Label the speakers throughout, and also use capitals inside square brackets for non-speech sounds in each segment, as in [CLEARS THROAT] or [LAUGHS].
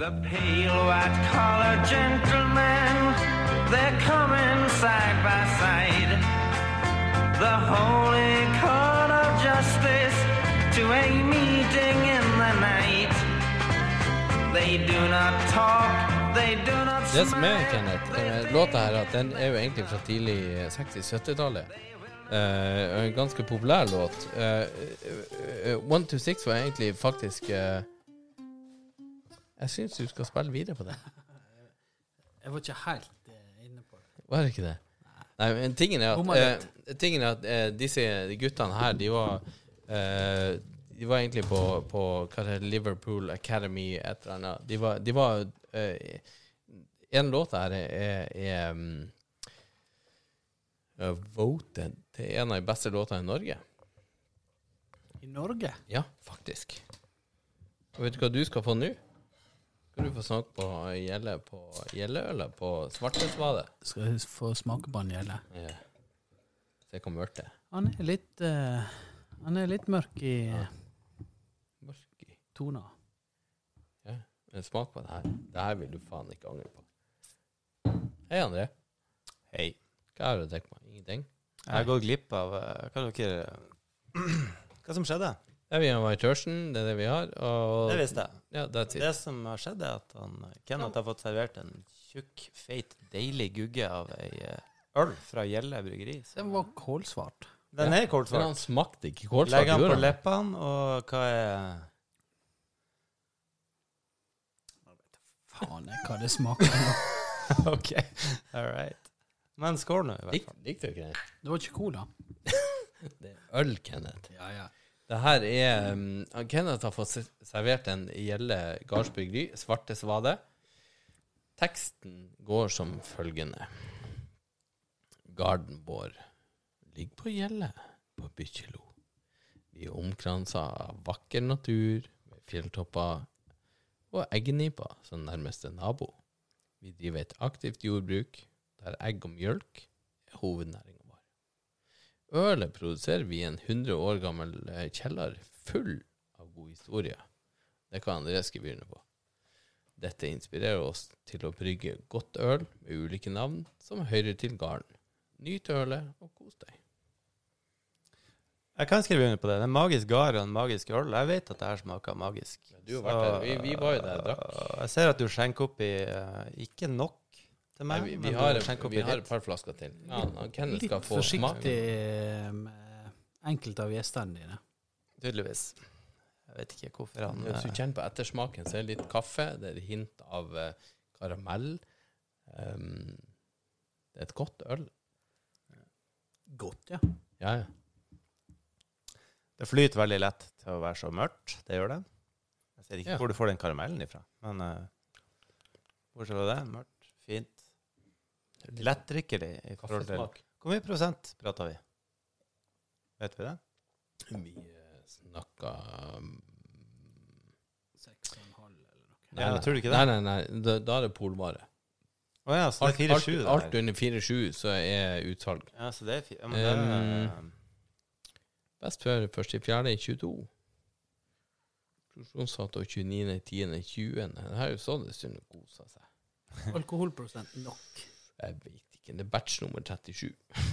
Speaker 1: The pale white collar gentlemen, they're coming side by side. The holy court of justice to a meeting in the night. They do not talk, they do not
Speaker 2: Det som er,
Speaker 1: smile,
Speaker 2: Kenneth,
Speaker 1: they
Speaker 2: eh, låta her, at den er jo egentlig fra tidlig 60-70-tallet. Eh, og en ganske populær låt. Eh, eh, eh, One to Six var egentlig faktisk eh, Jeg syns du skal spille videre på den.
Speaker 3: Jeg var ikke helt eh, inne på det.
Speaker 2: Var det ikke det? Nei, men tingen er
Speaker 3: Bomma
Speaker 2: at, eh, tingen er at eh, disse guttene her, de var eh, De var egentlig på, på hva det heter, Liverpool Academy, et eller annet. De var, de var eh, En låt her er, er, er mm, eh, voted til en av de beste låtene i Norge.
Speaker 3: I Norge?
Speaker 2: Ja, faktisk. Og vet du hva du skal få nå? Skal du få snakke på gjelle på Gjelleølet på Svartesvadet?
Speaker 3: Skal jeg få smake på han gjelde?
Speaker 2: Ja. Se hvor mørkt det er.
Speaker 3: Han er litt eh, Han er litt mørk i
Speaker 2: Mørk i.
Speaker 3: tona.
Speaker 2: Ja. Men smak på det her. Det her vil du faen ikke angre på. Hei, André. Hei. Hva har du å drikke med? Ingenting?
Speaker 4: Jeg har gått glipp av eh, Hva dere [CLEARS THROAT] Hva som skjedde?
Speaker 2: Det er vi har vært i tørsten, det er det vi har. Og
Speaker 4: Det visste jeg.
Speaker 2: Ja, that's it.
Speaker 4: Det som har skjedd, er at han, Kenneth har fått servert en tjukk, feit, deilig gugge av ei eh, øl fra Gjelle bryggeri. Så
Speaker 3: Den var kålsvart.
Speaker 4: Den er
Speaker 2: Men han
Speaker 4: kålsvart.
Speaker 2: smakte ikke kålsvart.
Speaker 4: Legger den
Speaker 2: gjorde
Speaker 4: på
Speaker 2: han?
Speaker 4: leppene, og hva er
Speaker 3: Faen, jeg, hva det smaker nå.
Speaker 4: OK, all right. Men skål nå, i hvert
Speaker 2: Lik, likte du ikke det?
Speaker 3: Det var ikke cola.
Speaker 2: Det er øl, Kenneth.
Speaker 3: Ja, ja.
Speaker 2: Det her er um, Kenneth har fått se- servert en Gjelle gardsbryggeri, Svarte svade. Teksten går som følgende. Garden vår ligger på Gjelle, på Bykkjelo. Vi er omkransa av vakker natur, med fjelltopper og eggnipper som nærmeste nabo. Vi driver et aktivt jordbruk, der egg og mjølk er hovednæringa vår. Ølet produserer vi i en 100 år gammel eh, kjeller full av god historie. Det kan André skrive under på. Dette inspirerer oss til å brygge godt øl med ulike navn som hører til garden. Nyt ølet og kos deg.
Speaker 4: Jeg kan skrive under på det. Det er magisk gard og en magisk øl. Jeg vet at det her smaker magisk. eh,
Speaker 2: du har vært der. Vi- vi var jo der og drakk.
Speaker 4: Jeg ser at du skjenker opp i eh, Ikke nok
Speaker 2: Nei,
Speaker 4: til meg,
Speaker 2: vi, vi,
Speaker 4: men
Speaker 2: har,
Speaker 4: du skjenker opp
Speaker 2: vi
Speaker 4: i
Speaker 2: har
Speaker 4: litt.
Speaker 2: et par flasker til. Ja, han- Kenneth
Speaker 3: Litt
Speaker 2: skal få
Speaker 3: forsiktig
Speaker 2: smake.
Speaker 3: med enkelte av gjestene dine.
Speaker 4: Tydeligvis. Jeg vet ikke hvorfor han
Speaker 2: Hvis du
Speaker 4: eh,
Speaker 2: kjenner på ettersmaken, så er det litt kaffe, det er hint av eh, karamell. Ehm, det er et godt øl.
Speaker 3: Godt, ja.
Speaker 2: Ja, ja.
Speaker 4: Det flyter veldig lett til å være så mørkt. Det gjør det. Jeg ser ikke
Speaker 2: Ja.
Speaker 4: hvor du får den karamellen ifra, men eh, bortsett fra det, mørkt, fint. Lettdrikkelig i forhold til
Speaker 2: Kaffesmak.
Speaker 4: Hvor mye prosent prater vi? Vet vi det?
Speaker 2: Vi eh, snakka um,
Speaker 3: Seks og en halv eller noe.
Speaker 4: Ja, tror du ikke det?
Speaker 2: Nei, nei, nei. Da, da er det polvare.
Speaker 4: Å ja, så
Speaker 2: Alt,
Speaker 4: det er
Speaker 2: alt,
Speaker 4: 4-7 det
Speaker 2: alt
Speaker 4: her.
Speaker 2: under 4-7 så er utsalg.
Speaker 4: Ja, så det er fi- ja, men det er-
Speaker 2: Best før 1.4.22. Produksjonsdato 29.10.20. Det her er jo sånn det stund å kose seg.
Speaker 3: Alkoholprosent nok.
Speaker 2: Jeg vet ikke. Det er batch nummer 37. [LAUGHS]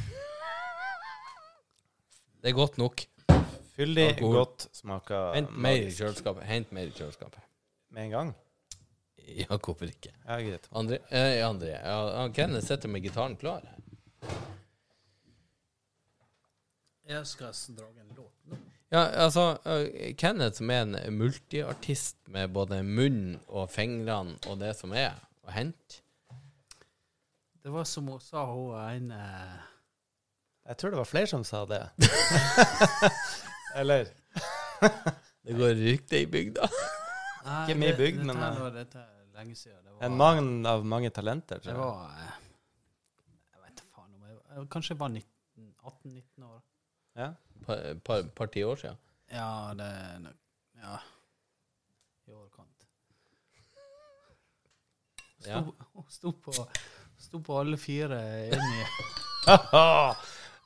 Speaker 2: Det er godt nok.
Speaker 4: eh, Fyldig,
Speaker 2: Alkohol.
Speaker 4: godt, smaker
Speaker 2: Hent mer i
Speaker 4: magisk.
Speaker 2: kjøleskapet. Hent mer i kjøleskapet. [LAUGHS]
Speaker 4: Med en gang?
Speaker 2: Ja, hvorfor ikke?
Speaker 4: Ja, greit.
Speaker 2: André, eh, André ja, han Kenneth sitter med gitaren klar.
Speaker 3: Jeg skal s- dra en låt nå.
Speaker 2: Ja, altså, eh, Kenneth som er en multiartist med både munnen og fingrene og det som er, å hente.
Speaker 3: Det var som hun sa, hun en eh,
Speaker 4: Jeg tror det var flere som
Speaker 2: [LAUGHS]
Speaker 4: sa det. Eller
Speaker 2: Det går rykter i bygda. [LAUGHS]
Speaker 3: nei,
Speaker 4: Ikke mye
Speaker 3: det-
Speaker 4: bygd,
Speaker 3: dette
Speaker 4: men,
Speaker 3: her
Speaker 4: eh,
Speaker 3: var- Dette er lenge siden. Det var,
Speaker 4: en mann av mange talenter.
Speaker 3: Det
Speaker 4: Tror jeg.
Speaker 3: var eh, Jeg vet da faen om jeg jeg- Kanskje jeg var 19 18-19 år.
Speaker 4: Ja. [LAUGHS]
Speaker 2: Par, par, par ti år siden.
Speaker 3: Ja, det er nok Ja. I overkant. Sto,
Speaker 2: Ja.
Speaker 3: Hun sto [LAUGHS] på, sto på alle fire
Speaker 4: [LAUGHS]
Speaker 3: inni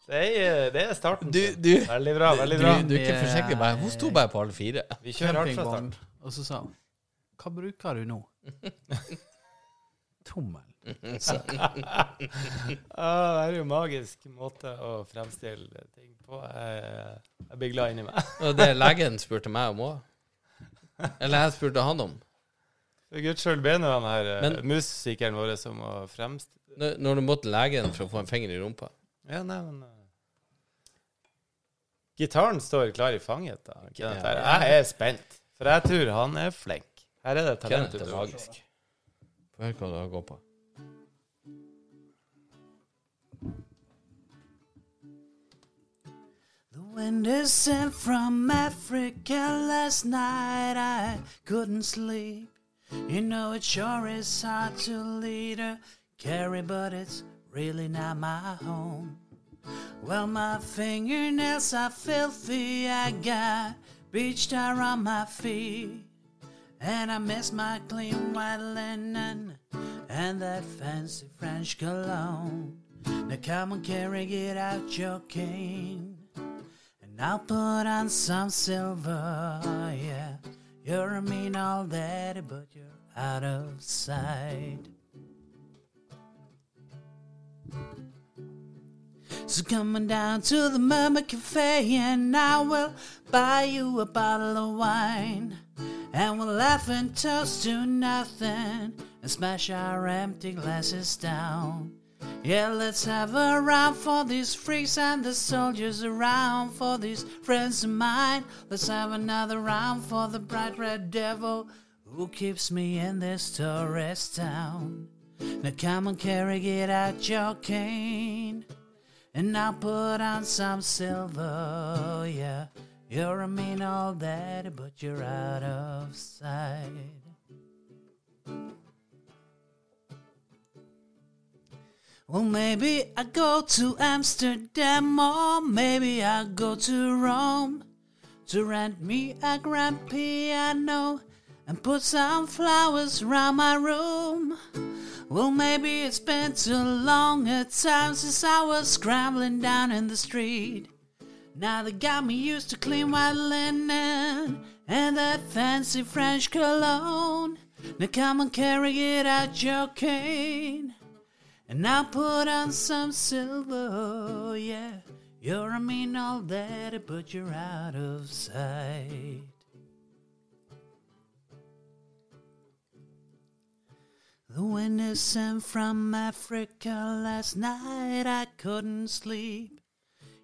Speaker 4: det, er, det er starten.
Speaker 2: Du-
Speaker 4: på.
Speaker 2: du-
Speaker 4: veldig bra. veldig
Speaker 2: Du,
Speaker 4: bra.
Speaker 2: du er ikke forsiktig, bare hun sto bare på alle fire.
Speaker 4: [LAUGHS] Vi kjører hardt fra
Speaker 3: campingvognen,
Speaker 4: start.
Speaker 3: og så sa hun
Speaker 5: Hva bruker du nå?
Speaker 4: [LAUGHS]
Speaker 5: Tommel.
Speaker 4: Ah, det er jo magisk måte å fremstille ting på. Jeg, jeg blir glad inni meg.
Speaker 2: [LAUGHS]
Speaker 4: [LAUGHS]
Speaker 2: Og det legen spurte meg om òg. Eller jeg spurte han om.
Speaker 4: For guds skyld be nå han her eh,
Speaker 2: Men-
Speaker 4: musikeren vår som må fremst...
Speaker 2: Når, når du måtte legen for å få en finger i rumpa.
Speaker 4: Ja, nei, men eh, Gitaren står klar i fanget. da. Kenneth her. Jeg er spent, for jeg tror han er flink. Her er det talent
Speaker 2: Kenneth er
Speaker 4: utover.
Speaker 2: magisk. Få høre hva du har gått på.
Speaker 5: The wind is sent from Africa last night. I couldn't sleep. You know, it sure is hard to lead a carry, but it's really not my home. Well, my fingernails are filthy. I got beach tar on my feet. And I miss my clean white linen and that fancy French cologne. Now come and carry it out your cane. And I'll put on some silver, yeah. You're a mean old daddy, but you're out of sight. So come on down to the Murmur Cafe and I will buy you a bottle of wine. And we'll laugh and toast to nothing and smash our empty glasses down. Yeah, let's have a round for these freaks and the soldiers around for these friends of mine. Let's have another round for the bright red devil who keeps me in this tourist town. Now come and carry it out your cane. And I'll put on some silver, yeah. You're a mean old daddy, but you're out of sight. Well, maybe I go to Amsterdam, or maybe I go to Rome to rent me a grand piano and put some flowers round my room. Well, maybe it's been too long a time since I was scrambling down in the street. Now they got me used to clean white linen and that fancy French cologne. Now come and carry it out your cane, and I'll put on some silver. Yeah, you're a mean old daddy, but you're out of sight. The wind is sent from Africa last night. I couldn't sleep.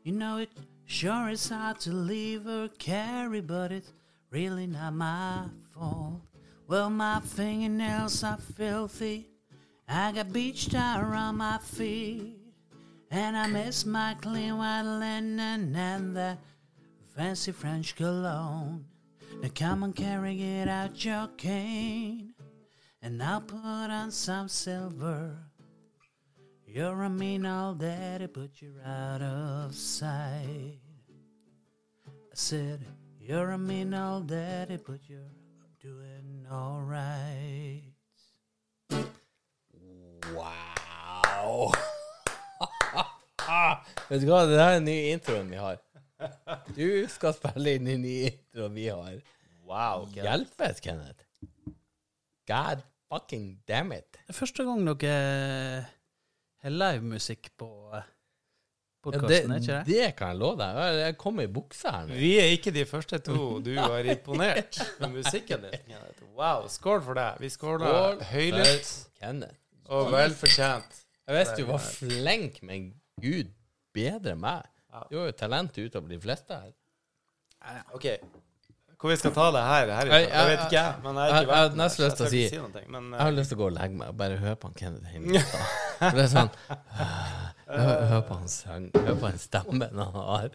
Speaker 5: You know, it sure is hard to leave her carry, but it's really not my fault. Well, my fingernails are filthy. I got beach tar on my feet. And I miss my clean white linen and that fancy French cologne. Now come and carry it out your cane and I'll put on some silver. You're a mean old daddy, but you're out of sight. I said, You're a mean old daddy, but you're doing alright.
Speaker 2: Wow! Vet du hva, det der er den nye introen vi har. Du skal spille inn den nye introen vi har.
Speaker 4: Wow, Kenneth.
Speaker 2: Hjelpes, Kenneth. God fucking damn it.
Speaker 5: Det er første gang dere eh, har livemusikk på
Speaker 2: Ja,
Speaker 5: podkasten,
Speaker 2: det,
Speaker 5: er ikke det?
Speaker 2: det kan jeg love deg. Jeg- Jeg kom i buksa her nå.
Speaker 4: Vi er ikke de første to
Speaker 2: [LAUGHS]
Speaker 4: du har imponert med musikken din. Kenneth. Wow, skål for deg. Vi skåler
Speaker 2: Skål
Speaker 4: høylytt
Speaker 2: Kenneth.
Speaker 4: og velfortjent.
Speaker 2: Jeg visste du var flink, men gud bedre enn meg. Du har jo talent utover de fleste her.
Speaker 4: OK. Hvor vi skal ta det her? herifra?
Speaker 2: Jeg- jeg-
Speaker 4: Jeg vet ikke, jeg. Men jeg
Speaker 2: jeg-
Speaker 4: er
Speaker 2: jeg
Speaker 4: ikke
Speaker 2: hadde
Speaker 4: verten.
Speaker 2: nesten lyst til å si-
Speaker 4: noe, men
Speaker 2: Jeg har lyst til å gå og legge meg og bare høre på han Kenneth hjemme. For det er sånn Hør hør på han sang, hør på den stemmen han har.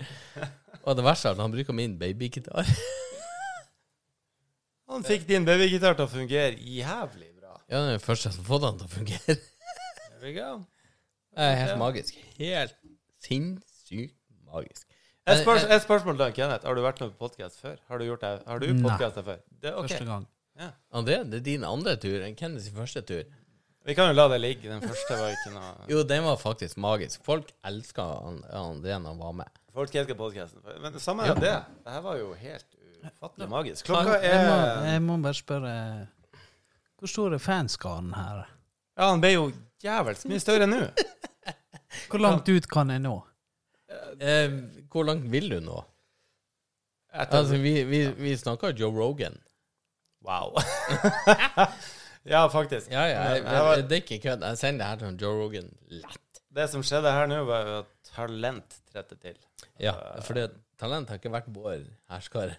Speaker 2: Og det verste er at han bruker min babygitar.
Speaker 4: eh, han fikk din babygitar til å fungere jævlig bra.
Speaker 2: Ja, det er den første som fått han til å fungere.
Speaker 4: There we go.
Speaker 2: Det er helt magisk. Helt sinnssykt magisk.
Speaker 4: Et, spørs et spørsmål til Kenneth. Har du vært med på podkast før? Har du gjort det? Har du
Speaker 5: Nei.
Speaker 4: podcastet før? Det, ok.
Speaker 5: Første gang.
Speaker 2: André, det er din andre tur enn Kenneths første tur.
Speaker 4: Vi kan jo la det ligge. Den første var ikke noe
Speaker 2: Jo, den var faktisk magisk. Folk elska André når han var med.
Speaker 4: Folk elsker podkasten. Men samme det. Det her var jo helt ufattelig magisk.
Speaker 2: Kan-
Speaker 4: Klokka
Speaker 2: eh,
Speaker 5: Jeg må,
Speaker 4: er
Speaker 5: jeg må bare spørre eh,
Speaker 3: Hvor stor er fanskaren her?
Speaker 4: Ja, han ble jo jævels mye større nå.
Speaker 3: Hvor langt ut kan jeg nå?
Speaker 2: Eh, hvor langt vil du nå? Altså, vi, vi, vi snakker Joe Rogan.
Speaker 4: Wow. [LAUGHS] ja, faktisk.
Speaker 2: Ja, ja, jeg,
Speaker 4: Men det var-
Speaker 2: det er ikke kødd. Jeg sender det her til Joe Rogan lett.
Speaker 4: Det som skjedde her nå, var jo at talent tredde til.
Speaker 2: Ja, for det, talent har ikke vært vår [LAUGHS] herskare.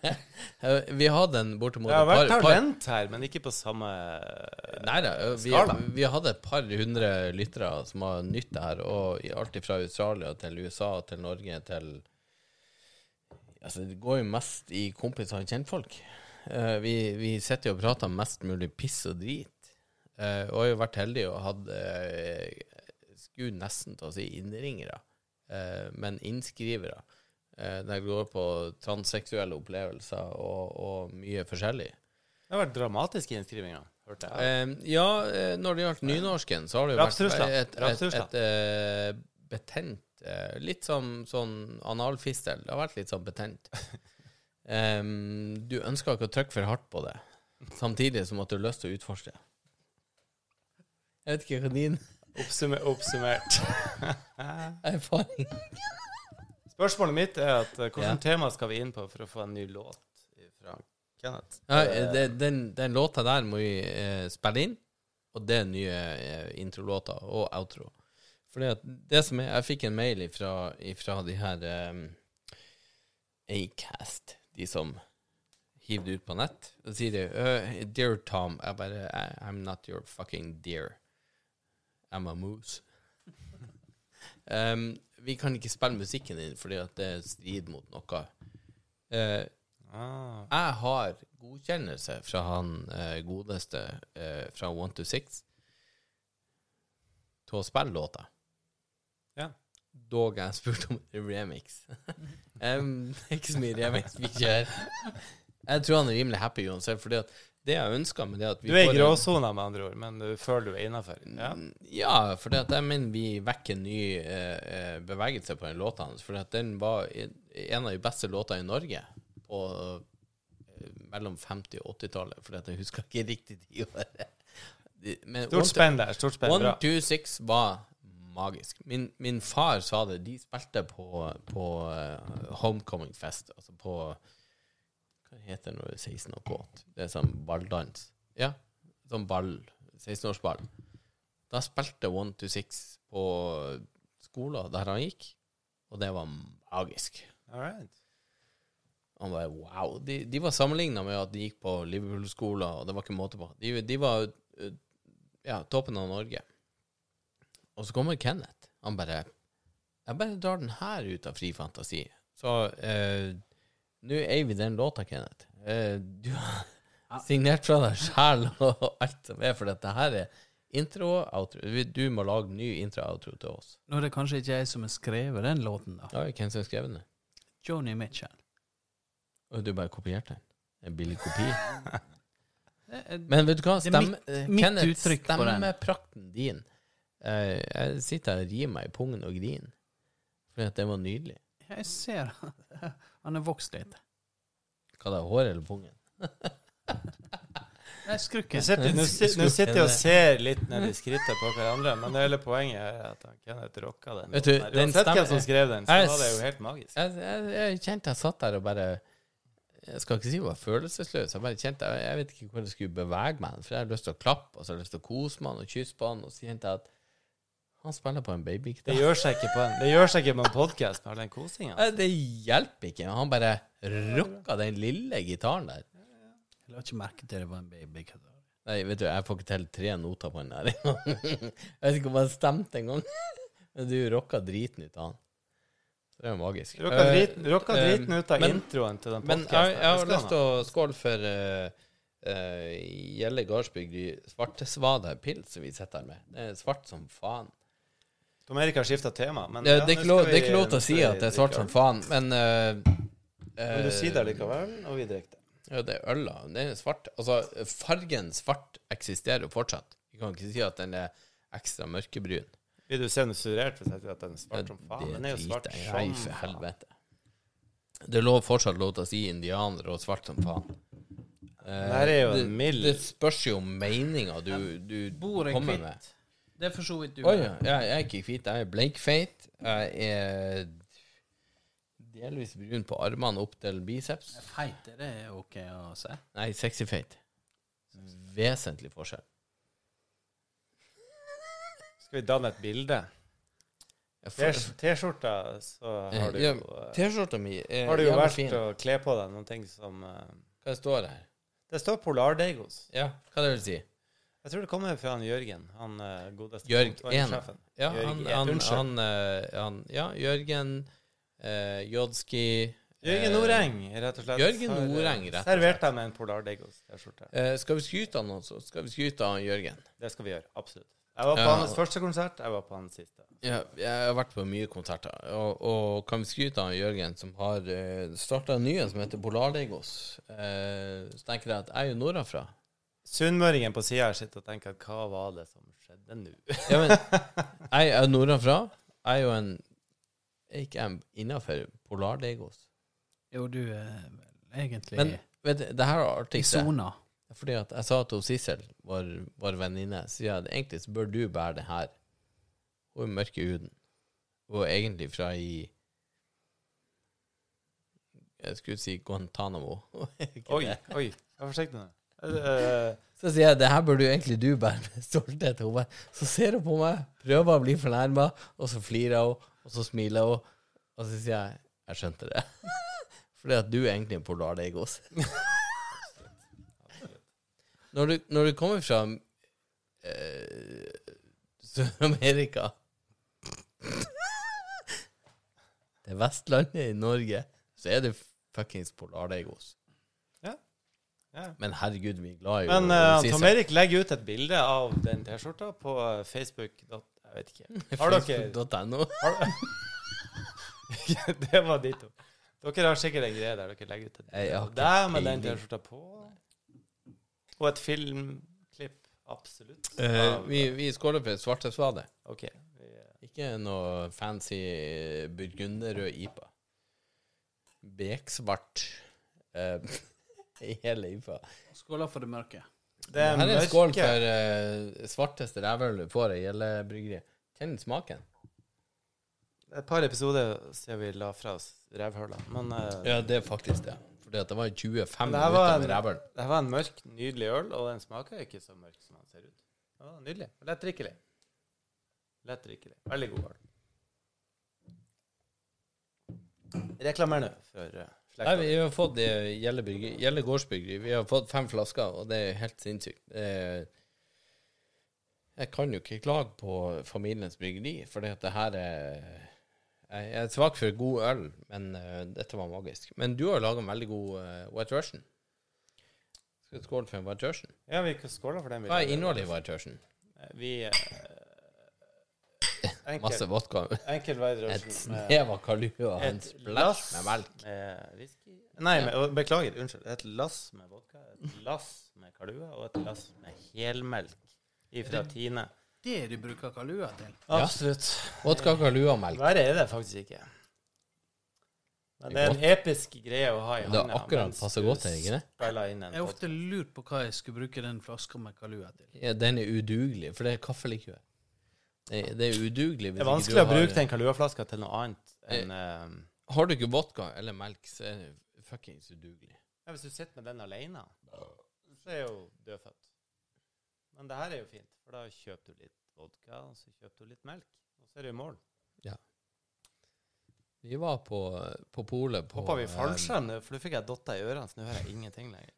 Speaker 2: Vi hadde en bortimot
Speaker 4: Det har
Speaker 2: et
Speaker 4: vært
Speaker 2: par- par-
Speaker 4: talent her, men ikke på samme
Speaker 2: Nei da, vi,
Speaker 4: Skala.
Speaker 2: vi hadde et par hundre lyttere som har nytt det her, og i- alt fra Australia til USA til Norge til Altså, det går jo mest i kompiser og kjentfolk. Eh, vi, vi sitter jo og prater mest mulig piss og drit, Eh, og har jo vært heldig og hatt eh, Skulle nesten til å si innringere, eh, men innskrivere. Eh, der det går på transseksuelle opplevelser og, og mye forskjellig.
Speaker 4: Det har vært dramatiske innskrivinger, hørte jeg.
Speaker 2: Eh, ja, eh, når det gjaldt nynorsken, så har det jo vært
Speaker 4: Rapstrusla.
Speaker 2: et, et, et,
Speaker 4: Rapstrusla.
Speaker 2: eh, betent eh, Litt som sånn analfistel. Det har vært litt sånn betent. Em, du ønska ikke å trykke for hardt på det, samtidig som at du har lyst til å utforske. Jeg vet ikke hva din
Speaker 4: Oppsummer, oppsummert.
Speaker 2: [LAUGHS] erfaring
Speaker 4: Spørsmålet mitt er at eh,
Speaker 2: Ja.
Speaker 4: hvilket tema skal vi inn på for å få en ny låt fra Kenneth?
Speaker 2: ja, eh, det, den, den låta der må vi eh, spille inn, og det er nye eh, introlåta og outro. Fordi at det som er, Jeg fikk en mail ifra, ifra de her eh, Acast, de som hiver det ut på nett. Da sier de «Øh, 'Dear Tom'. Jeg bare «I- 'I'm not your fucking dear. I'm a moose'. [LAUGHS] Em, vi kan ikke spille musikken din fordi at det er strid mot noe. Eh,
Speaker 4: Ah,
Speaker 2: jeg har godkjennelse fra han eh, godeste eh, fra One to Six til å spille låta.
Speaker 4: Ja.
Speaker 2: Dog jeg spurte om remix. [LAUGHS] Em, det er ikke så mye remix vi kjører. Jeg tror han er rimelig happy uansett, fordi at det jeg ønsker med det at vi
Speaker 4: du er i
Speaker 2: får Mm, en-
Speaker 4: gråsona, med andre ord, men du føler du er innafor. Ja.
Speaker 2: ja, for det at jeg mener vi vekker en ny eh, eh, bevegelse på den låta hans. For at den var i- en av de beste låtene i Norge på eh, mellom 50- og 80-tallet. For at jeg husker ikke riktig tiåret. De- Men
Speaker 4: Stort spenn der. Stort spenn.
Speaker 2: One
Speaker 4: Bra.
Speaker 2: Two Six var magisk. Min, min far sa det. De spilte på, på eh, Homecoming Fest, altså på Hva heter det når du er 16 og kåt? Det er sånn balldans. Ja, sånn ball. 16-årsball. Da spilte One Two Six på skolen der han gikk, og det var magisk.
Speaker 4: All right.
Speaker 2: Han bare wow. De, de var sammenligna med at de gikk på Liverpool-skoler, og det var ikke måte på. De, de var eh, ja, toppen av Norge. Og så kommer Kenneth. Han bare Jeg bare drar den her ut av fri fantasi. Så eh, nå eier vi den låta, Kenneth. Eh, du har signert fra deg sjæl og alt som er, for dette her er intro outro. Vi- Du må lage ny intro-outro til oss.
Speaker 3: Nå er det kanskje ikke jeg som har skrevet den låten, da.
Speaker 2: Ja, hvem som har skrevet den?
Speaker 3: Joni Mitchell.
Speaker 2: Og du bare kopierte den? En billig kopi?
Speaker 3: Det er-
Speaker 2: Men vet du hva?
Speaker 3: Det er
Speaker 2: Stem,
Speaker 3: mitt-
Speaker 2: eh,
Speaker 3: mitt
Speaker 2: Kenneth,
Speaker 3: uttrykk på den.
Speaker 2: stemmeprakten din eh, Jeg sitter her og rir meg i pungen og griner. Fordi at det var nydelig.
Speaker 3: Jeg ser han- [LAUGHS] han er vokst litt.
Speaker 2: Hva det er, hår eller pungen?
Speaker 3: Nei,
Speaker 4: Nå
Speaker 3: skrukken.
Speaker 4: sitter, nå, sit- nå sitter jeg og ser litt ned i skrittet på hverandre, men hele poenget er at han Kenneth rocka den.
Speaker 2: Vet du,
Speaker 4: låten her.
Speaker 2: den
Speaker 4: Uansett
Speaker 2: stemmer-
Speaker 4: hvem som skrev den, så
Speaker 2: Jeg-
Speaker 4: var det jo helt magisk.
Speaker 2: Jeg, jeg, jeg kjente jeg satt der og bare Jeg skal ikke si jeg var følelsesløs. Jeg bare kjente jeg, jeg vet ikke hvor jeg skulle bevege meg. For jeg hadde lyst til å klappe, og så hadde jeg lyst til å kose meg og kysse på han, og så kjente jeg at han spiller på en
Speaker 4: Det
Speaker 2: babygitar.
Speaker 4: gjør seg ikke på en, det gjør seg ikke på en podkast med all den kosinga.
Speaker 2: Nei, Det hjelper ikke. Han bare rocka den lille gitaren der.
Speaker 3: Jeg la ikke merke til det var en baby.
Speaker 2: Nei, vet du, jeg får ikke til tre noter på den der engang. [LAUGHS] jeg vet ikke om han stemte engang. [LAUGHS] Men du rocka driten ut av han. Det er jo magisk.
Speaker 4: Rocka
Speaker 2: Eh,
Speaker 4: driten, rocka
Speaker 2: eh,
Speaker 4: driten ut av
Speaker 2: men-
Speaker 4: introen til den
Speaker 2: Men jeg, jeg har lyst
Speaker 4: podkasten.
Speaker 2: til å skåle for eh, eh, Gjelle Gardsbygd i svartesvada pils som vi sitter her med. Det er svart som faen.
Speaker 4: Tom Erik har skifta tema, men
Speaker 2: Det,
Speaker 4: ja,
Speaker 2: det, er
Speaker 4: nå
Speaker 2: ikke lov,
Speaker 4: skal
Speaker 2: det er ikke
Speaker 4: vi-
Speaker 2: lov til
Speaker 4: nå
Speaker 2: å si
Speaker 4: skal vi
Speaker 2: at det er svart
Speaker 4: drikke
Speaker 2: som
Speaker 4: øl.
Speaker 2: faen, men eh,
Speaker 4: Men du sier det
Speaker 2: eh,
Speaker 4: likevel, og vi drikker det.
Speaker 2: Ja, det er øl, da. Den er svart. Altså, fargen svart eksisterer jo fortsatt. Vi kan ikke si at den er ekstra mørkebrun.
Speaker 4: Vil du se den surrert hvis jeg sier at den er
Speaker 2: Ja,
Speaker 4: svart som faen?
Speaker 2: det
Speaker 4: Den er jo svart
Speaker 2: driter jeg i,
Speaker 4: som
Speaker 2: for
Speaker 4: faen.
Speaker 2: helvete. Det lå fortsatt lov til å si indianer og svart som faen. Eh,
Speaker 4: Det her er jo
Speaker 2: det-
Speaker 4: en mild-
Speaker 2: Det spørs jo om meninga du, du
Speaker 5: Bor jeg
Speaker 2: kommer med.
Speaker 5: kvitt? Det er for så vidt du.
Speaker 2: Å ja. ja. Jeg er ikke hvit, jeg er bleikfeit. Jeg er delvis brun på armene opp til biceps.
Speaker 5: Feit, er det ok å si?
Speaker 2: Nei, sexyfeit. Vesentlig forskjell.
Speaker 4: Skal vi danne et bilde?
Speaker 2: Jeg får-
Speaker 4: T-skjorta, så har du
Speaker 2: Ja,
Speaker 4: jo eh,
Speaker 2: T-skjorta mi er
Speaker 4: Har du jo eh,
Speaker 2: jævla
Speaker 4: valgt
Speaker 2: fin.
Speaker 4: å kle på deg noen ting som eh,
Speaker 2: Hva står det her?
Speaker 4: Det står Polardegos.
Speaker 2: Ja, hva det vil si?
Speaker 4: Jeg tror det kommer fra han Jørgen. Han eh, godeste
Speaker 2: Jørg Ena.
Speaker 4: kontorensjefen.
Speaker 2: Ja,
Speaker 4: Jørg
Speaker 2: han,
Speaker 4: E.
Speaker 2: han,
Speaker 4: Unnskyld.
Speaker 2: han, eh, han Ja, Jørgen eh, Jodski
Speaker 4: Jørgen Noreng, rett og slett.
Speaker 2: Jørgen
Speaker 4: har, eh,
Speaker 2: Noreng, rett og
Speaker 4: Servert deg med en Polardegos-T-skorte.
Speaker 2: Eh, skal vi skryte av noen, så skal vi skryte av Jørgen.
Speaker 4: Det skal vi gjøre. Absolutt. Jeg var på
Speaker 2: Ja.
Speaker 4: hans første konsert, jeg var på hans siste.
Speaker 2: Ja, jeg har vært på mye konserter, og, og kan vi skryte av Jørgen, som har uh, starta en ny en som heter Polarlegos. Eh, så tenker jeg at jeg er jo nordafra.
Speaker 4: Sunnmøringen på sida her sitter og tenker hva var det som skjedde nå?
Speaker 2: Ja, [LAUGHS] men jeg er nordafra. Jeg er jo en er ikke jeg innafor Polarlegos.
Speaker 5: Jo, du er vel egentlig
Speaker 2: Men vet du, det her er
Speaker 5: i
Speaker 2: artig.
Speaker 5: sona.
Speaker 2: Fordi at jeg sa til hun Sissel, vår, vår venninne, sier jeg at egentlig så bør du bære det her. Hun er mørk i huden. Hun er egentlig fra i Jeg skulle si Guantánamo. [LAUGHS] Ikke
Speaker 4: [LAUGHS] Oi,
Speaker 2: det.
Speaker 4: oi. Vær forsiktig nå. Eh,
Speaker 2: Så sier jeg det her bør du egentlig du bære med stolthet. Hun bare, så ser hun på meg, prøver å bli fornærma, og så flirer hun, og så smiler hun, og så sier jeg jeg skjønte det. [LAUGHS] Fordi at du er egentlig en
Speaker 4: [LAUGHS]
Speaker 2: polardeigos. Når, du- når du kommer fra eh, Sør-Amerika Det Vestlandet i Norge, så er det fuckings polardeigos.
Speaker 4: Ja. Ja.
Speaker 2: Men herregud, vi er glad i
Speaker 4: Men
Speaker 2: å- å
Speaker 4: eh,
Speaker 2: si
Speaker 4: Tom
Speaker 2: sånn.
Speaker 4: Erik legger ut et bilde av den T-skjorta på eh, Facebook. dot- Jeg vet ikke. Har
Speaker 2: [LAUGHS]
Speaker 4: dere
Speaker 2: Facebook.no.
Speaker 4: har, [LAUGHS] Det var de to. Dere har sikkert en greie der dere legger ut et
Speaker 2: Jeg har
Speaker 4: bilde.
Speaker 2: ikke
Speaker 4: Der med den
Speaker 2: peiling.
Speaker 4: T-skjorta på. Og et filmklipp. Absolutt.
Speaker 2: Eh,
Speaker 4: Av-
Speaker 2: vi, vi skåler for svartesvade.
Speaker 4: OK. vi, eh,
Speaker 2: Ikke noe fancy burgunderrød IPA. Beksvart eh, [LAUGHS] i hele IPA.
Speaker 5: Skåler for det mørke.
Speaker 4: Det er
Speaker 2: Her er en skål
Speaker 4: mørke.
Speaker 2: for eh, svarteste rævhølet du får i hele bryggeriet. Kjenn smaken.
Speaker 4: Et par episoder siden vi la fra oss revhøla. Men eh,
Speaker 2: Ja, det er faktisk det. Fordi at det var 25
Speaker 4: Men det her var
Speaker 2: minutter med
Speaker 4: en-
Speaker 2: rævhøl.
Speaker 4: det var en mørk, nydelig øl, og den smaker ikke så mørk som den ser ut. Den var nydelig. Lett drikkelig. Lett drikkelig. Veldig god øl. Reklamer nå for eh,
Speaker 2: Nei,
Speaker 4: slekta.
Speaker 2: vi har fått eh, Gjelle bryggeri- Gjelle gårdsbryggeri. Vi har fått fem flasker, og det er helt sinnssykt. Eh, Jeg kan jo ikke klage på familiens bryggeri, for det her er Jeg er svak for god øl, men eh, dette var magisk. Men du har laga en veldig god eh, White Russian. Skal vi skåle for en White Russian?
Speaker 4: Ja, vi skåler for den.
Speaker 2: Hva er innholdet i White Russian?
Speaker 4: Vi
Speaker 2: [LAUGHS]
Speaker 4: eh,
Speaker 2: Masse
Speaker 4: Enkel,
Speaker 2: vodka. [LAUGHS]
Speaker 4: enkel White
Speaker 2: Et
Speaker 4: Russian med
Speaker 2: snev av kalua og en
Speaker 4: et
Speaker 2: splæsj
Speaker 4: lass
Speaker 2: med melk.
Speaker 4: med whisky Nei,
Speaker 2: Ja.
Speaker 4: med, beklager. Unnskyld. Et lass med vodka, et lass med kalua og et lass med helmelk ifra Tine.
Speaker 5: Det du bruker kalua til.
Speaker 4: Absolutt.
Speaker 2: Vodka, kalua og melk.
Speaker 4: Verre er det faktisk ikke. Men det er en episk greie å ha i
Speaker 2: Det
Speaker 4: hånda.
Speaker 2: er akkurat
Speaker 4: mens
Speaker 2: passe
Speaker 4: du
Speaker 2: godt, er det ikke det?
Speaker 4: spiller inn en
Speaker 5: Jeg har
Speaker 4: podkast.
Speaker 5: ofte lurt på hva jeg skulle bruke den flaska med kalua til.
Speaker 2: Ja, den er udugelig, for det er kaffelikør. Det, det er udugelig hvis
Speaker 4: Det er
Speaker 2: ikke
Speaker 4: vanskelig å
Speaker 2: du har-
Speaker 4: bruke den kaluaflaska til noe annet enn eh,
Speaker 2: Har du ikke vodka eller melk, så er det fuckings udugelig.
Speaker 4: ja, Hvis du sitter med den alene, så er jo dødfødt. Men det her er jo fint, for da kjøper du litt vodka, og så kjøper du litt melk, og så er det jo mål.
Speaker 2: Vi var på, på polet på
Speaker 4: Hoppa vi
Speaker 2: eh,
Speaker 4: fallskjerm nå, for nå fikk jeg dotta i ørene, så nå hører jeg ingenting lenger.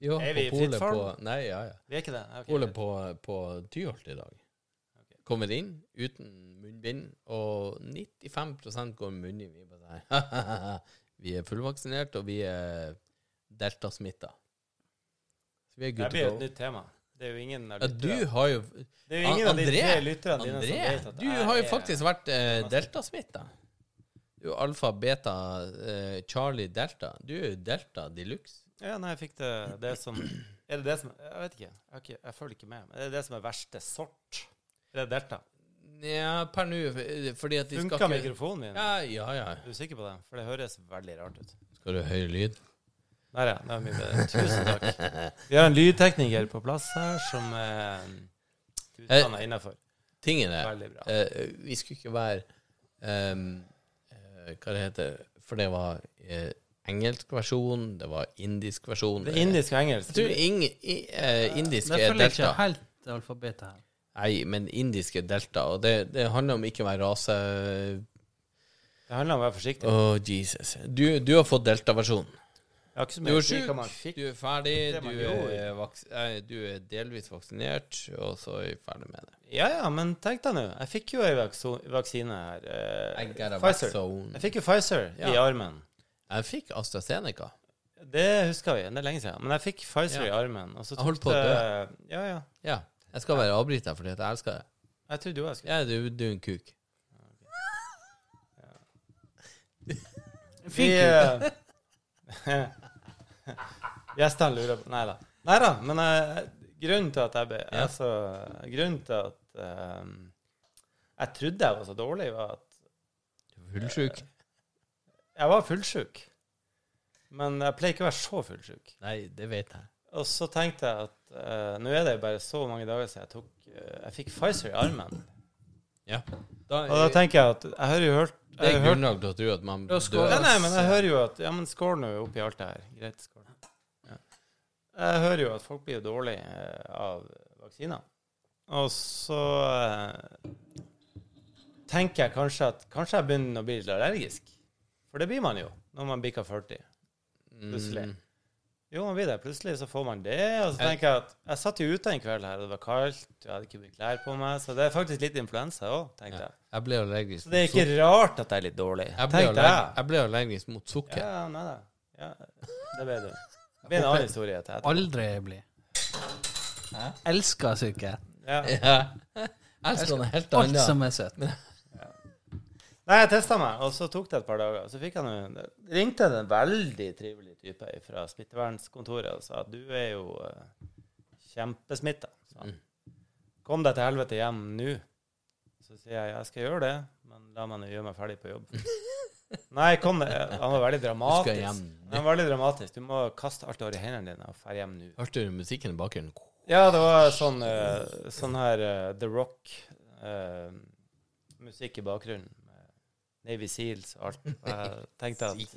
Speaker 2: Vi var
Speaker 4: Er
Speaker 2: på
Speaker 4: vi i fritt
Speaker 2: polet
Speaker 4: fall?
Speaker 2: på Nei, ja, ja.
Speaker 4: Vi er ikke det? Ja, ok.
Speaker 2: Polet på, på Tyholt i dag.
Speaker 4: Ok.
Speaker 2: Kommer inn uten munnbind, og 95 går med munnbind. Vi bare sånn, [LAUGHS] Vi er fullvaksinert, og vi er deltasmitta. Så vi er
Speaker 4: Det
Speaker 2: good
Speaker 4: blir
Speaker 2: to
Speaker 4: et
Speaker 2: go.
Speaker 4: nytt tema. Det er jo ingen av
Speaker 2: Ja, du har jo
Speaker 4: Det er jo ingen av de
Speaker 2: André,
Speaker 4: tre lytterne dine som
Speaker 2: André,
Speaker 4: vet at
Speaker 2: du
Speaker 4: jeg
Speaker 2: har jo
Speaker 4: er-
Speaker 2: faktisk vært eh, deltasmitta. Du er alfa, beta, eh, Charlie, delta. Du er jo delta de luxe.
Speaker 4: Ja, nei, jeg fikk det Det som Er det det som Jeg vet ikke. Jeg, har ikke, jeg følger ikke med. Men er det det som er verste sort? Er det delta?
Speaker 2: Ja, per nå, eh, fordi at de
Speaker 4: Funka
Speaker 2: skal ikke
Speaker 4: mikrofonen min?
Speaker 2: ja, ja, ja.
Speaker 4: Er du sikker på det? For det høres veldig rart ut.
Speaker 2: Skal du høre lyd?
Speaker 4: Der, ja. Det var mye bedre. Tusen takk.
Speaker 2: [LAUGHS]
Speaker 4: Vi har en lydtekniker på plass her som er utdanna innafor.
Speaker 2: Tingen er
Speaker 4: Veldig bra.
Speaker 2: Eh, vi skulle ikke være ehm, eh, Hva det heter For det var eh, engelsk versjon, det var indisk versjon
Speaker 4: Det er indisk og
Speaker 2: Jeg
Speaker 4: engelsk.
Speaker 2: tror ing, i, eh, indisk
Speaker 5: Jeg
Speaker 2: er
Speaker 5: følger ikke
Speaker 2: delta.
Speaker 5: helt alfabetet her.
Speaker 2: Nei, men indisk er delta, og det, det handler om ikke å være rase...
Speaker 4: Det handler om å være forsiktig.
Speaker 2: Å, Jesus. Du, du har fått delta-versjonen.
Speaker 4: Jeg har ikke så
Speaker 2: Du
Speaker 4: mye
Speaker 2: er
Speaker 4: å si hva
Speaker 2: syk,
Speaker 4: man fikk.
Speaker 2: du er ferdig,
Speaker 4: Det
Speaker 2: du
Speaker 4: man
Speaker 2: er, vaks nei, du er delvis vaksinert, og så er vi ferdig med det.
Speaker 4: Ja ja, men tenk deg nå. Jeg fikk jo ei vakso- vaksine her. eh,
Speaker 2: Jeg got a
Speaker 4: Pfizer.
Speaker 2: vaccine.
Speaker 4: Jeg fikk jo Pfizer i
Speaker 2: Ja.
Speaker 4: armen.
Speaker 2: Jeg fikk AstraZeneca.
Speaker 4: Det husker vi. Det er lenge siden. Men jeg fikk Pfizer
Speaker 2: Ja.
Speaker 4: i armen. Og så
Speaker 2: Jeg holdt
Speaker 4: tok
Speaker 2: på å
Speaker 4: det- Ja, ja.
Speaker 2: Ja. Jeg skal være avbryter fordi at jeg elsker det.
Speaker 4: Jeg tror du også skulle
Speaker 2: Ja, du, du er en kuk.
Speaker 4: Vi, eh, [LAUGHS] Gjestene lurer på Nei da. Men eh, grunnen til at jeg ble
Speaker 2: Ja.
Speaker 4: altså, Grunnen til at eh, jeg trodde jeg var så dårlig, var at
Speaker 2: Du er fullsjuk.
Speaker 4: jeg var fullsjuk. Men jeg pleier ikke å være så fullsjuk.
Speaker 2: Nei, det vet jeg.
Speaker 4: Og så tenkte jeg at eh, nå er det jo bare så mange dager siden jeg tok eh, Jeg fikk Pfizer i armen.
Speaker 2: Da,
Speaker 4: Og da tenker jeg at Jeg har jo hørt,
Speaker 2: det
Speaker 4: jeg
Speaker 2: er
Speaker 4: har hørt
Speaker 2: grunnlag til å tro at man
Speaker 5: Da skal-
Speaker 2: dør.
Speaker 4: Nei, nei, men jeg
Speaker 5: Altså-
Speaker 4: hører jo at Ja, men skål nå oppi alt det her. Greit, skål. Ja. Jeg hører jo at folk blir jo dårlige eh, av vaksiner. Og så eh, tenker jeg kanskje at kanskje jeg begynner å bli litt allergisk. For det blir man jo når man bikker 40. plutselig.
Speaker 2: Mm.
Speaker 4: Jo, man blir det. Plutselig så får man det. Og så
Speaker 2: Jeg-
Speaker 4: tenker jeg at jeg satt jo ute en kveld her, og det var kaldt, jeg hadde ikke mye klær på meg, så det er faktisk litt influensa òg, tenkte
Speaker 2: Ja.
Speaker 4: jeg.
Speaker 2: Jeg ble allergisk
Speaker 4: Så det er
Speaker 2: mot sukker.
Speaker 4: ikke rart at jeg er litt dårlig,
Speaker 2: Jeg ble,
Speaker 4: tenkte jeg.
Speaker 2: allerg jeg ble allergisk mot sukker.
Speaker 4: Ja, nei da. Ja, det ble
Speaker 2: [LAUGHS]
Speaker 4: det. Det blir en annen historie til etterpå.
Speaker 5: Aldri bli. Elsker sukker.
Speaker 4: Ja.
Speaker 2: Ja. [LAUGHS] Jeg elsker noe helt
Speaker 5: Alt
Speaker 2: annet.
Speaker 5: som er søtt.
Speaker 4: Nei, jeg testa meg, og så tok det et par dager. Så fikk jeg noe- det ringte en veldig trivelig type fra smittevernkontoret og sa at du er jo uh, kjempesmitta.
Speaker 2: Mm.
Speaker 4: Kom deg til helvete hjem nå. Så sier jeg jeg skal gjøre det, men la meg nå gjøre meg ferdig på jobb.
Speaker 2: [LAUGHS]
Speaker 4: Nei, kom deg Han var veldig
Speaker 2: Du skal
Speaker 4: dramatisk.
Speaker 2: hjem.
Speaker 4: Han var veldig dramatisk. Du må kaste alt du har i hendene dine, og dra hjem nå.
Speaker 2: Hørte du musikken i bakgrunnen?
Speaker 4: Ja, det var sånn, eh, sånn her eh, The Rock eh, musikk i bakgrunnen. med Navy Seals og alt. Og Jeg tenkte at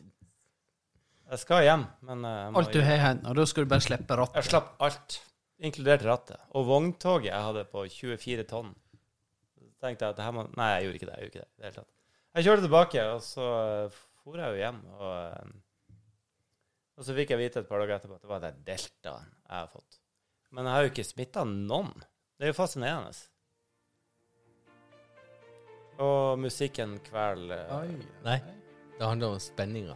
Speaker 4: jeg skal hjem, men eh, jeg, må
Speaker 5: Alt du har i hendene, og da skal du bare slippe
Speaker 4: hjem. jeg
Speaker 5: rattet.
Speaker 4: slapp alt, inkludert rattet. Og vogntoget jeg hadde på 24 tonn. Så tenkte jeg at det her må Nei, jeg gjorde ikke det. Jeg gjorde ikke det, i det hele tatt. Jeg kjørte tilbake, og så eh, for jeg jo hjem. Og, eh, og så fikk jeg vite et par dager etterpå at det var den deltaen jeg har fått. Men jeg har jo ikke smitta noen. Det er jo fascinerende. Og musikken kveler eh,
Speaker 2: Nei. Det handler om spenninga.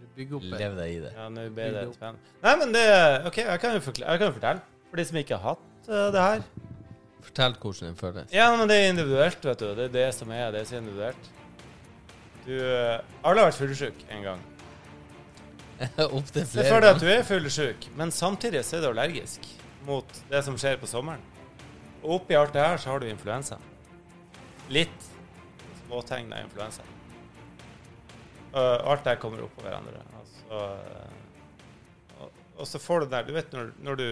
Speaker 5: Du bygger opp et
Speaker 2: Lev deg i det.
Speaker 4: Ja, nå ble det spenn. Nei, men det OK, jeg kan jo forklare, jeg kan jo fortelle. For de som ikke har hatt eh, det her.
Speaker 2: Fortell hvordan det [LAUGHS] føles.
Speaker 4: Ja, men det er individuelt, vet du. Det er det som er det som er individuelt. Du eh, Alle har vært fullsjuk en gang.
Speaker 2: Opptil
Speaker 4: Se for deg
Speaker 2: flere.
Speaker 4: at du er fullsjuk, men samtidig så er du allergisk mot det som skjer på sommeren. Og oppi alt det her så har du influensa. Litt småtegn av influensa. Uh, alt det her kommer oppå hverandre. Altså, øh, og, og så får du den der Du vet når, når du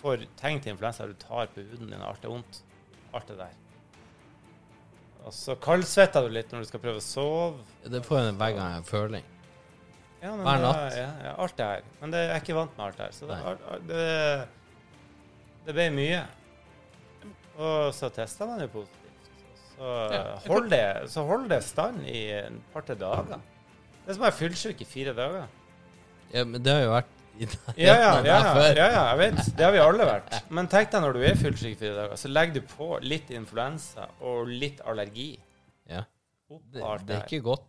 Speaker 4: får tegn til influensa, du tar på huden din, og alt er vondt. Alt det der. Og så kaldsvetter du litt når du skal prøve å sove.
Speaker 2: Det får en hver gang en føling.
Speaker 4: Ja, men
Speaker 2: Hver
Speaker 4: det-
Speaker 2: natt.
Speaker 4: Ja, ja, alt det her. Men det, jeg er ikke vant med alt det her. Så det,
Speaker 2: Nei.
Speaker 4: al- al- det, det ble mye. Og så testa man jo positivt. Så
Speaker 2: Ja, jeg
Speaker 4: hold det, så hold det stand i en par-tre dager. Det er som å være fullsjuk i fire dager.
Speaker 2: Ja, men det har jo vært [LAUGHS] i
Speaker 4: Ja ja,
Speaker 2: nærheten
Speaker 4: ja,
Speaker 2: av
Speaker 4: ja,
Speaker 2: deg
Speaker 4: ja, jeg vet. Det har vi alle vært. Men tenk deg når du er fullsjuk i fire dager, så legger du på litt influensa og litt allergi.
Speaker 2: Ja.
Speaker 4: Oppå
Speaker 2: Det,
Speaker 4: alt
Speaker 2: det
Speaker 4: det
Speaker 2: er
Speaker 4: her.
Speaker 2: ikke godt.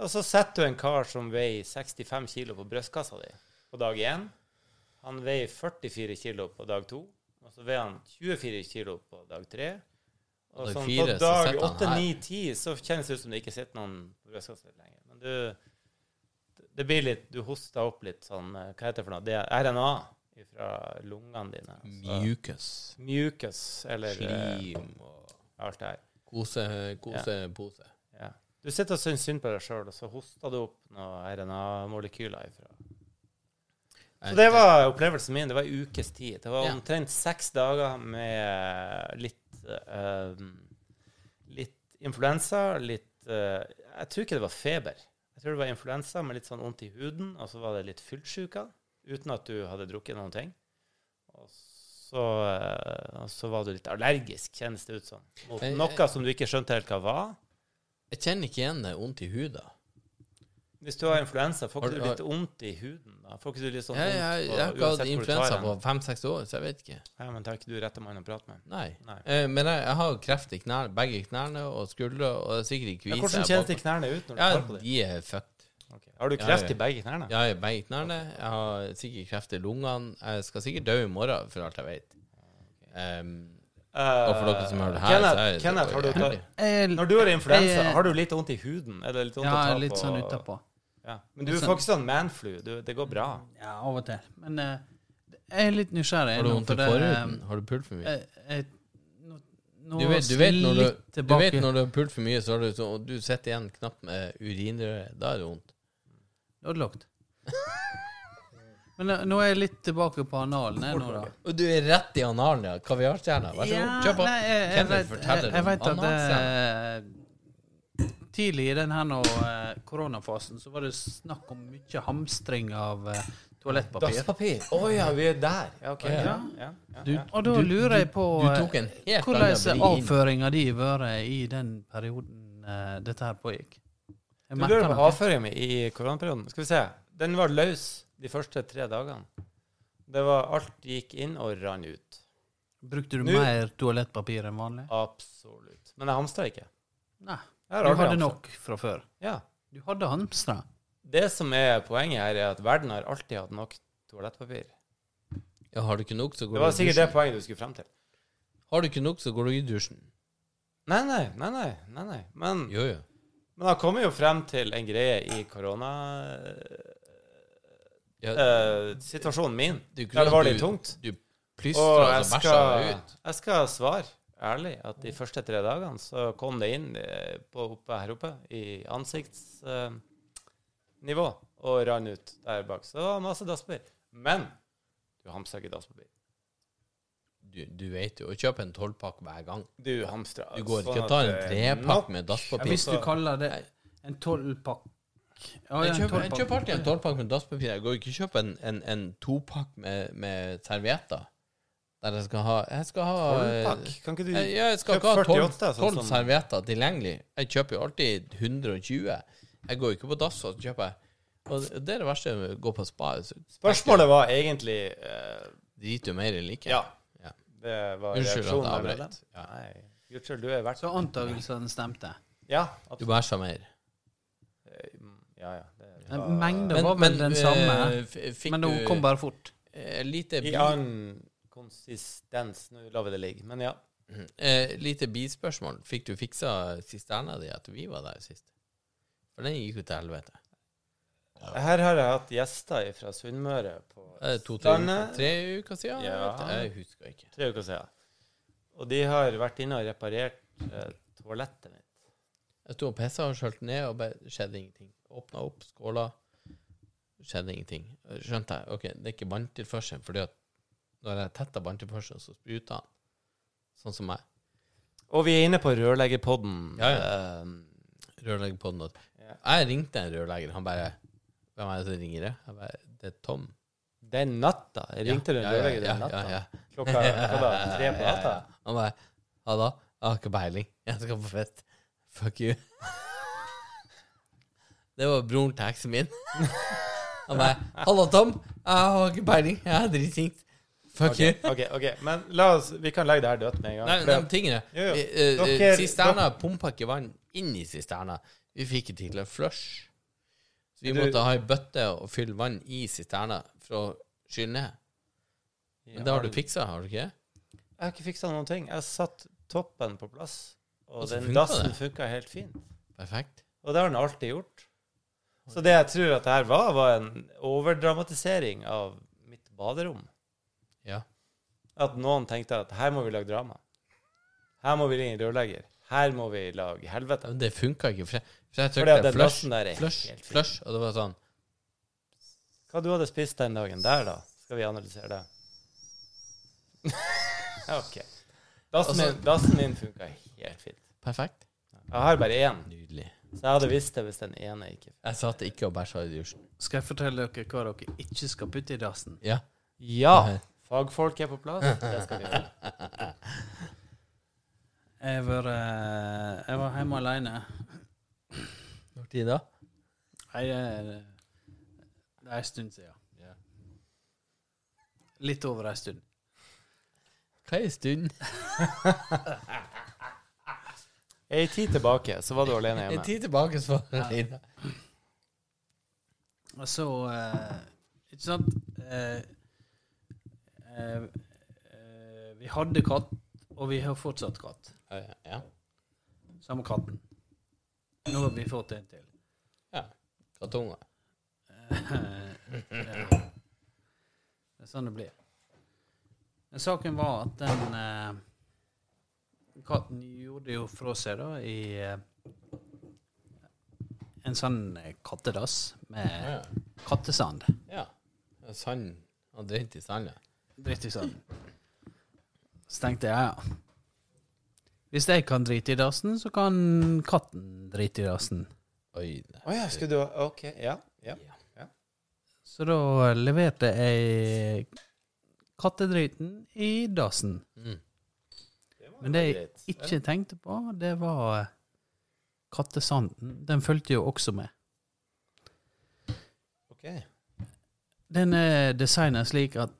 Speaker 4: Og så setter du en kar som veier 65 kilo på brystkassa di på dag 1. Han veier 44 kilo på dag 2. Og så veier han 24 kilo på dag 3.
Speaker 2: Og
Speaker 4: Og
Speaker 2: dag
Speaker 4: sånn
Speaker 2: fire så
Speaker 4: på dag
Speaker 2: sitter han
Speaker 4: 8,
Speaker 2: her.
Speaker 4: 9, 10 så kjennes det ut som det ikke sitter noen på brystkassa di lenger. Men du det blir litt, Du hoster opp litt sånn eh, Hva heter det for noe? Det er RNA fra lungene dine. Så,
Speaker 2: Mucus.
Speaker 4: mucus, eller eh,
Speaker 2: Slim og
Speaker 4: alt det her.
Speaker 2: Kose, kosepose.
Speaker 4: Ja. Du sitter og syns synd på deg sjøl, og så hoster du opp noen RNA-molekyler ifra. Så det var opplevelsen min. Det var en ukes tid. Det var
Speaker 2: Ja.
Speaker 4: omtrent seks dager med litt eh, Litt influensa, litt eh, Jeg tror ikke det var feber. Jeg tror det var influensa med litt sånn vondt i huden, og så var det litt fyllesyke uten at du hadde drukket noen ting. Og så, eh, og så var du litt allergisk, kjennes det ut som. Mot
Speaker 2: Jeg-
Speaker 4: noe som du ikke skjønte helt hva var.
Speaker 2: Jeg kjenner ikke igjen det vondt i huda.
Speaker 4: Hvis du har influensa, får
Speaker 2: Har-
Speaker 4: ikke du litt vondt i huden? da? Får ikke du litt sånn
Speaker 2: Jeg, jeg,
Speaker 4: vondt på-
Speaker 2: jeg har ikke
Speaker 4: uansett hvor
Speaker 2: hatt
Speaker 4: du
Speaker 2: influensa
Speaker 4: tar
Speaker 2: på
Speaker 4: den?
Speaker 2: fem-seks år, så jeg vet ikke.
Speaker 4: Ja, men da er ikke du rette mann å prate med.
Speaker 2: Nei.
Speaker 4: Nei.
Speaker 2: Eh, men jeg, jeg har kreft i knær, begge knærne og skuldre, og det er sikkert i
Speaker 4: Ja,
Speaker 2: kvise.
Speaker 4: hvordan kjennes de knærne ut når du
Speaker 2: Ja,
Speaker 4: tar på dem?
Speaker 2: de er fucked.
Speaker 4: Ok. Har du
Speaker 2: Ja,
Speaker 4: kreft
Speaker 2: ja.
Speaker 4: i begge knærne?
Speaker 2: Jeg har begge knærne. Jeg har sikkert kreft i lungene. Jeg skal sikkert dø i morgen, for alt jeg vet. Ehm, Em,
Speaker 4: Eh,
Speaker 2: Og for dere som hører det her,
Speaker 4: Kenneth,
Speaker 2: så er det
Speaker 4: Kenneth, har du
Speaker 2: jævlig.
Speaker 4: tar-
Speaker 5: Jeg,
Speaker 4: Når du har influensa,
Speaker 5: Jeg-
Speaker 4: har du litt vondt i huden? Er det litt vondt
Speaker 5: ja,
Speaker 4: å ta
Speaker 5: jeg
Speaker 4: på?
Speaker 5: er litt sånn utapå.
Speaker 4: Ja. Men du
Speaker 5: Litt
Speaker 4: får ikke sånn manflu. Du- Det går bra.
Speaker 5: Ja, av og til. Men eh, jeg er litt nysgjerrig.
Speaker 2: har du
Speaker 5: nå,
Speaker 2: vondt i
Speaker 5: for det,
Speaker 2: forhuden?
Speaker 4: ehm,
Speaker 2: Har du pult for
Speaker 5: eh,
Speaker 2: mye?
Speaker 5: Jeg, jeg, nå nå
Speaker 2: Du vet, du, vet når du,
Speaker 5: litt
Speaker 2: du
Speaker 5: tilbake.
Speaker 2: vet når du har pult for mye, så har du så, og du sitter igjen knapt med urinrøret. Da er det vondt.
Speaker 5: Det var lagt. [LAUGHS] Men eh, nå er jeg litt tilbake på analen. Jeg, nå, da.
Speaker 2: Og du er rett i analen, ja. Kaviarstjerna. Vær så god, kjør på.
Speaker 5: Nei, jeg, jeg,
Speaker 2: Kenneth
Speaker 5: vet,
Speaker 2: forteller
Speaker 5: jeg, jeg
Speaker 2: om
Speaker 5: vet at
Speaker 2: analsex.
Speaker 5: eh, tidlig i den her nå, eh, koronafasen så var det snakk om mye hamstring av eh, toalettpapir.
Speaker 2: Dasspapir. Å ja, vi er der. Ja, ok.
Speaker 4: Ja,
Speaker 2: Ja.
Speaker 4: ja, ja,
Speaker 2: Du,
Speaker 4: ja.
Speaker 5: Og da lurer jeg på
Speaker 2: du tok en
Speaker 5: eh,
Speaker 2: helt
Speaker 5: hvordan
Speaker 2: annen vri inn.
Speaker 5: avføringa di har vært i den perioden eh, dette her pågikk. Jeg
Speaker 4: Du
Speaker 5: merker
Speaker 4: lurer på
Speaker 5: noe.
Speaker 4: avføringen min i koronaperioden. Skal vi se. Den var løs de første tre dagene. Det var Alt gikk inn og rann ut.
Speaker 5: Brukte du
Speaker 4: Nå-
Speaker 5: mer toalettpapir enn vanlig?
Speaker 4: Absolutt. Men jeg hamstra ikke.
Speaker 5: Nei.
Speaker 4: Jeg har
Speaker 5: Du
Speaker 4: aldri
Speaker 5: hadde
Speaker 4: hamstret.
Speaker 5: nok fra før.
Speaker 4: Ja.
Speaker 5: Du hadde hamstra.
Speaker 4: Det som er poenget her, er at verden har alltid hatt nok toalettpapir.
Speaker 2: Ja, har du ikke nok, så
Speaker 4: Det
Speaker 2: går
Speaker 4: var
Speaker 2: du i
Speaker 4: sikkert det
Speaker 2: dusjen.
Speaker 4: poenget du skulle frem til.
Speaker 2: Har du ikke nok, så går du i dusjen.
Speaker 4: Nei, nei, nei, nei, nei, nei. Men,
Speaker 2: Jo, jo.
Speaker 4: men han kommer jo frem til en greie i koronasituasjonen
Speaker 2: Ja,
Speaker 4: eh, situasjonen min,
Speaker 2: Det er jo ikke
Speaker 4: der det
Speaker 2: sånn
Speaker 4: var
Speaker 2: at
Speaker 4: litt
Speaker 2: du-
Speaker 4: tungt.
Speaker 2: du
Speaker 4: Og
Speaker 2: plystrer
Speaker 4: jeg
Speaker 2: altså bæsja
Speaker 4: skal,
Speaker 2: deg ut.
Speaker 4: jeg skal svare ærlig at de første tre dagene så kom det inn eh, på oppe her oppe i ansiktsnivå og rann ut der bak. Så det var masse dasspapir. Men du hamstrer ikke dasspapir.
Speaker 2: Du, du vet jo å kjøpe en tolvpakk hver gang.
Speaker 4: Du hamstrer.
Speaker 2: Du går ikke
Speaker 4: sånn
Speaker 2: og tar en
Speaker 4: at det er nok.
Speaker 2: trepakk med dasspapir.
Speaker 5: Hvis du kaller det en tolvpakk ja, ja,
Speaker 2: Jeg
Speaker 5: en
Speaker 2: kjøper, jeg
Speaker 5: tolvpakk.
Speaker 2: kjøper alltid en tolvpakk med dasspapir. Jeg går ikke og kjøper en, en, en topakk med, med servietter. Der jeg skal ha Jeg skal ha eh,
Speaker 4: Tolvpakk? Kan ikke du
Speaker 2: jeg, ja, jeg skal
Speaker 4: kjøp
Speaker 2: ikke ha
Speaker 4: 48,
Speaker 2: 12,
Speaker 4: sånn som-
Speaker 2: servietter tilgjengelig. Jeg kjøper jo alltid 120. Jeg går jo ikke på dass og kjøper Og det er det verste med å gå på spa. så
Speaker 4: Spørsmålet var egentlig eh,
Speaker 2: Driter du mer eller ikke?
Speaker 4: Ja.
Speaker 2: Ja.
Speaker 4: Det var
Speaker 2: Unnskyld at jeg
Speaker 4: reaksjonen der
Speaker 2: avbrøt.
Speaker 4: nede.
Speaker 2: Ja.
Speaker 4: Nei, Gudskjelov, du er verdt
Speaker 5: Så antagelsene stemte.
Speaker 4: Ja,
Speaker 2: Du
Speaker 4: absolutt.
Speaker 2: bæsja mer.
Speaker 4: ja, ja. Det
Speaker 5: Men
Speaker 4: var-
Speaker 5: Mengden var vel den samme,
Speaker 2: eh, f- fikk
Speaker 5: men hun
Speaker 2: du
Speaker 5: kom bare fort.
Speaker 2: eh, lite,
Speaker 4: I
Speaker 2: bi,
Speaker 4: annen konsistens. Nå lar vi det ligge. Men ja.
Speaker 2: eh, lite bispørsmål. Fikk du fiksa sisterna di etter vi var der sist? For den gikk jo til helvete.
Speaker 4: Her har jeg hatt gjester fra Sunnmøre på
Speaker 2: Er det Eh, to, tre, uker-
Speaker 4: Østlandet.
Speaker 2: tre uker siden? jeg
Speaker 4: Ja.
Speaker 2: vet det? Jeg husker ikke.
Speaker 4: Tre uker siden. Og de har vært inne og reparert eh, toalettet mitt.
Speaker 2: Jeg sto og pissa og skjølte ned, og bare skjedde ingenting. Åpna opp, skåla, skjedde ingenting. Skjønte jeg. Ok, det er ikke vanntilførsel, fordi at når jeg tetta vanntilførselen, så spruta han. Sånn som meg.
Speaker 4: Og vi er inne på rørleggerpodden.
Speaker 2: Ja,
Speaker 4: Eh,
Speaker 2: Rørleggerpodden. at-
Speaker 4: Ja.
Speaker 2: Jeg ringte en rørlegger, han bare Hvem er det som ringer? det? Jeg bare, Det er Tom.
Speaker 4: den natta. Jeg ringte
Speaker 2: Ja,
Speaker 4: en
Speaker 2: ja, ja, ja,
Speaker 4: rørlegger den natta.
Speaker 2: ja, ja.
Speaker 4: Klokka hva da, tre på natta.
Speaker 2: [LAUGHS] Han bare Ja da? Jeg har ikke peiling. Jeg skal på fest. Fuck you. [LAUGHS] Det var broren til eksen min. [LAUGHS] Han bare 'Halla, Tom. Jeg har ikke peiling. Jeg er dritsint. Fuck
Speaker 4: Ok,
Speaker 2: you'.
Speaker 4: ok, ok. Men la oss, vi kan legge det her dødt med en gang.
Speaker 2: Nei,
Speaker 4: for
Speaker 2: de
Speaker 4: at-
Speaker 2: tingene
Speaker 4: Jo, jo.
Speaker 2: eh, eh,
Speaker 4: Dere-
Speaker 2: Sisterna pumpa ikke vann inn i sisterna. Vi fikk ikke til en flush. Så vi
Speaker 4: Du-
Speaker 2: måtte ha ei bøtte og fylle vann i sisterna for å skylle ned. Men det har du fiksa, har du ikke? det?
Speaker 4: Jeg har ikke fiksa noen ting. Jeg satt toppen på plass, og,
Speaker 2: Og så
Speaker 4: den
Speaker 2: funka
Speaker 4: dassen
Speaker 2: det.
Speaker 4: funka helt fint.
Speaker 2: Perfekt.
Speaker 4: Og det har den alltid gjort. Så det jeg tror at det her var, var en overdramatisering av mitt baderom.
Speaker 2: Ja.
Speaker 4: At noen tenkte at her må vi lage drama. Her må vi ringe rørlegger. Her må vi lage helvete.
Speaker 2: Men det funka ikke. For jeg, for jeg
Speaker 4: Fordi at
Speaker 2: trykte
Speaker 4: den
Speaker 2: flush,
Speaker 4: dassen der er
Speaker 2: flush,
Speaker 4: helt fin.
Speaker 2: flush, og det var sånn
Speaker 4: Hva du hadde spist den dagen der, da? Skal vi analysere det? [LAUGHS] OK. Dassen
Speaker 2: Altså-
Speaker 4: min, dassen min funka helt fint.
Speaker 2: perfekt.
Speaker 4: Jeg har bare én,
Speaker 2: Nydelig.
Speaker 4: så jeg hadde visst det hvis den ene ikke
Speaker 2: Jeg satt ikke og bæsja i dusjen.
Speaker 5: Skal jeg fortelle dere hva dere ikke skal putte i dassen?
Speaker 2: Ja.
Speaker 4: Ja! Fagfolk er på plass. Det skal vi gjøre.
Speaker 5: Jeg var, eh, jeg var hjemme alene.
Speaker 2: Når tid da?
Speaker 5: Nei, det er- det er en stund siden.
Speaker 2: Ja.
Speaker 5: Litt over en stund.
Speaker 2: Hva er stund?
Speaker 4: Ei tid tilbake så var du alene
Speaker 2: En
Speaker 4: hjemme.
Speaker 2: tid tilbake, så var det alene.
Speaker 5: Og så eh, Ikke sant? Eh, eh, eh, vi hadde katt, og vi har fortsatt katt.
Speaker 2: Ja.
Speaker 5: Samme katten. Nå har vi fått en til.
Speaker 2: ja. Kattunge.
Speaker 5: Eh, ja. Det er sånn det blir. Men saken var at den eh, katten gjorde jo fra seg da i eh, en sånn eh, kattedass med
Speaker 2: Ja.
Speaker 5: kattesand.
Speaker 2: ja. Det er Sand. Han dreit i sanda.
Speaker 5: Dritt i sanden. Så tenkte jeg, ja. Hvis jeg kan drite i dassen, så kan katten drite i dassen.
Speaker 2: Oi, nei.
Speaker 4: Å ja, skulle du OK. Ja. ja.
Speaker 5: Så da leverte jeg kattedriten i dassen.
Speaker 2: Mm.
Speaker 5: Men det jeg ikke tenkte på, det var kattesanden. Den fulgte jo også med.
Speaker 4: OK.
Speaker 5: Den er designet slik at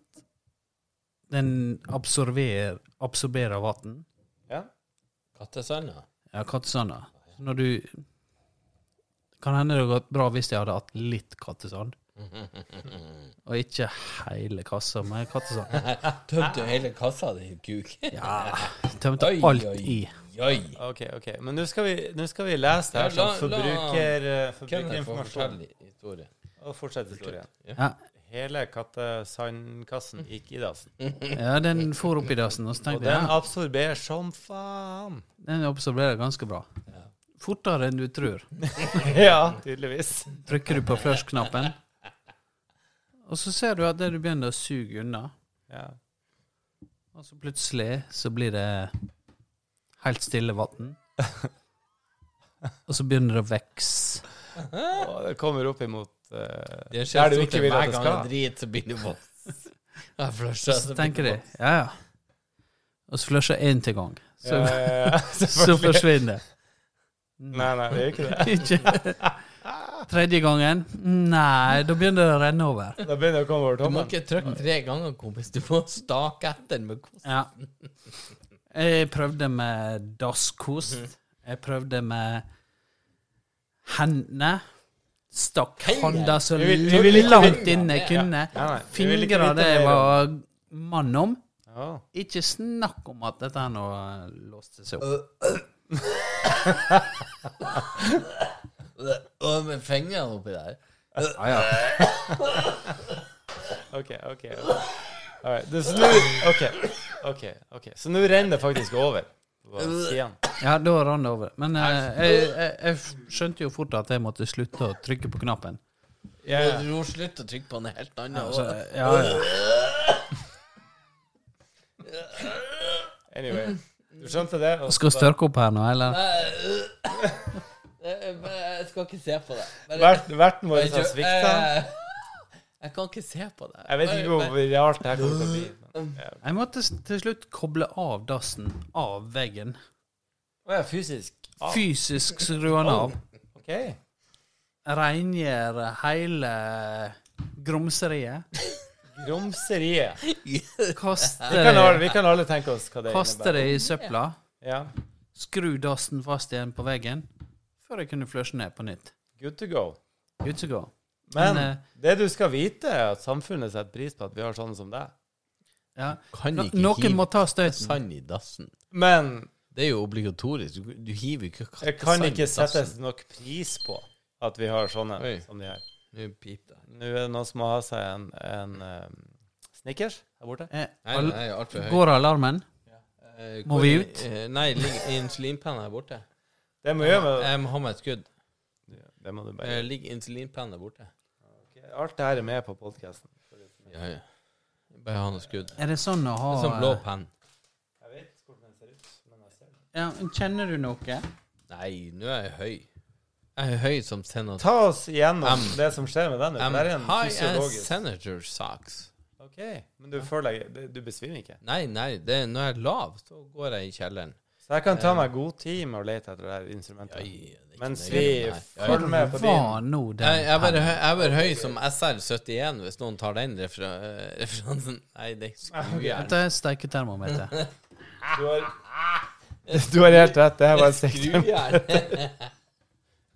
Speaker 5: den absorberer, absorberer vann.
Speaker 4: Ja.
Speaker 2: Kattesanda?
Speaker 5: Ja, kattesanda. Så Når du Kan hende det hadde gått bra hvis jeg hadde hatt litt kattesand. Og ikke hele kassa med kattesand.
Speaker 2: Tømte jo hele kassa di, kuk.
Speaker 5: Ja, Ah, Tømte
Speaker 2: Oi,
Speaker 5: alt
Speaker 2: oi.
Speaker 5: i.
Speaker 2: [LAUGHS] Oi.
Speaker 4: OK. ok. Men nå skal, vi- nå skal vi lese det her
Speaker 2: Ja,
Speaker 4: som
Speaker 2: la-
Speaker 4: forbruker,
Speaker 2: Kenneth
Speaker 4: eh,
Speaker 2: får
Speaker 4: forbrukerinformasjon.
Speaker 2: fortelle historien.
Speaker 4: Og fortsett historien.
Speaker 5: Ja,
Speaker 4: Hele kattesandkassen gikk i dassen.
Speaker 5: ja den for opp i dassen, og så
Speaker 4: Og
Speaker 5: tenkte jeg
Speaker 4: den
Speaker 5: ja,
Speaker 4: absorberer som faen.
Speaker 5: den absorberer ganske bra. Fortere enn du tror.
Speaker 4: [LAUGHS] Ja, tydeligvis.
Speaker 5: Trykker du på flush-knappen, og så ser du at det du begynner å suge unna,
Speaker 4: Ja.
Speaker 5: og så plutselig så blir det helt stille vann. Og så begynner det å vokse.
Speaker 4: Og det kommer opp imot eh,
Speaker 2: Det
Speaker 4: der
Speaker 2: skjer
Speaker 4: du
Speaker 2: sånn
Speaker 4: ikke
Speaker 2: at
Speaker 4: vil at
Speaker 2: hver
Speaker 4: det
Speaker 2: gang jeg
Speaker 4: skal.
Speaker 2: driter, så blir det voss. [LAUGHS] Jeg flusher,
Speaker 5: Så tenker de ja, ja. Og så flusher én til gang. Så,
Speaker 4: Ja, ja, ja,
Speaker 5: [LAUGHS] så
Speaker 4: [LAUGHS] selvfølgelig.
Speaker 5: forsvinner det.
Speaker 4: Nei, nei, det er jo ikke det.
Speaker 5: [LAUGHS] Ikke Tredje gangen Nei, da begynner det å renne over.
Speaker 4: Da begynner det å komme over
Speaker 2: Du må
Speaker 4: tommelen.
Speaker 2: ikke trykke tre ganger, kompis. Du må stake etter med kost.
Speaker 5: Ja. Jeg prøvde med
Speaker 4: Mhm.
Speaker 5: dasskost. Jeg prøvde med hendene. Stakk
Speaker 2: Hender?
Speaker 5: handa så
Speaker 4: Vi vil- vi vil ikke
Speaker 5: langt
Speaker 2: vite.
Speaker 5: inne jeg kunne.
Speaker 4: Nei, nei, vi vil ikke
Speaker 5: Fingre
Speaker 4: vite
Speaker 5: det jeg
Speaker 4: mer
Speaker 5: var mann om.
Speaker 4: Ja.
Speaker 5: Ikke snakk om at dette her nå eh, låste seg opp.
Speaker 2: Og med fingrene oppi der.
Speaker 4: OK, OK. All right. Det- Så nå OK. OK. ok. Så nå renner det faktisk over. På siden.
Speaker 5: Ja, da rann det over. Men eh, jeg, jeg, jeg skjønte jo fort at jeg måtte slutte å trykke på knappen.
Speaker 4: Ja, ja.
Speaker 2: Du må slutte å trykke på en helt annen.
Speaker 5: Så,
Speaker 2: også.
Speaker 5: ja, ja.
Speaker 4: Anyway. Du skjønte det? og
Speaker 5: Skal
Speaker 4: så-
Speaker 5: størke opp her nå, eller?
Speaker 2: Det er bare- Eh, Jeg skal ikke se på det. Bare-
Speaker 4: Verten verten vår
Speaker 2: bare
Speaker 4: har
Speaker 2: kjø-
Speaker 4: svikta.
Speaker 2: Eh, Jeg kan ikke se på det.
Speaker 4: Jeg vet ikke hvor viralt det her kommer til å bli. men- Ja.
Speaker 5: Jeg måtte s- til slutt koble av dassen av veggen.
Speaker 4: Å ja, fysisk. Ah,
Speaker 5: Fysisk skru den av.
Speaker 4: OK.
Speaker 5: Rengjør hele
Speaker 2: [LAUGHS]
Speaker 5: grumseriet.
Speaker 4: Grumseriet. Vi
Speaker 5: Kaste
Speaker 4: kan, alle,
Speaker 5: det,
Speaker 4: vi kan alle tenke oss hva det
Speaker 5: kaste det i søpla.
Speaker 4: Ja.
Speaker 5: Skru dassen fast igjen på veggen før jeg kunne flushe ned på nytt.
Speaker 4: Good to go.
Speaker 5: Good to go.
Speaker 4: Men,
Speaker 5: Men, eh,
Speaker 4: det du skal vite, er at samfunnet setter pris på at vi har sånne som deg.
Speaker 5: Ja.
Speaker 2: Kan
Speaker 5: No,
Speaker 2: ikke
Speaker 5: noen
Speaker 2: hive
Speaker 5: må ta støyten.
Speaker 2: sand i dassen.
Speaker 4: Men
Speaker 2: Det er jo obligatorisk. Du, du hiver jo ikke
Speaker 4: det kan
Speaker 2: kattesand i
Speaker 4: ikke settes
Speaker 2: dassen.
Speaker 5: altså.
Speaker 4: nok pris på at vi har sånne
Speaker 2: Oi.
Speaker 4: som de her.
Speaker 2: Nå piper det.
Speaker 4: Nå er det noen som må ha seg en, en eh, Snickers her borte.
Speaker 5: Eh,
Speaker 2: Nei,
Speaker 5: al-
Speaker 2: nei, altfor høy.
Speaker 5: Går alarmen?
Speaker 4: Eh,
Speaker 2: Eh,
Speaker 5: Må
Speaker 2: hvor-
Speaker 5: vi ut?
Speaker 2: eh, Nei, ligger insulinpennen her borte.
Speaker 4: Det må gjøre med
Speaker 2: Jeg må ha med et skudd.
Speaker 4: Ja, Det må du
Speaker 2: Eh,
Speaker 4: bare
Speaker 2: Ligger insulinpennen der borte?
Speaker 4: Ok, Alt det her er med på podkasten.
Speaker 2: Ja, ja. Bare ha noe skudd.
Speaker 5: Er det sånn å ha
Speaker 2: Det er sånn blå penn.
Speaker 4: Jeg vet hvordan den ser ut, men jeg ser den.
Speaker 5: Ja, Kjenner du noe?
Speaker 2: Nei, nå er jeg høy. Jeg er høy som senator.
Speaker 4: Ta oss igjennom
Speaker 2: Um,
Speaker 4: det som skjer med den.
Speaker 2: I'm
Speaker 4: det er en
Speaker 2: high as
Speaker 4: fysiologisk
Speaker 2: senator socks.
Speaker 4: Ok, Men du føler deg det- Du besvimer ikke?
Speaker 2: Nei, nei, det, er- når jeg er lav, så går jeg i kjelleren.
Speaker 4: Så jeg kan ta meg god tid med å lete etter det her instrumentet.
Speaker 2: Ja, ja, det er ikke
Speaker 4: Mens
Speaker 2: nøye,
Speaker 4: vi
Speaker 2: nei. Ja, ja.
Speaker 4: følger med på
Speaker 5: Hva
Speaker 4: din.
Speaker 5: nå
Speaker 2: Jeg,
Speaker 5: den
Speaker 2: jeg, er bare, høy- jeg er bare høy som SR71, hvis noen tar den refer referansen. Nei, det er skrujern.
Speaker 5: Dette er steiketermometer.
Speaker 4: Du har, [LAUGHS] du har helt rett. Det her var en sekund.
Speaker 2: Skrujern. [LAUGHS]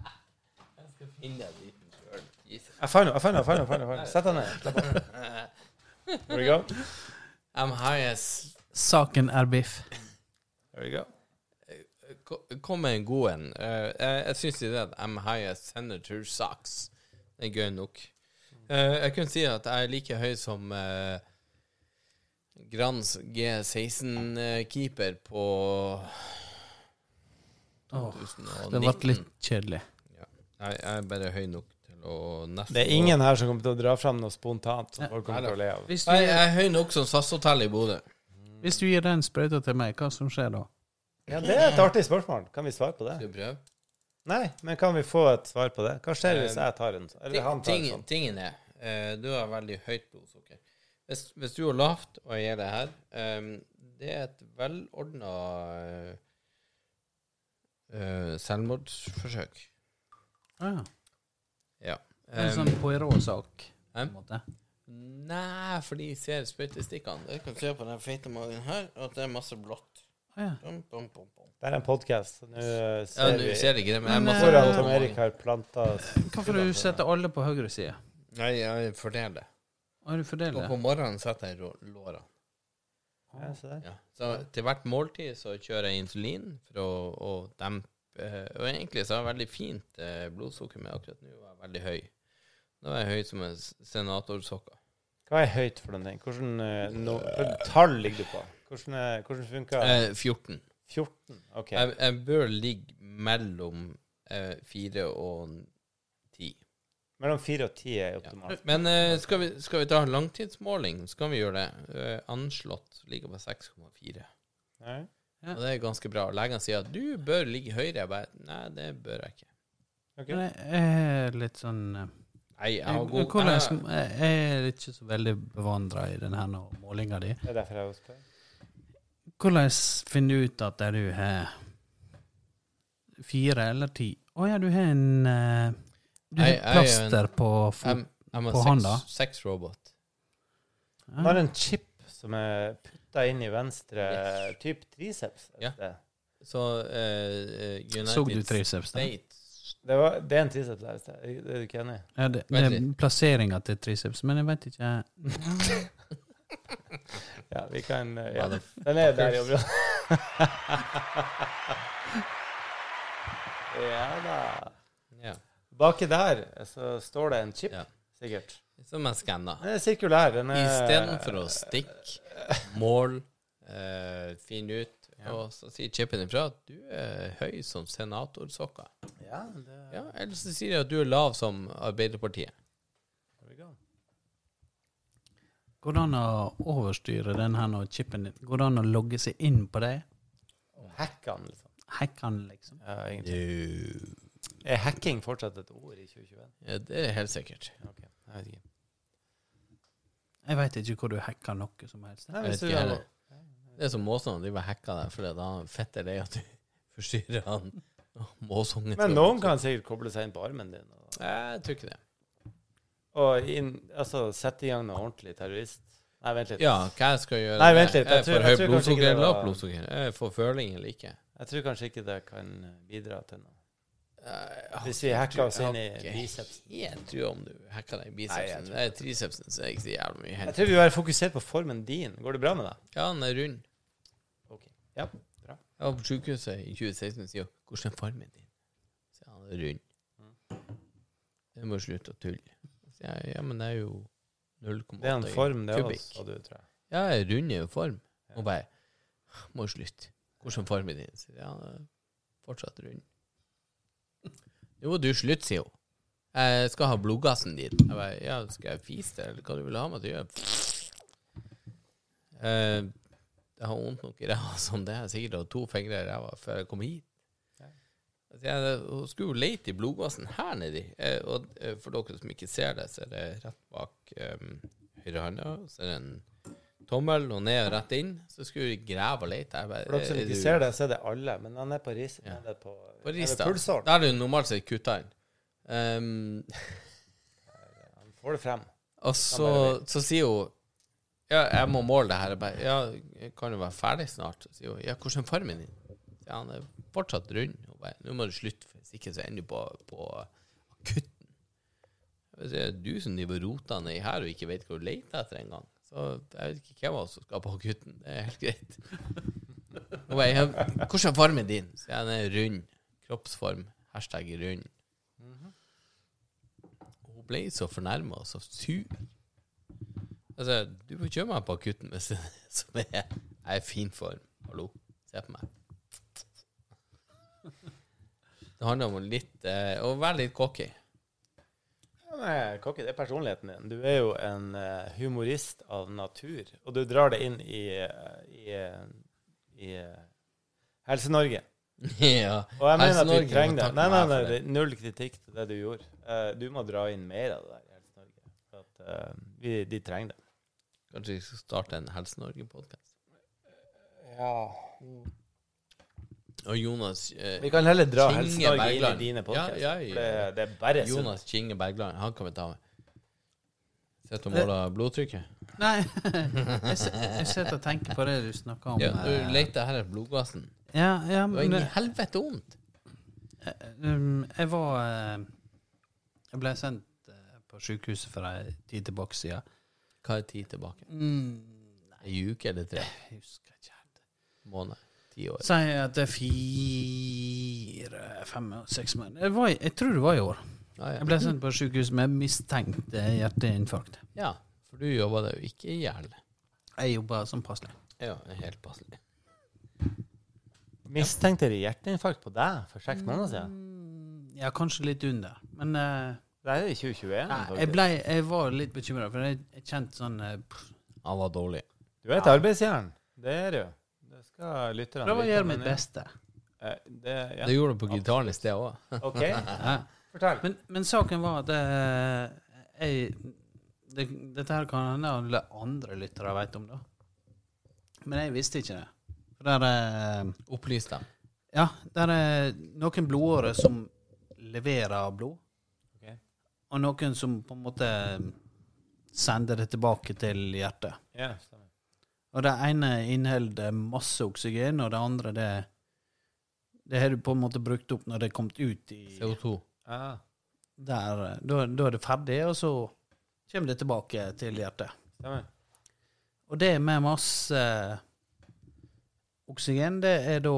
Speaker 2: Jeg skal finne en liten sjøl. Jesus.
Speaker 4: Jeg fant den, jeg fant den, jeg fant den, jeg fant den, jeg fant den. Sett deg ned. Slapp av. Here we go.
Speaker 2: I'm high as
Speaker 5: Saken er biff.
Speaker 4: Here we go.
Speaker 2: Ko- Kom med en god en. Eh, jeg jeg syns ikke at I'm high as senator socks er gøy nok. Eh, jeg kunne si at jeg er like høy som eh, Grans G16-keeper på
Speaker 5: Åh,
Speaker 2: 2019.
Speaker 5: det ble litt kjedelig.
Speaker 2: Jeg, jeg er bare høy nok til å nesten
Speaker 4: Det er ingen her som kommer til å dra fram noe spontant som folk kommer til å le av.
Speaker 5: Hvis du,
Speaker 2: Jeg, jeg er høy nok som SAS-hotellet i Bodø.
Speaker 5: hvis du gir den sprøyta til meg, hva som skjer da?
Speaker 4: Ja, Det er et artig spørsmål. Kan vi svare på det?
Speaker 2: Skal vi prøve?
Speaker 4: Nei, men kan vi få et svar på det? Hva skjer hvis jeg tar en sånn? Eller han tar en
Speaker 2: Eh, Ting,
Speaker 4: sånn?
Speaker 2: tingen er eh, Du har veldig høyt blodsukker. Hvis, hvis du har lavt, og jeg gjør det her ehm, Det er et eh, velordna eh, selvmordsforsøk.
Speaker 5: Ah,
Speaker 2: Ja.
Speaker 5: det er en sånn
Speaker 2: Ehm,
Speaker 5: Poirot-sak. på en
Speaker 2: Hæ?
Speaker 5: måte.
Speaker 2: Nei, for de ser sprøytestikkene. Dere kan se på den feite magen her at det er masse blått.
Speaker 5: Ah, ja.
Speaker 2: Dum, dum, dum, dum.
Speaker 4: Det er en podkast. Nå eh,
Speaker 2: Ja,
Speaker 4: ser
Speaker 2: du
Speaker 4: vi
Speaker 2: ser ikke det, men det er
Speaker 5: Men,
Speaker 2: masse
Speaker 4: Hvor
Speaker 2: blått
Speaker 4: han
Speaker 2: på
Speaker 4: Tom
Speaker 2: magen.
Speaker 4: Erik har planta
Speaker 5: Hvorfor du setter alle på høyre side?
Speaker 2: Nei, jeg fordeler det.
Speaker 5: Og du
Speaker 2: Og
Speaker 5: fordeler
Speaker 2: på morgenen setter jeg rå- lårene.
Speaker 4: ja, se der.
Speaker 2: Ja. Så til hvert måltid så kjører jeg insulin for å, å dempe eh, Og egentlig så har jeg veldig fint eh, blodsukker, men akkurat nå var jeg veldig høy. Nå er jeg høy som en s- senatorsokka.
Speaker 4: Hva er høyt for den ting? Hvordan eh, no, hvilket tall ligger du på? Hvordan, eh, hvordan funker
Speaker 2: Eh, 14.
Speaker 4: 14? OK.
Speaker 2: Jeg, jeg bør ligge mellom eh, 4 og 10.
Speaker 4: Mellom 4 og 10 er
Speaker 2: Ja.
Speaker 4: optimalt.
Speaker 2: Men eh, skal, vi, skal vi ta en langtidsmåling, så kan vi gjøre det. Eh, anslått ligger på 6,4.
Speaker 4: Nei?
Speaker 2: Og det er ganske bra. Legene sier at du bør ligge høyere. Jeg bare Nei, det bør jeg ikke.
Speaker 4: Ok.
Speaker 5: Men jeg er litt sånn eh,
Speaker 2: Nei, jeg har
Speaker 5: jeg,
Speaker 2: god jeg-
Speaker 5: hvordan, jeg er ikke så veldig bevandra i denne målinga di.
Speaker 4: Det er derfor jeg spør.
Speaker 5: Hvordan finner du ut at du har fire eller ti? Å ja, du har en eh, Du
Speaker 2: Jeg- jeg
Speaker 5: har
Speaker 2: er en-
Speaker 5: plaster på foten.
Speaker 2: I'm, I'm a
Speaker 5: Mm. på
Speaker 2: sex,
Speaker 5: hånda.
Speaker 2: sex robot.
Speaker 5: Ah.
Speaker 4: Han har en chip som er putta inn i venstre typ triceps. et
Speaker 2: Ja.
Speaker 4: sted.
Speaker 2: Så eh, United
Speaker 5: Såg du triceps der?
Speaker 2: States
Speaker 4: Det, var, det er en triceps der. et sted. Er du ikke enig?
Speaker 5: Ja, det, det
Speaker 2: Vent
Speaker 5: er plasseringa til triceps, men jeg vet ikke
Speaker 4: Ja, vi kan eh, ja.
Speaker 2: Ja, det-
Speaker 4: Den er der i området.
Speaker 2: [LAUGHS]
Speaker 4: ja da.
Speaker 2: Ja.
Speaker 4: Baki der så står det en chip,
Speaker 2: Ja.
Speaker 4: sikkert.
Speaker 2: Som jeg skanna.
Speaker 4: Den er sirkulær. Den er
Speaker 2: Istedenfor å stikke, mål, eh, finne ut Og så sier chipen ifra at du er høy som senatorsokker.
Speaker 4: [LAUGHS] Ja, det
Speaker 2: Ja, eller så sier de at du er lav som Arbeiderpartiet.
Speaker 4: there we go.
Speaker 5: Går det an å overstyre den her nå, chipen din? Går det an å logge seg inn på det?
Speaker 4: Hackan, liksom.
Speaker 5: Hacke han, liksom?
Speaker 4: Ja, egentlig.
Speaker 2: Ja,
Speaker 4: Er hacking fortsatt et ord i 2021?
Speaker 2: det er helt sikkert.
Speaker 4: Ok, jeg vet ikke.
Speaker 5: Jeg veit ikke hvor du hacker noe som helst.
Speaker 4: Nei,
Speaker 2: Jeg
Speaker 4: hvis
Speaker 2: vet
Speaker 4: du
Speaker 2: ikke heller. Det er som måsene driver og hacker deg fordi da fetter det at du forstyrrer han måsungen.
Speaker 4: Men noen kan sikkert koble seg inn på armen din og,
Speaker 2: Jeg tror ikke det.
Speaker 4: og inn, altså, sette i gang noe ordentlig terrorist. Nei, vent litt.
Speaker 2: Ja, hva jeg skal gjøre
Speaker 4: Nei, vent litt, jeg
Speaker 2: Jeg
Speaker 4: tror-
Speaker 2: får
Speaker 4: jeg
Speaker 2: høyt
Speaker 4: tror kanskje ikke
Speaker 2: blodsukker
Speaker 4: det
Speaker 2: eller lavt
Speaker 4: var-
Speaker 2: blodsukker. Jeg får føling eller ikke.
Speaker 4: Jeg tror kanskje ikke det kan bidra til noe.
Speaker 2: Jeg
Speaker 4: Hvis vi hacker oss inn i
Speaker 2: har ikke
Speaker 4: biceps.
Speaker 2: helt tro om du hacker deg i
Speaker 4: Nei,
Speaker 2: bicepsen.
Speaker 4: jeg
Speaker 2: Det er tricepsen som jeg ikke så jævlig mye
Speaker 4: Jeg
Speaker 2: helt.
Speaker 4: tror vi må være fokusert på formen din. Går det bra med deg?
Speaker 2: Ja, han er rund.
Speaker 4: Ok. Ja.
Speaker 2: Jeg var på sykehuset i 2016 og sier 'Hvordan er formen din?' Så han er rund.
Speaker 4: Mm.
Speaker 2: Jeg må slutte å tulle. Så jeg, ja, men det er jo 0,8
Speaker 4: Det er en form, det
Speaker 2: kubikk.
Speaker 4: også, sa du, tror jeg.
Speaker 2: Ja, jeg er rund i form. Og bare Må jo slutte. Hvordan formen din? Sier jeg. Ja, fortsatt rund. Jo, må du slutte, sier hun. Jeg skal ha blodgassen din. Jeg bare, ja, skal jeg fise det, eller hva du vil ha meg til å gjøre? Eh, jeg har vondt nok i ræva [LAUGHS] som det. Jeg har sikkert hatt to fingre i ræva før jeg kom hit. Så Jeg, hun skulle jo lete i blodgassen her nedi. Eh, og eh, for dere som ikke ser det, så er det rett bak eh, høyre hånda. Så er det en tommel, og ned og rett inn. Så skulle vi grave og lete. Jeg bare,
Speaker 4: For dere som
Speaker 2: er
Speaker 4: ikke
Speaker 2: du-
Speaker 4: ser det, så er det alle. Men han er på ris... Ja. Er det på,
Speaker 2: på
Speaker 4: er det
Speaker 2: Rista.
Speaker 4: pulsåren?
Speaker 2: Da er det jo normalt sett kutta inn. Ehm,
Speaker 4: Han får det frem.
Speaker 2: og så, så sier hun Ja, jeg må måle det her. Jeg bare, ja, jeg kan jo være ferdig snart. Så sier hun ja, hvordan er farmen din? Ja, han er fortsatt rund. Hun bare nå må du slutte, for hvis ikke så ender du på, på akutten. Jeg sier, Det er du som driver rota nedi her og ikke vet hva du leter etter engang. Så jeg vet ikke hvem av oss som skal på akutten. Det er helt greit. Hun bare ja, hvordan er farmen din? Så jeg den er rund. Kroppsform. Hashtag rund. Hun ble så fornærma og så sur. Altså, du får kjøre meg på akutten hvis det er det som er Jeg er i fin form. Hallo, se på meg. Det handler om å litt eh, å være litt cocky. [LAUGHS]
Speaker 4: Ja, nei, Kåke, det er personligheten din. Du er jo en eh, humorist av natur. Og du drar det inn i, eh, i, eh, i eh, Helse-Norge.
Speaker 2: ja.
Speaker 4: Og jeg mener
Speaker 2: Helse
Speaker 4: at vi
Speaker 2: Norge må
Speaker 4: trenger det.
Speaker 2: takke
Speaker 4: Nei, nei,
Speaker 2: meg
Speaker 4: nei,
Speaker 2: for
Speaker 4: det er null kritikk til det du gjorde. Eh, du må dra inn mer av det der i Helse-Norge. For at eh, vi, de trenger det.
Speaker 2: Kanskje vi skal starte en Helse-Norge-podkast.
Speaker 4: Ja.
Speaker 2: Og Jonas eh,
Speaker 4: Vi kan heller dra
Speaker 2: Kinge
Speaker 4: Helse-Norge inn
Speaker 2: Bergland.
Speaker 4: i dine podkaster.
Speaker 2: Ja, ja, ja.
Speaker 4: Det, det er bare sunt.
Speaker 2: Jonas Kinge Bergland, han kan vi ta med. Sitter og måler blodtrykket.
Speaker 5: Nei, [LAUGHS] jeg s- jeg sitter og tenker på det du snakker om.
Speaker 2: Ja,
Speaker 5: eh,
Speaker 2: du leter her etter blodgassen.
Speaker 5: ja, ja
Speaker 2: Det var
Speaker 5: men, eh,
Speaker 2: inn i helvete vondt.
Speaker 5: Um, jeg var eh, Jeg ble sendt eh, på sykehuset for ei tid tilbake siden.
Speaker 2: Hva er tid tilbake?
Speaker 5: Mm,
Speaker 2: Ei uke eller tre?
Speaker 5: jeg husker ikke helt.
Speaker 2: Måned? Ti år?
Speaker 5: Si at det er fire, fem, seks måneder. Jeg, var, i- jeg tror det var i år.
Speaker 2: Ja, ja.
Speaker 5: Jeg ble sendt på sykehus med mistenkt eh, hjerneinfarkt.
Speaker 2: Ja, for du jobba deg jo ikke i hjel.
Speaker 5: Jeg jobba som pasning.
Speaker 2: Ja, helt passelig.
Speaker 4: Mistenkte de hjerteinfarkt på deg for seks måneder siden?
Speaker 5: Mm, ja, kanskje litt under. Men eh,
Speaker 4: Det er jo i 2021.
Speaker 5: nei, jeg,
Speaker 4: faktisk.
Speaker 5: ble, jeg var litt bekymra, for jeg, jeg kjente sånn eh, pff,
Speaker 2: Han var dårlig.
Speaker 4: Du er et arbeidsjern. Det er du. Det skal lytterne
Speaker 5: Prøv å
Speaker 4: vite,
Speaker 5: gjøre
Speaker 4: men
Speaker 5: mitt
Speaker 4: ja.
Speaker 5: beste.
Speaker 4: Eh, Det, ja.
Speaker 2: Det gjorde du på gitaren i sted òg.
Speaker 4: OK,
Speaker 5: [LAUGHS] Ja.
Speaker 4: fortell.
Speaker 5: Men, men saken var at eh, jeg, det, Dette her kan hende alle andre lyttere vet om, da. Men jeg visste ikke det. For der eh, er
Speaker 2: Opplys dem.
Speaker 5: Ja, der er noen blodårer som leverer blod,
Speaker 4: Ok.
Speaker 5: og noen som på en måte sender det tilbake til hjertet.
Speaker 4: Ja, stemmer.
Speaker 5: Og det ene inneholder masse oksygen, og det andre det det har du på en måte brukt opp når det er kommet ut i
Speaker 2: CO2.
Speaker 4: Ah,
Speaker 5: der, da, da er det ferdig, og så kommer det tilbake til hjertet.
Speaker 4: stemmer.
Speaker 5: Og det med masse eh, oksygen, det er da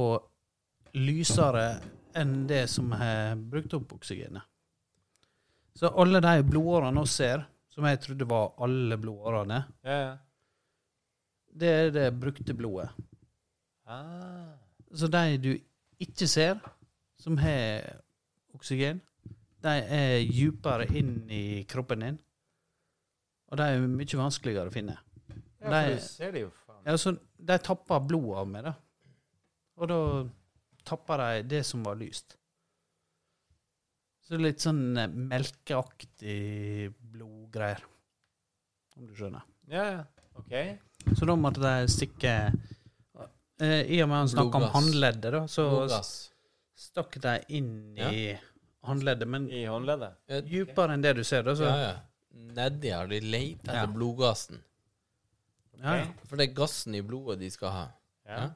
Speaker 5: lysere enn det som har brukt opp oksygenet. Så alle de blodårene vi ser, som jeg trodde var alle blodårene,
Speaker 4: Ja, ja.
Speaker 5: det er det brukte blodet.
Speaker 4: Ah.
Speaker 5: Så de du ikke ser, som har oksygen, de er dypere inn i kroppen din. Og de er mye vanskeligere å finne.
Speaker 4: Ja,
Speaker 5: Nei.
Speaker 4: for du ser det jo, faen.
Speaker 5: Ja, så de tapper blod av meg, da. Og da tapper de det som var lyst. Så litt sånn eh, melkeaktig blodgreier, om du skjønner.
Speaker 4: Ja, ja. OK.
Speaker 5: Så da måtte de stikke eh, I og med han snakka om
Speaker 2: Blodgass.
Speaker 5: håndleddet, da, så
Speaker 2: Blodgass.
Speaker 5: stakk de inn i håndleddet, men
Speaker 4: I håndleddet.
Speaker 5: dypere enn det du ser, da. Så,
Speaker 2: Ja, ja. Nedi har de leit etter
Speaker 5: Ja.
Speaker 2: blodgassen.
Speaker 5: ja, ja.
Speaker 2: For det er gassen i blodet de skal ha.
Speaker 4: Ja.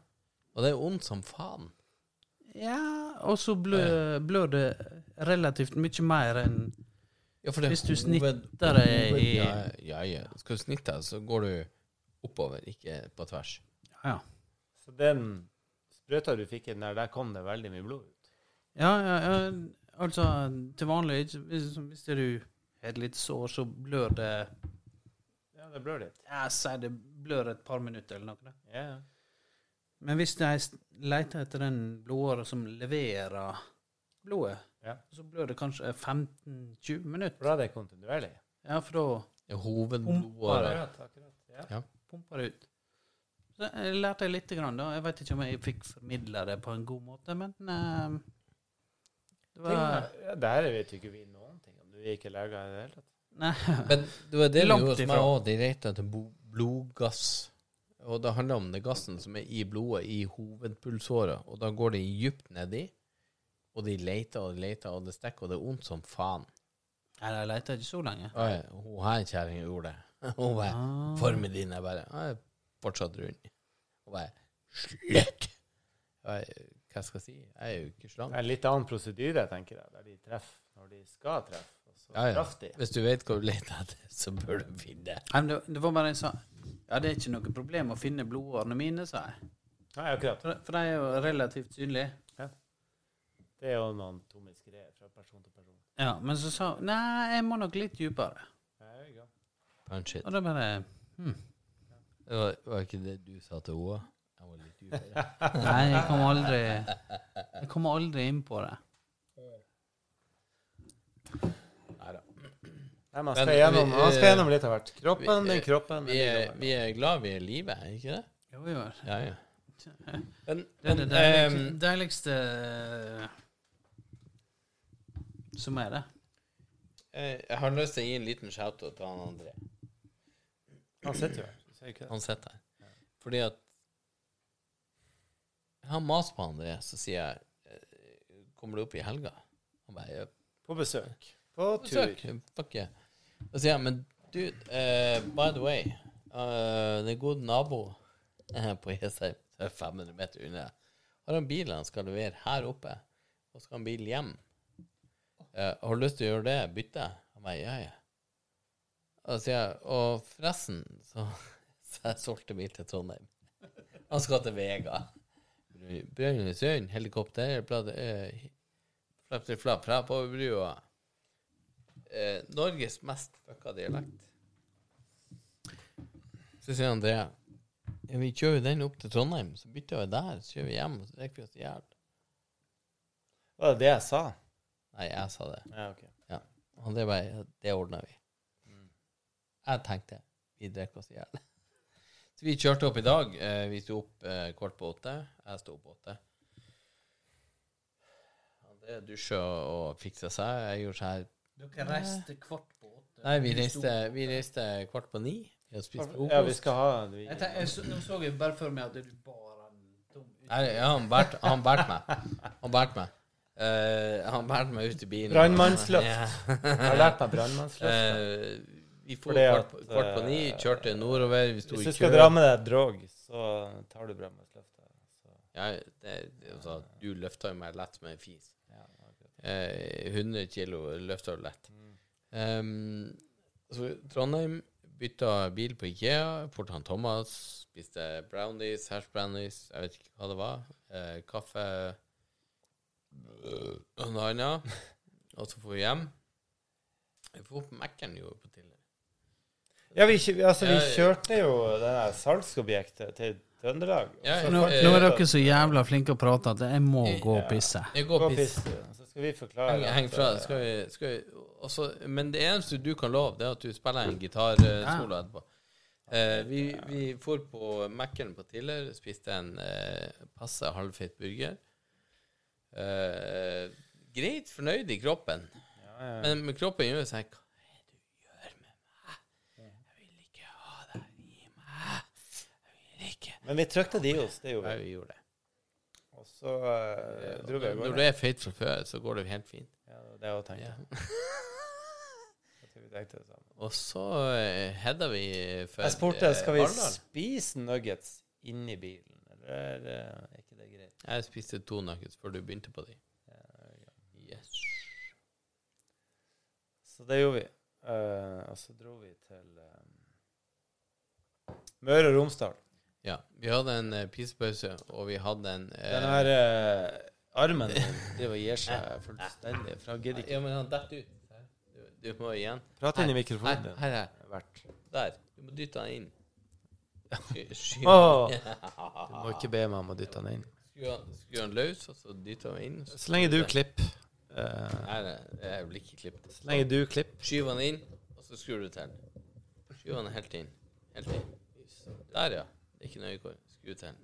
Speaker 2: Og det er ondt som faen.
Speaker 5: ja, og så blør, blør det relativt mye mer enn
Speaker 2: Ja, for det er
Speaker 5: Hvis du
Speaker 2: hoved-
Speaker 5: snitter deg i-
Speaker 2: Ja, ja, ja. Skal du snitte, så går du oppover, ikke på tvers.
Speaker 5: Ja,
Speaker 4: Så den sprøyta du fikk inn der, der kom det veldig mye blod ut.
Speaker 5: ja, ja, ja altså til vanlig ikke- Hvis, hvis du har et lite sår, så blør det
Speaker 4: Ja, det blør litt.
Speaker 5: Jeg sier det blør et par minutter eller noe. da.
Speaker 4: Ja, ja.
Speaker 5: Men hvis de s- leter etter den blodåra som leverer blodet,
Speaker 4: Ja.
Speaker 5: så blir det kanskje 15-20
Speaker 4: For
Speaker 5: minutter.
Speaker 4: da er det kontinuerlig.
Speaker 5: Ja, for da
Speaker 2: Ja, Hovedblodåra.
Speaker 4: akkurat. Ja.
Speaker 5: pumper det ut. Så jeg lærte jeg lite grann, da. Jeg vet ikke om jeg fikk formidla det på en god måte, men eh, det var
Speaker 4: Ting er- ja, Det her vet jo ikke vi noen ting om. Du er ikke leger i det hele tatt.
Speaker 5: Nei.
Speaker 2: Men det var det
Speaker 5: Langt
Speaker 2: du gjorde hos meg
Speaker 5: ifra.
Speaker 2: òg. De leter etter bo- blodgass. Og det handler om den gassen som er i blodet i hovedpulsåra. Og da går de dypt nedi, og de leter og de leter, og det stikker, og det er vondt som faen.
Speaker 5: Nei, de leter ikke så lenge.
Speaker 2: Og jeg- Hun her kjerringa gjorde det. [LAUGHS] Hun bare
Speaker 5: Ah.
Speaker 2: Formen din er bare Jeg er fortsatt rund. Hun bare Slutt! Jeg bare, Hva skal jeg si? Jeg er jo ikke slank.
Speaker 4: Det er en litt annen prosedyre, tenker jeg, der de treffer når de skal treffe. Og så
Speaker 2: Ja, ja.
Speaker 4: traff de.
Speaker 2: Hvis du vet hva du leter etter, så bør du finne det.
Speaker 5: Nei, men det, det var bare en sånn Ja, det er ikke noe problem å finne blodårene mine, sa jeg.
Speaker 4: Nei, akkurat.
Speaker 5: For, for de er jo relativt synlige.
Speaker 4: Det er jo noen tomiske greier fra person til person.
Speaker 5: Ja, men så sa hun Nei, jeg må nok litt dypere.
Speaker 4: Ja, ja.
Speaker 2: Punch it.
Speaker 5: Og da bare
Speaker 2: Det var, var ikke det du sa til henne? Jeg var litt uførere.
Speaker 5: Nei, jeg kommer aldri Jeg kommer aldri inn på det.
Speaker 2: Neida.
Speaker 4: Nei,
Speaker 2: Men
Speaker 4: man skal, gjennom,
Speaker 2: vi- eh,
Speaker 4: man skal gjennom litt av hvert. Kroppen,
Speaker 2: vi- eh,
Speaker 4: din kroppen.
Speaker 2: Vi er,
Speaker 4: din
Speaker 2: vi er glad vi er i live, er ikke det?
Speaker 5: Jo, jo.
Speaker 2: Ja, ja. Men,
Speaker 5: Det er
Speaker 2: men
Speaker 5: det
Speaker 2: ehm,
Speaker 5: deiligste, deiligste eh, som er det.
Speaker 2: eh, jeg har lyst til å gi en liten shout-out til han André.
Speaker 4: kroppen. Han sitter jo her. Du ser ikke det.
Speaker 2: Han sitter her. Fordi at Jeg har mast på André, så sier jeg eh, Kommer du opp i helga? Han bare ja,
Speaker 4: På besøk. På tur.
Speaker 2: Besøk. Fuck yeah. Og så sier jeg, men dude, eh, by the way, eh, det er god nabo eh, på Jessheim, som er 500 meter unna, har en bil han skal levere her oppe, og skal ha en bil hjem. Eh, har du lyst til å gjøre det? Bytte? Han bare, ja, ja. Og så sier jeg, og forresten, så, [LAUGHS] så jeg solgte bil til Trondheim. Han skal til Vega. Brønnøysund, helikopter, blad, eh, flapp til flapp, flapp over brua eh, Norges mest fucka dialekt. Så sier André ja, vi kjører jo den opp til Trondheim, så bytter vi der, så kjører vi hjem, og så drikker vi oss i hjel.
Speaker 4: Var det det jeg sa?
Speaker 2: Nei, jeg sa det.
Speaker 4: Ja, ok.
Speaker 2: Og André bare ja, det ordner vi.
Speaker 4: Mm.
Speaker 2: Jeg tenkte vi drikker oss i hjel. Så vi kjørte opp i dag. Eh, vi sto opp eh, kvart på åtte. Jeg sto opp åtte. André dusja og fiksa seg. Jeg gjorde sånn her
Speaker 5: Dere reiste kvart på åtte.
Speaker 2: Nei, vi reiste, vi reiste kvart på ni. Vi hadde spist frokost.
Speaker 4: Ja, vi skal ha vi,
Speaker 5: Jeg tenk, jeg så, nå så jeg bare for meg at du bar en tom ut.
Speaker 2: Nei, ja, han bært, han bært meg. Han bært meg. Eh, han bært meg ut i bilen.
Speaker 4: Brannmannsløft.
Speaker 2: Ja.
Speaker 4: Jeg har lært meg brannmannsløft.
Speaker 2: Eh, vi for
Speaker 4: Fordi
Speaker 2: kvart,
Speaker 4: at,
Speaker 2: kvart på ni,
Speaker 4: eh,
Speaker 2: kjørte nordover, vi sto
Speaker 4: Hvis
Speaker 2: i
Speaker 4: du
Speaker 2: kø.
Speaker 4: skal dra med deg drog, så tar du brannmannsløftet. Så-
Speaker 2: Ja, det, det- altså, du løfta jo meg lett med en fis.
Speaker 4: Ja, akkurat.
Speaker 2: Eh, 100 kilo løfta du lett.
Speaker 4: Mm.
Speaker 2: Ehm, så Trondheim bytta bil på Ikea, fort han Thomas, spiste brownies, hash brownies, jeg vet ikke hva det var. Eh, kaffe øh, og noe annet. Og så får vi hjem. Jeg får opp Mækkern jo på tidligere.
Speaker 4: ja vi, kjø- altså, vi
Speaker 2: Ja, ja.
Speaker 4: kjørte jo det der salgsobjektet til Trøndelag. og
Speaker 2: Ja,
Speaker 4: så
Speaker 2: ja.
Speaker 5: Nå,
Speaker 4: fant vi
Speaker 5: nå
Speaker 4: ut
Speaker 5: er
Speaker 4: at-
Speaker 5: dere så jævla flinke å prate at jeg må gå og pisse.
Speaker 2: Det
Speaker 4: Gå
Speaker 2: går
Speaker 4: og
Speaker 2: piss.
Speaker 4: piss, du. Så skal vi forklare.
Speaker 2: Heng,
Speaker 4: at,
Speaker 2: heng fra
Speaker 4: eh,
Speaker 2: deg. Skal vi, skal vi og så- Men det eneste du kan love, det er at du spiller en gitarsolo etterpå. Eh, vi, vi for på Mækkern på Tiller, spiste en eh, passe halvfeit burger. Eh, greit fornøyd i kroppen,
Speaker 4: Ja, ja, ja.
Speaker 2: men, men kroppen gjør seg Hva er det du gjør med meg? Jeg vil ikke ha deg i meg. Jeg vil ikke
Speaker 4: Men vi trykte de oss, det gjorde
Speaker 2: Nei,
Speaker 4: vi.
Speaker 2: vi gjorde det.
Speaker 4: Og så eh, dro vi av
Speaker 2: Når du
Speaker 4: gårde.
Speaker 2: er feit fra før, så går det helt fint.
Speaker 4: Ja, det var det jeg tenkte.
Speaker 2: Ja. [LAUGHS]
Speaker 4: Jeg tror vi tenkte det samme.
Speaker 2: Og så heada vi for
Speaker 4: Jeg spurte
Speaker 2: eh,
Speaker 4: skal vi
Speaker 2: Arendal.
Speaker 4: spise nuggets inni bilen, eller eh, er ikke det greit?
Speaker 2: Jeg spiste to nuggets før du begynte på de. Yes.
Speaker 4: Så det gjorde vi. Eh, og så dro vi til eh, Møre og Romsdal.
Speaker 2: Ja. Vi hadde en uh, pisepause, og vi hadde en eh,
Speaker 4: Den her eh, armen min driver og gir seg fullstendig, for han gidder ikke.
Speaker 2: Ja, men han detter ut. Du, du må igjen.
Speaker 4: Prat inn i
Speaker 2: Her,
Speaker 4: mikrofonen din.
Speaker 2: her, her.
Speaker 4: Vert.
Speaker 2: Der. Du må dytte han inn. Sky, sky.
Speaker 4: Åh, Du må Må ikke be meg om å dytte den inn.
Speaker 2: Skulle han- skulle han løs, og så dytta han inn?
Speaker 4: Så lenge du klipper eh,
Speaker 2: Nei, nei, jeg vil ikke klippe det.
Speaker 4: Så lenge du klipper
Speaker 2: Skyv han inn, og så skrur du til. Skyv han helt inn. Helt inn. Der, ja. Det er ikke noe øyekår. Skru til.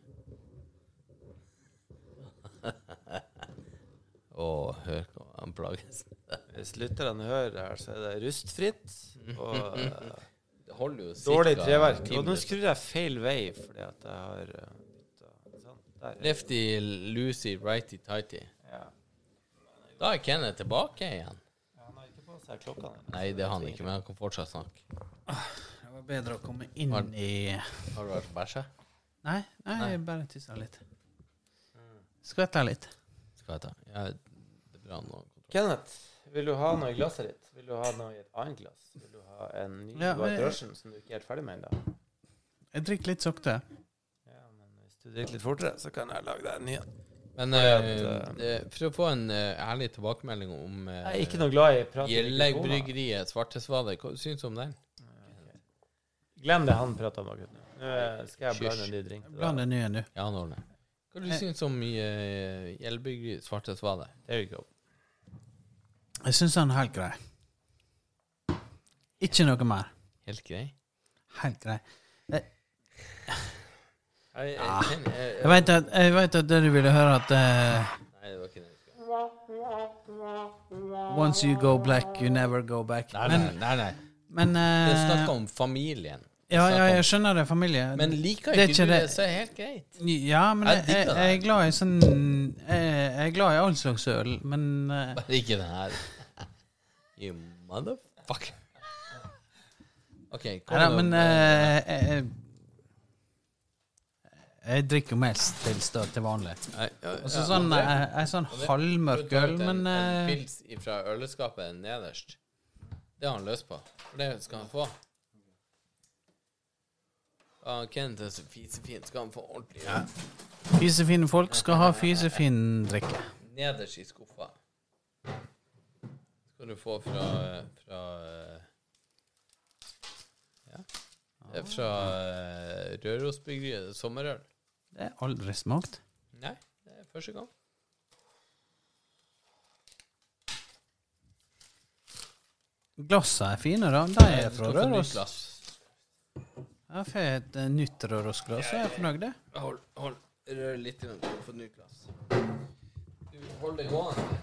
Speaker 2: [LAUGHS] Å, hør på han plages.
Speaker 4: Hvis lytterne hører det her, så er det rustfritt og eh,
Speaker 2: [LAUGHS] Det holder jo cirka
Speaker 4: dårlig treverk.
Speaker 2: ti
Speaker 4: Og nå
Speaker 2: minutter.
Speaker 4: skrur jeg feil vei fordi at jeg har eh, byttet. Sånn. Der. er-
Speaker 2: Lefty, loosey, righty, tighty.
Speaker 4: Ja.
Speaker 2: Da er Kenneth tilbake igjen.
Speaker 4: Han har ikke på seg klokka. den.
Speaker 2: Nei, det er han ikke, men han kan fortsatt snakke.
Speaker 5: Det var bedre å komme inn
Speaker 2: Var-
Speaker 5: i
Speaker 2: Har du vært og bæsja?
Speaker 5: Nei, nei, jeg bare tissa litt.
Speaker 4: Mm.
Speaker 5: Skvetta litt.
Speaker 2: Skal jeg ta? Ja, det er bra nå.
Speaker 4: Kenneth, vil du ha noe i glasset ditt? Vil du ha noe i et annet glass? Vil du ha en ny ja,
Speaker 5: Ja,
Speaker 4: White
Speaker 5: jeg-
Speaker 4: Russian som du ikke er helt ferdig med ennå?
Speaker 5: Jeg drikker litt sakte.
Speaker 4: Ja, men hvis du drikker litt fortere, så kan jeg lage deg en ny en.
Speaker 2: Men
Speaker 4: at,
Speaker 2: eh, det- for å få en eh, ærlig tilbakemelding om
Speaker 4: Jeg
Speaker 2: uh,
Speaker 4: er ikke noe glad i prat i mikrofoner.
Speaker 2: Gjelleirbryggeriet Svartesvade, hva syns du om den?
Speaker 4: Glem det han prater om akkurat nå. Nå eh, skal jeg blande
Speaker 2: Hysj.
Speaker 4: en ny drink. til
Speaker 5: Bland
Speaker 4: deg.
Speaker 5: det nye nå.
Speaker 2: Ja, han ordner. Hva
Speaker 5: Eh.
Speaker 2: du syns om uh, Gjelleirbryggeriet Svartesvade?
Speaker 4: There you go.
Speaker 5: Jeg syns han er helt grei. Ikke noe mer.
Speaker 2: Helt grei?
Speaker 5: Helt grei.
Speaker 2: Jeg, jeg,
Speaker 5: Ah.
Speaker 2: kjenner- jeg,
Speaker 5: Jeg veit at, jeg vet at det du ville høre, at eh,
Speaker 2: nei, det var ikke det. jeg skulle.
Speaker 5: Once you go black, you never go back.
Speaker 2: Nei, nei,
Speaker 5: Men,
Speaker 2: nei. nei.
Speaker 5: men eh,
Speaker 2: Det er snakk om familien.
Speaker 5: ja,
Speaker 2: snakk
Speaker 5: ja,
Speaker 2: om-
Speaker 5: jeg skjønner det, familie.
Speaker 2: Men liker
Speaker 5: Det
Speaker 2: ikke,
Speaker 5: er ikke
Speaker 2: du det,
Speaker 5: det.
Speaker 2: så er det helt
Speaker 5: [LAUGHS]
Speaker 2: greit.
Speaker 5: ja, men jeg,
Speaker 2: Jeg
Speaker 5: jeg,
Speaker 2: digger det.
Speaker 5: er glad i sånn Jeg, jeg er glad i all slags øl, men eh,
Speaker 2: Bare ikke den her. [LAUGHS] You motherfucker. OK, kom
Speaker 5: Nei da,
Speaker 2: nå
Speaker 5: men
Speaker 2: med-
Speaker 5: eh, jeg, jeg, jeg drikker jo mest tilstøt til vanlig.
Speaker 2: Nei, ja,
Speaker 5: Og
Speaker 2: ja,
Speaker 5: så sånn,
Speaker 2: det-
Speaker 5: eh, en sånn halvmørk øl, men
Speaker 2: en, en
Speaker 5: eh,
Speaker 2: pils fra øleskapet nederst. Det har han løst på. For det skal han få. Ja, Kenneth er så fisefin. Skal han få ordentlig ja.
Speaker 5: Fisefine folk skal ha fisefin drikke.
Speaker 2: Nederst i skuffa. Skal du få fra fra eh, ja. Det er Fra eh, Rørosbryggeriet. Sommerøl.
Speaker 5: Det har aldri smakt.
Speaker 2: Nei, det er første gang.
Speaker 5: Glassene er fine, da. De er
Speaker 2: Du
Speaker 5: fra
Speaker 2: skal få nytt
Speaker 5: Røros.
Speaker 2: glass.
Speaker 5: Jeg får et eh, nytt Rørosglass, og jeg er fornøyd, det.
Speaker 2: Hold, hold. Rør litt grann for å få nytt glass. Du, hold det gående.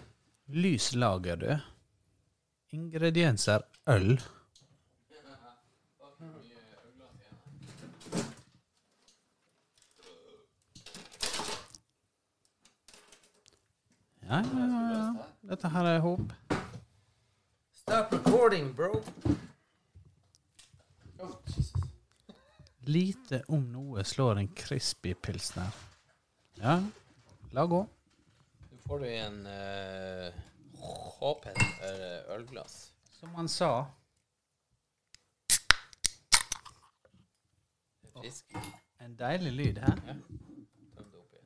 Speaker 5: Lys lager, du. Ingredienser øl. Ja, ja, ja, ja. Dette her er håp.
Speaker 4: Stop recording, bro.
Speaker 5: Lite om noe slår en crispy pilsner. Ja, la gå.
Speaker 2: Nå får du en uh, håpen eller ølglass.
Speaker 5: Som han sa.
Speaker 2: Frisk.
Speaker 5: En deilig lyd her.
Speaker 2: Tøm det oppi.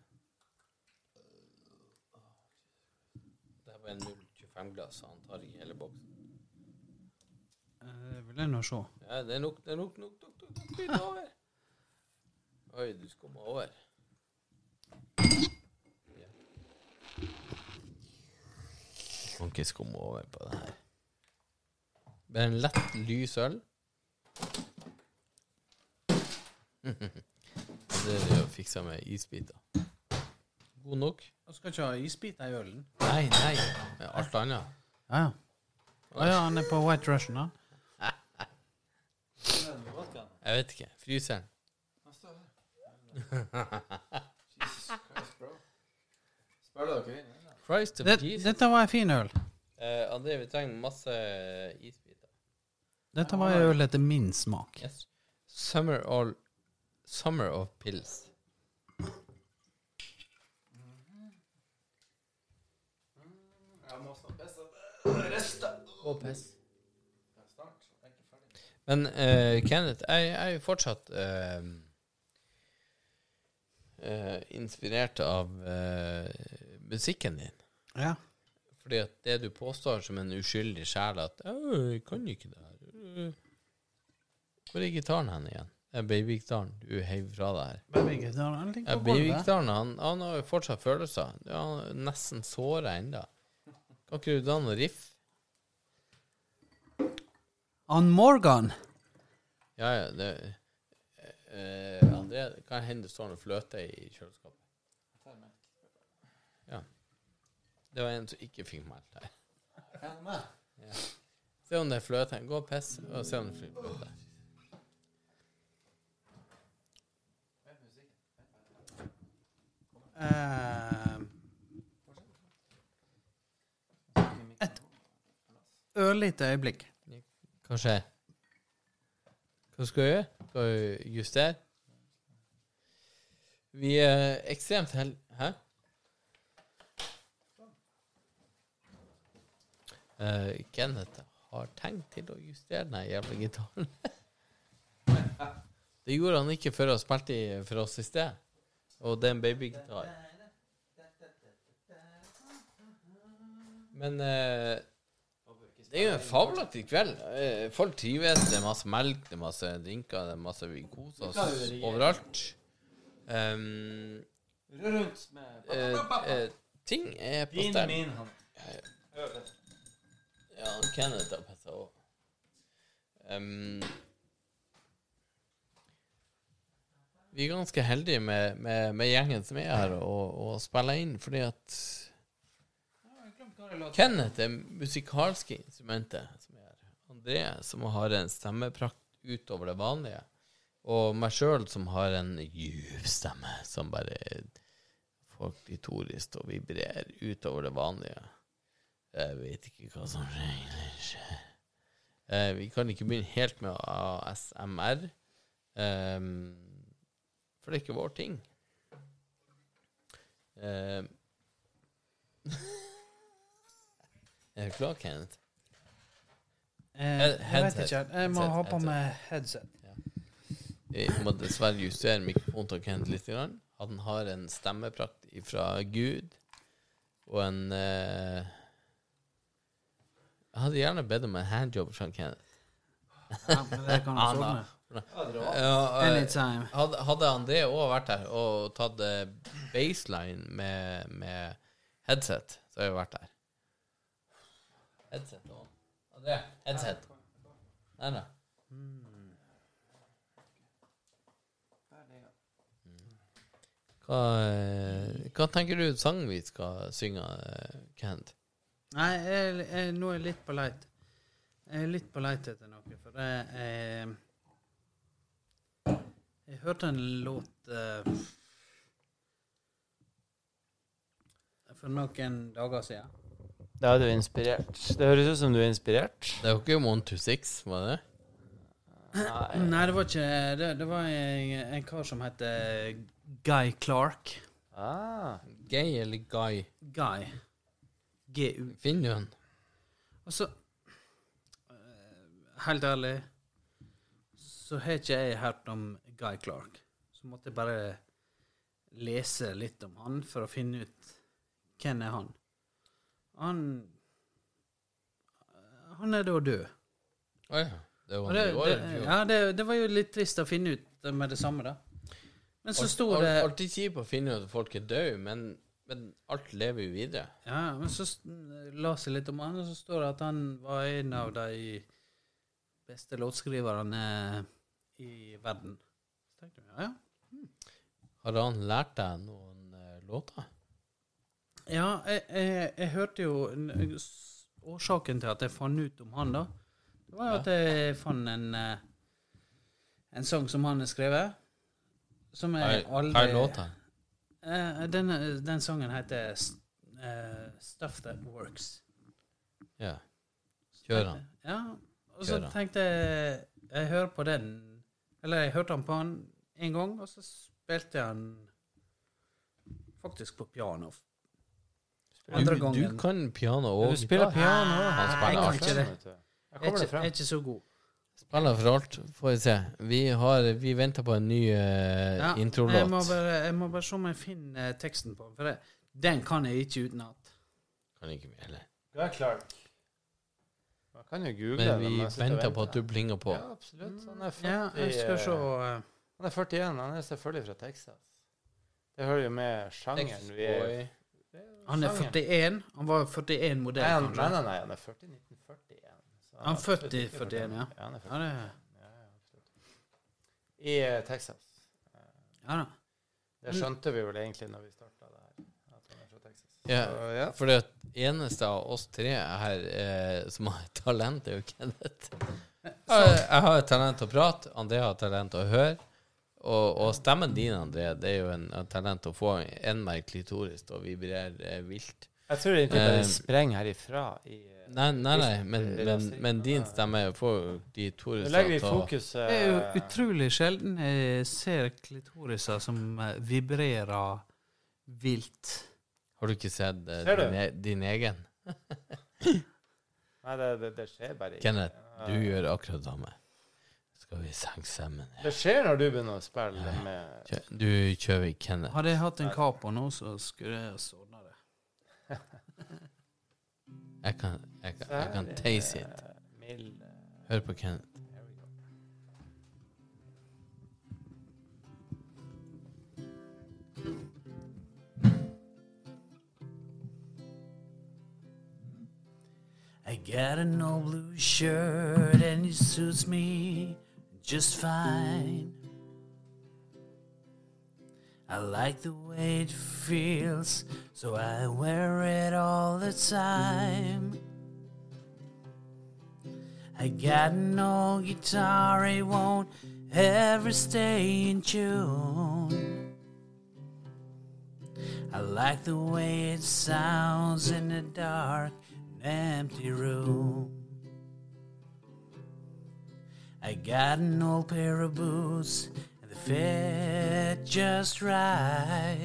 Speaker 2: Det her var en 0,25-glass, så han tar ikke hele boksen.
Speaker 5: Eh, Det vil jeg nå se.
Speaker 2: Ja, det er nok, det er nok, nok, nok, nok, nok, nok, over. Oi, du skummer over. Ja. Kan ikke skumme over på det her. Med en lett lys øl. [LAUGHS] det er det å fikse med isbiter. God nok?
Speaker 5: Jeg skal ikke ha isbiter i ølen.
Speaker 2: Nei, nei. Med alt annet.
Speaker 5: Ja, ja. Å ja, han er på White Russian, han.
Speaker 2: Jeg vet ikke. Fryseren.
Speaker 4: Spør dere inn?
Speaker 2: Christ of
Speaker 5: Det,
Speaker 2: Jesus.
Speaker 5: dette var en fin øl.
Speaker 2: Eh, André, vi trenger masse isbiter.
Speaker 5: Dette var en øl etter min smak.
Speaker 2: Yes. Summer all Summer of pills. Og piss. Men eh, Kenneth, jeg, jeg er jo fortsatt eh, eh, inspirert av eh, musikken din.
Speaker 5: Ja.
Speaker 2: Fordi at det du påstår som en uskyldig sjel, at «Å, 'Jeg kan jo ikke det her'. Øh, Hvor er gitaren hen igjen? Eh, Det er Beivikdalen du heiv fra deg her.
Speaker 5: Babyguttene, han
Speaker 2: Ja,
Speaker 5: ligger på gulvet.
Speaker 2: Beivikdalen han, han har jo fortsatt følelser. Ja, Han er nesten såra ennå. Kan ikke du da noe riff?
Speaker 5: Han Morgan.
Speaker 2: Ja, ja, det eh, André, det kan hende det står noe fløte i kjøleskapet. Ja. Det var en som ikke fikk meldt her. Se om det er fløte. Gå og piss, og se om det er fløte.
Speaker 5: Eh, et ørlite øyeblikk.
Speaker 2: Hva skjer? Hva skal vi gjøre? Skal vi justere? Vi er ekstremt hel... Hæ? Eh, Kenneth har tenkt til å justere den her jævla gitaren. [LAUGHS] det gjorde han ikke før han spilte i- for oss i sted. Og det er en babygitar. Men eh, det er jo en fabelaktig kveld. Eh, Folk trives, det er masse melk, det er masse drinker, det er masse vi koser oss overalt. Um, eh, eh, ting er på
Speaker 4: Din,
Speaker 2: stell.
Speaker 4: min, han.
Speaker 2: Ja, Kenneth har pissa òg. Um, vi er ganske heldige med, med, med gjengen som er her og, og spiller inn, fordi at Kenneth er musikalske instrumentet som er her. André som har en stemmeprakt utover det vanlige. Og meg sjøl som har en djup stemme som bare folklitorisk og vibrerer utover det vanlige. Jeg vet ikke hva som egentlig skjer. Eh, vi kan ikke begynne helt med ASMR, ehm, for det er ikke vår ting. Eh, [LAUGHS] er du klar, Kenneth? Head-
Speaker 5: Eh, jeg vet ikke.
Speaker 2: headset.
Speaker 5: Jeg må
Speaker 2: Headset,
Speaker 5: ha på
Speaker 2: headset.
Speaker 5: meg headset.
Speaker 2: Vi må dessverre justere mikrofonen til Kenneth litt. Grann. Han har en stemmeprakt fra Gud, og en eh, Jeg hadde gjerne bedt om en handjob fra Kenneth.
Speaker 5: Ja, men det kan jeg sovne.
Speaker 2: Ja, eh,
Speaker 5: Anytime.
Speaker 2: hadde, hadde André òg vært der og tatt eh, baseline med, med headset, så hadde jeg vært der. Headset òg. André, headset. Nei, nei. Hva, eh, hva tenker du sangen vi skal synge, eh, Kent?
Speaker 5: Nei, jeg, jeg, nå er jeg litt på leit. Jeg er litt på leit etter noe, for det er Jeg hørte en låt eh, for noen dager siden.
Speaker 4: Da er du inspirert. Det høres ut som du er inspirert.
Speaker 2: Det var ikke One to Six, var det?
Speaker 4: Nei.
Speaker 5: Nei, det var ikke Det, det var en, en kar som het Guy Clark.
Speaker 4: Ah.
Speaker 2: Gay eller Guy?
Speaker 5: Guy. GU.
Speaker 2: Finner du den?
Speaker 5: Og så eh, Helt ærlig så har ikke jeg hørt om Guy Clark. Så måtte jeg bare lese litt om han for å finne ut hvem er han. Han Han er da død.
Speaker 2: Å ja. Det
Speaker 5: Og
Speaker 2: var
Speaker 5: det,
Speaker 2: i år.
Speaker 5: det,
Speaker 2: eller i fjor?
Speaker 5: ja, det, det var jo litt trist å finne ut med det samme, da. Men så sto
Speaker 2: Alt-
Speaker 5: det
Speaker 2: alt- Alltid kjipt å finne ut at folk er døde, men, men alt lever jo videre.
Speaker 5: Ja, men så s- las jeg litt om han, og så står det at han var en av de beste låtskriverne eh, i verden. Så tenkte jeg, ja, ja.
Speaker 2: Har han lært deg noen eh, låter?
Speaker 5: ja jeg, jeg, jeg hørte jo n- s- Årsaken til at jeg fant ut om han, da, det var jo at jeg fant en eh, en sang som han har skrevet, som jeg
Speaker 2: Hva
Speaker 5: aldri
Speaker 2: er låta?
Speaker 5: Eh, den, den sangen heter s- eh, Stuff That Works.
Speaker 2: Ja. Kjør han.
Speaker 5: Ja, og så
Speaker 2: Kjør han.
Speaker 5: tenkte jeg Jeg hører på den Eller jeg hørte han på han en gang, og så spilte jeg han faktisk på piano. Andre
Speaker 2: Du, du
Speaker 5: gangen.
Speaker 2: kan piano og
Speaker 4: Du spiller
Speaker 2: gitar.
Speaker 4: piano.
Speaker 2: Han spiller
Speaker 5: Jeg
Speaker 2: alt.
Speaker 5: kan ikke det.
Speaker 4: Jeg
Speaker 5: Jeg er
Speaker 4: kommer det
Speaker 5: ikke, jeg er
Speaker 4: frem.
Speaker 5: ikke så god.
Speaker 2: Spiller for alt, får vi se. Vi, har, vi venter på en ny eh,
Speaker 5: Ja, jeg, må
Speaker 2: introlåt.
Speaker 5: bare, jeg må bare se om jeg finner eh, teksten på den, for det, den kan jeg ikke utenat.
Speaker 2: Kan ikke vi heller.
Speaker 4: Guy Clark. Man kan jo google
Speaker 2: Men
Speaker 4: det,
Speaker 2: vi
Speaker 4: jeg sitter og
Speaker 2: venter på at du plinger på.
Speaker 4: Ja, absolutt. Han er 40,
Speaker 6: Ja, jeg skal se
Speaker 4: eh,
Speaker 6: eh,
Speaker 4: Han er 41, han er selvfølgelig fra Texas. Det hører jo med sjangeren vi er
Speaker 6: Han er
Speaker 4: sjangeren.
Speaker 6: 41. Han var 41 modell,
Speaker 4: Nei, han, nei,
Speaker 6: kanskje.
Speaker 4: nei, nei, han er 40 1941. Så
Speaker 6: Han
Speaker 4: er
Speaker 6: født
Speaker 4: absolutt
Speaker 6: i
Speaker 4: ikke
Speaker 6: 41, ja.
Speaker 4: Ja, han er 40.
Speaker 6: Ja, det-
Speaker 4: Ja, ja, absolutt. I eh, Texas.
Speaker 6: Ja da.
Speaker 4: Det
Speaker 6: Mm.
Speaker 4: skjønte vi vel egentlig når vi starta det her. At han er fra Texas.
Speaker 2: Ja,
Speaker 4: Så, ja.
Speaker 2: for det eneste av oss tre her eh, som har [LAUGHS] et talent, er jo Kenneth. Jeg, jeg har et talent til å prate, André har et talent til å høre. Og, og stemmen din, André, det er jo en, et talent til å få enmerk klitoris til å vibrere eh, vilt.
Speaker 4: Jeg tror egentlig bare
Speaker 2: Eh,
Speaker 4: de sprenger herifra i eh,
Speaker 2: Nei, nei, nei men, men, men din stemme får jo klitoris
Speaker 4: Nå legger vi eh,
Speaker 2: til å-
Speaker 4: fokuset
Speaker 6: Det er jo utrolig sjelden jeg ser klitoriser som eh, vibrerer vilt.
Speaker 2: Har du ikke sett eh,
Speaker 4: Ser du?
Speaker 2: din, e- din egen?
Speaker 4: Nei, det, det, det skjer bare ikke.
Speaker 2: Kenneth, du gjør akkurat det samme. Skal vi senke stemmen?
Speaker 4: Det skjer når du begynner å spille med
Speaker 2: Kjø- Du kjører Kenneth.
Speaker 6: Hadde jeg hatt en Capo nå, så skulle jeg ordna det.
Speaker 2: Jeg kan, jeg, kan- jeg kan taste it.
Speaker 4: eh, mild eh,
Speaker 2: Hør på Kenneth.
Speaker 4: There we go.
Speaker 5: I got an old blue shirt and it suits me just fine. I like the way it feels, so I wear it all the time. I got an old guitar, it won't ever stay in tune. I like the way it sounds in the dark, an empty room. I got an old pair of boots, and they fit just right.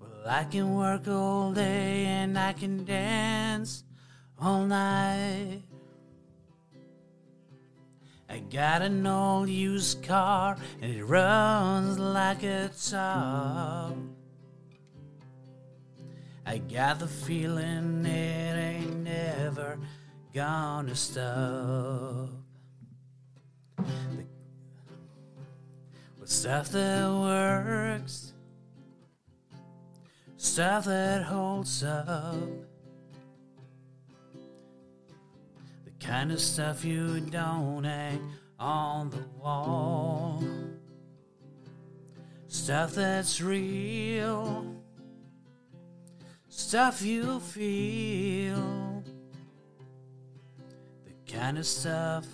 Speaker 5: Well, I can work all day, and I can dance all night. I got an old used car and it runs like a top. I got the feeling it ain't never gonna stop. The- With stuff that works, stuff that holds up. The kind of stuff you don't hang on the wall. Stuff that's real. Stuff you feel. The kind of stuff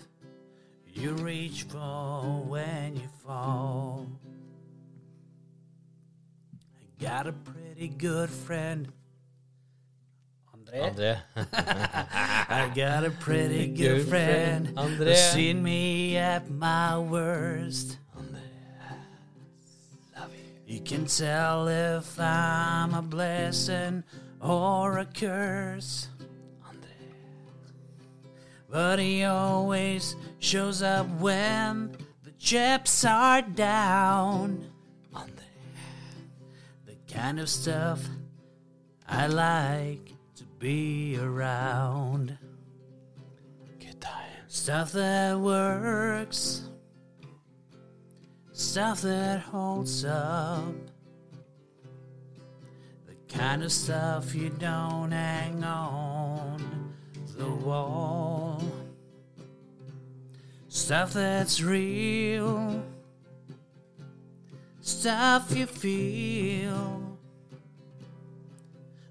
Speaker 5: you reach for when you fall. I got a pretty good friend. Andre?
Speaker 2: André.
Speaker 5: I got a pretty Mm, good friend
Speaker 2: André.
Speaker 5: who's seen me at my worst. You can tell if I'm a blessing or a curse. But he always shows up when the chips are down. The kind of stuff I like to be around.
Speaker 2: Good times.
Speaker 5: Stuff that works. Stuff that holds up. The kind of stuff you don't hang on the wall. Stuff that's real. Stuff you feel.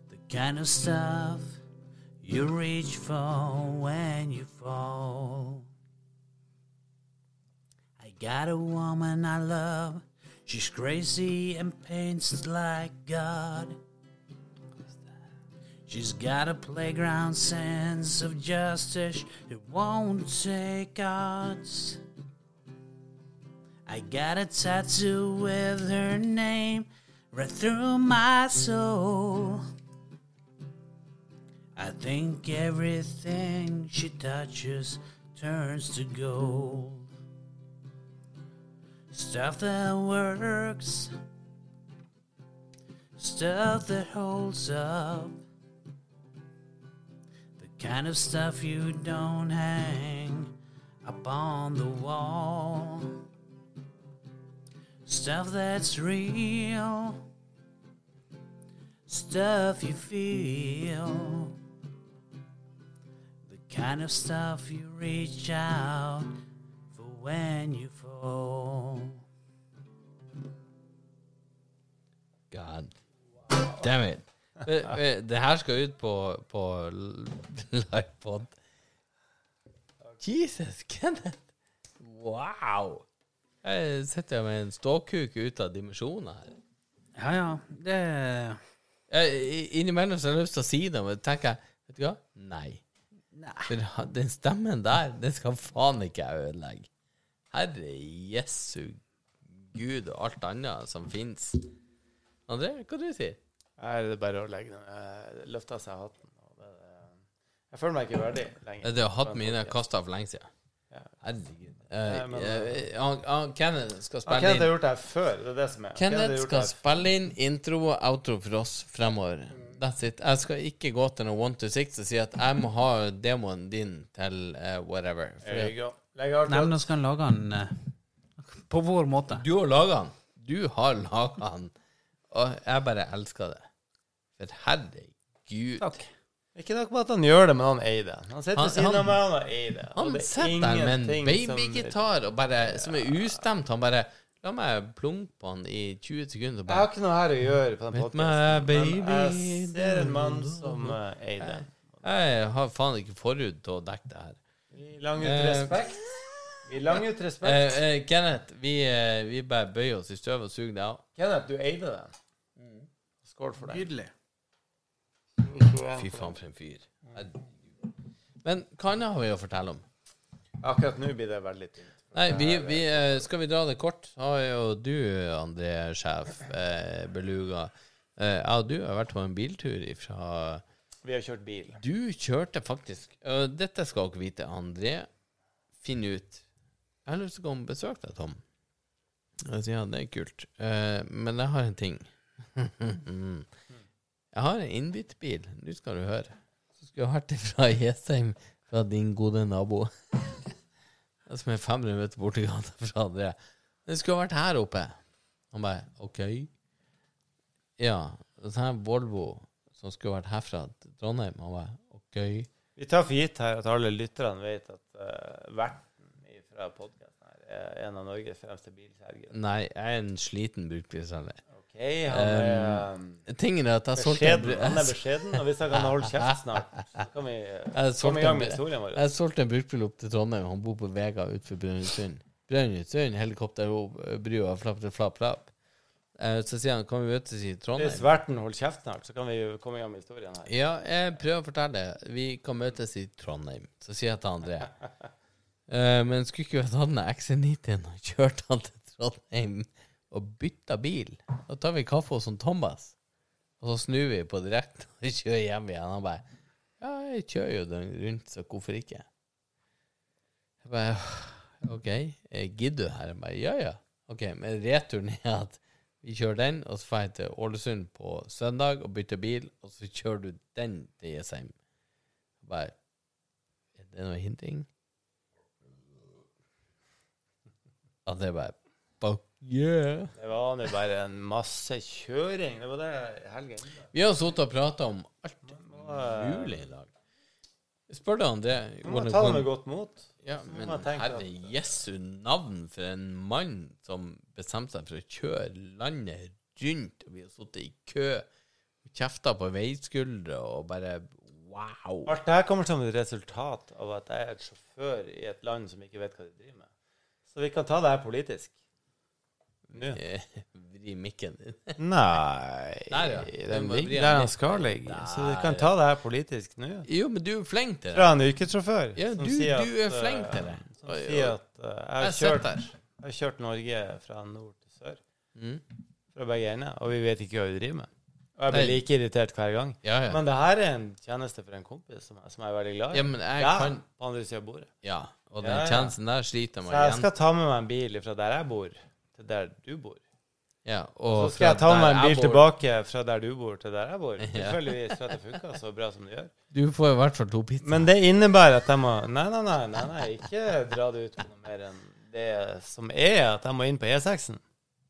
Speaker 5: The kind of stuff you reach for when you fall. I got a woman I love. She's crazy and paints like God. She's got a playground sense of justice. It won't take odds. I got a tattoo with her name right through my soul. I think everything she touches turns to gold. Stuff that works, stuff that holds up. The
Speaker 3: Kind of stuff you don't hang up on the wall. Stuff that's real. Stuff you feel. The kind of stuff you reach out for when you fall.
Speaker 2: God damn it. Det, det her skal ut på, på livepod. Jesus, Kenneth. Wow. Jeg sitter med en ståkuk ut av dimensjoner her.
Speaker 5: Ja, ja. Det
Speaker 2: Jeg- i- Innimellom så har jeg lyst til å si det, men tenker jeg Vet du hva? Nei.
Speaker 5: Nei.
Speaker 2: For ha- den stemmen der, den skal faen ikke jeg ødelegge. Herre jesu gud og alt annet som fins. André, hva du sier
Speaker 4: Nei, det er bare å legge den eh, Løfte av seg hatten. Og det, eh, jeg føler meg ikke verdig lenger.
Speaker 2: Det har hatt mine kasta for lenge siden.
Speaker 4: Ja.
Speaker 2: Herregud.
Speaker 4: Nei, men-
Speaker 2: Eh, eh, han- han- Kenneth skal
Speaker 4: Ja,
Speaker 2: spille
Speaker 4: Ah, Kenneth har
Speaker 2: inn
Speaker 4: gjort det her før. Det er det som er. har
Speaker 2: Kenneth
Speaker 4: gjort
Speaker 2: skal
Speaker 4: det her
Speaker 2: spille inn intro og outro for oss fremover. That's it. Jeg skal ikke gå til noe one to six og si at jeg må ha demoen din til eh, whatever.
Speaker 4: før. There
Speaker 2: Fordi
Speaker 4: you go. Legg hardt
Speaker 5: Nei, men
Speaker 4: opp.
Speaker 5: nå skal han lage den eh, på vår måte.
Speaker 2: Du har laga den. Du har laga den. Og jeg bare elsker det. For herregud.
Speaker 5: Takk.
Speaker 4: Ikke nok med at han gjør det, men han eier det. Han sitter
Speaker 2: Han-
Speaker 4: ved siden
Speaker 2: han-
Speaker 4: av meg, han har eier det. Og
Speaker 2: Han
Speaker 4: det er
Speaker 2: sitter der med en
Speaker 4: ingenting som-
Speaker 2: babygitar og bare, som er ustemt. Han bare La meg plunke på han i 20 sekunder. og
Speaker 4: Jeg har
Speaker 2: Bare,
Speaker 4: ikke noe her å gjøre på den
Speaker 2: With
Speaker 4: podcasten,
Speaker 2: my
Speaker 4: men
Speaker 2: baby.
Speaker 4: jeg ser en mann som eh, eier det.
Speaker 2: jeg har faen ikke forhud til å dekke det her.
Speaker 4: Vi langer ut
Speaker 2: Eh,
Speaker 4: respekt. Vi langer ut respekt.
Speaker 2: Eh, eh, Kenneth, vi, eh, vi bare bøyer oss i støvet og suger det av.
Speaker 4: Kenneth, du eide det.
Speaker 2: Mm.
Speaker 4: Skål for det.
Speaker 5: Nydelig.
Speaker 2: Fy faen, for en fyr. Herregud. Men hva annet har vi å fortelle om?
Speaker 4: Akkurat nå blir det veldig tynt.
Speaker 2: Nei, vi, vi, eh, skal vi dra det kort, så har jo du, André Sjef, eh, Beluga eh, Ja, du har vært på en biltur ifra
Speaker 4: Vi har kjørt bil.
Speaker 2: Du kjørte faktisk og Dette skal dere vite, André. Finn ut Jeg har lyst til å komme og besøke deg, Tom. Jeg sier ja, det er kult. Eh, men jeg har en ting. [LAUGHS] jeg har en innbyttebil. Nå skal du høre. Så skulle jeg vært fra Jessheim, fra din gode nabo. [LAUGHS] Som er 500 meter borti gata fra André. Den skulle ha vært her oppe. Han bare OK. Ja. Og så her Volvo som skulle vært herfra til Trondheim. Han bare OK.
Speaker 4: Vi tar for gitt her at alle lytterne vet at eh, verten fra podkasten her er en av Norges fremste bilselgere.
Speaker 2: Nei, jeg er en sliten brukbilselger.
Speaker 4: OK, han er eh,
Speaker 2: Tingen er at jeg solgte en,
Speaker 4: beskjeden.
Speaker 2: bru-
Speaker 4: Han er beskjeden, og hvis han kan holde kjeft snart, så kan vi eh,
Speaker 2: jeg
Speaker 4: komme i
Speaker 2: solgte
Speaker 4: gang
Speaker 2: en,
Speaker 4: med
Speaker 2: bru-
Speaker 4: historien vår.
Speaker 2: jeg solgte en brukbil opp til Trondheim. Han bor på Vega utenfor Brønnøysund. Brønnøysund, helikopterbrua, flapp, flapp, flapp. Eh, Så sier han, kan vi møtes i Trondheim?
Speaker 4: Hvis verten holder kjeft snart, så kan vi jo komme i gang med historien her.
Speaker 2: Ja, jeg prøver å fortelle. Vi kan møtes i Trondheim. Så sier jeg til André. Eh, men skulle ikke vi ha tatt den XC90-en og kjørt han til Trondheim og bytta bil? Da tar vi kaffe hos han Thomas, og så snur vi på direkten og [LAUGHS] kjører hjem igjen. Han bare Ja, jeg kjører jo den rundt, så hvorfor ikke? Jeg bare OK, eh, gidder du her? Jeg bare Ja, ja. OK, men returen er at vi kjører den, og så drar jeg til Ålesund på søndag og bytter bil, og så kjører du den til Jessheim. Bare Er det noe hinting? At det er bare Fuck yeah.
Speaker 4: Det var nå bare en masse kjøring. Det var det i helgen.
Speaker 2: Vi har sittet og prata om alt
Speaker 4: Må, eh,
Speaker 2: mulig i dag. Spør du André
Speaker 4: Må
Speaker 2: hvordan
Speaker 4: ta det med
Speaker 2: hvordan-
Speaker 4: godt mot.
Speaker 2: Ja,
Speaker 4: må
Speaker 2: men
Speaker 4: man tenke
Speaker 2: herre
Speaker 4: at-
Speaker 2: jesu navn for en mann som bestemte seg for å kjøre landet rundt, og vi har sittet i kø, kjefta på veiskuldre og bare wow.
Speaker 4: Alt det her kommer som et resultat av at jeg er et sjåfør i et land som ikke vet hva de driver med. Så vi kan ta det her politisk. Nå.
Speaker 2: Eh, [LAUGHS] Vri mikken
Speaker 4: [LAUGHS]
Speaker 2: din.
Speaker 4: Nei
Speaker 2: Der, ja. Den
Speaker 4: Den
Speaker 2: må
Speaker 4: ligger
Speaker 2: bli
Speaker 4: der
Speaker 2: en-
Speaker 4: han skal ligge. Så vi
Speaker 2: Der,
Speaker 4: kan ta det her politisk nå.
Speaker 2: Jo, men du er flink til det.
Speaker 4: Fra en yrkessjåfør
Speaker 2: Ja,
Speaker 4: som
Speaker 2: du-
Speaker 4: sier at,
Speaker 2: du er flink til
Speaker 4: eh,
Speaker 2: det.
Speaker 4: Som
Speaker 2: Oi, oi.
Speaker 4: sier at eh, jeg
Speaker 2: Jeg
Speaker 4: har
Speaker 2: har sett
Speaker 4: kjørt,
Speaker 2: der.
Speaker 4: jeg har kjørt Norge fra nord til sør.
Speaker 2: Mm.
Speaker 4: Fra begge ender. Og vi vet ikke hva vi driver med. Og jeg blir
Speaker 2: Nei.
Speaker 4: like irritert hver gang.
Speaker 2: Ja, ja.
Speaker 4: Men det her er en tjeneste for en kompis som, jeg- som jeg er veldig glad i.
Speaker 2: ja, men jeg
Speaker 4: Ja,
Speaker 2: kan
Speaker 4: på andre siden av bordet.
Speaker 2: Ja, og
Speaker 4: Ja,
Speaker 2: den
Speaker 4: ja.
Speaker 2: tjenesten der sliter jeg
Speaker 4: Så
Speaker 2: meg
Speaker 4: jeg
Speaker 2: igjen.
Speaker 4: skal ta med meg en bil fra der jeg bor, til der du bor.
Speaker 2: Ja, og
Speaker 4: Så skal jeg ta
Speaker 2: fra
Speaker 4: meg
Speaker 2: der
Speaker 4: en bil
Speaker 2: jeg bor-
Speaker 4: tilbake fra der du bor, til der jeg
Speaker 2: [LAUGHS]
Speaker 4: bor.
Speaker 2: Ja.
Speaker 4: Tilfeldigvis, for at det funka så bra som det
Speaker 2: [LAUGHS]
Speaker 4: gjør.
Speaker 2: Du får i hvert fall to pizzaer.
Speaker 4: Men det innebærer at jeg må Nei, nei, nei, nei, nei ikke dra det ut på noe mer enn det som er, at jeg må inn på E E6-en.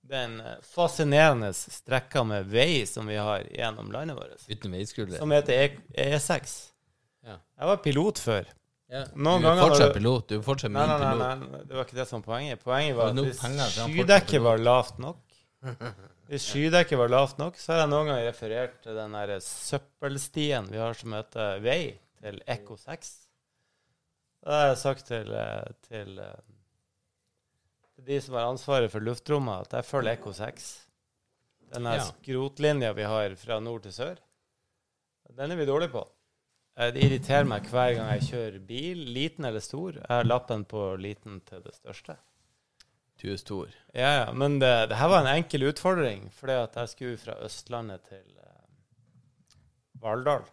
Speaker 4: Den eh, fascinerende strekka med vei som vi har gjennom landet vårt,
Speaker 2: Uten veiskulder.
Speaker 4: som heter E- E6.
Speaker 2: Ja.
Speaker 4: Jeg var pilot før.
Speaker 2: Ja.
Speaker 4: Noen
Speaker 2: du er
Speaker 4: ganger når
Speaker 2: fortsatt
Speaker 4: du-
Speaker 2: pilot. Du er fortsatt
Speaker 4: Nei,
Speaker 2: min
Speaker 4: nei,
Speaker 2: pilot.
Speaker 4: nei, nei, det var ikke det som var poenget. Poenget var
Speaker 2: Det var nok
Speaker 4: at
Speaker 2: penger
Speaker 4: hvis
Speaker 2: til han
Speaker 4: skydekket var lavt nok Hvis skydekket var lavt nok, så har jeg noen ganger referert til den der søppelstien vi har som heter vei til Ekko 6. Det har jeg sagt til, eh, til, eh, til de som har ansvaret for luftrommet, at jeg følger Ekko 6. Den her
Speaker 2: Ja.
Speaker 4: skrotlinja vi har fra nord til sør, den er vi dårlige på. Eh, Det irriterer meg hver gang jeg kjører bil, liten eller stor. Jeg har lappen på liten til det største.
Speaker 2: Du er stor.
Speaker 4: Ja, ja, men det, det her var en enkel utfordring, fordi at jeg skulle fra Østlandet til eh, Valldal.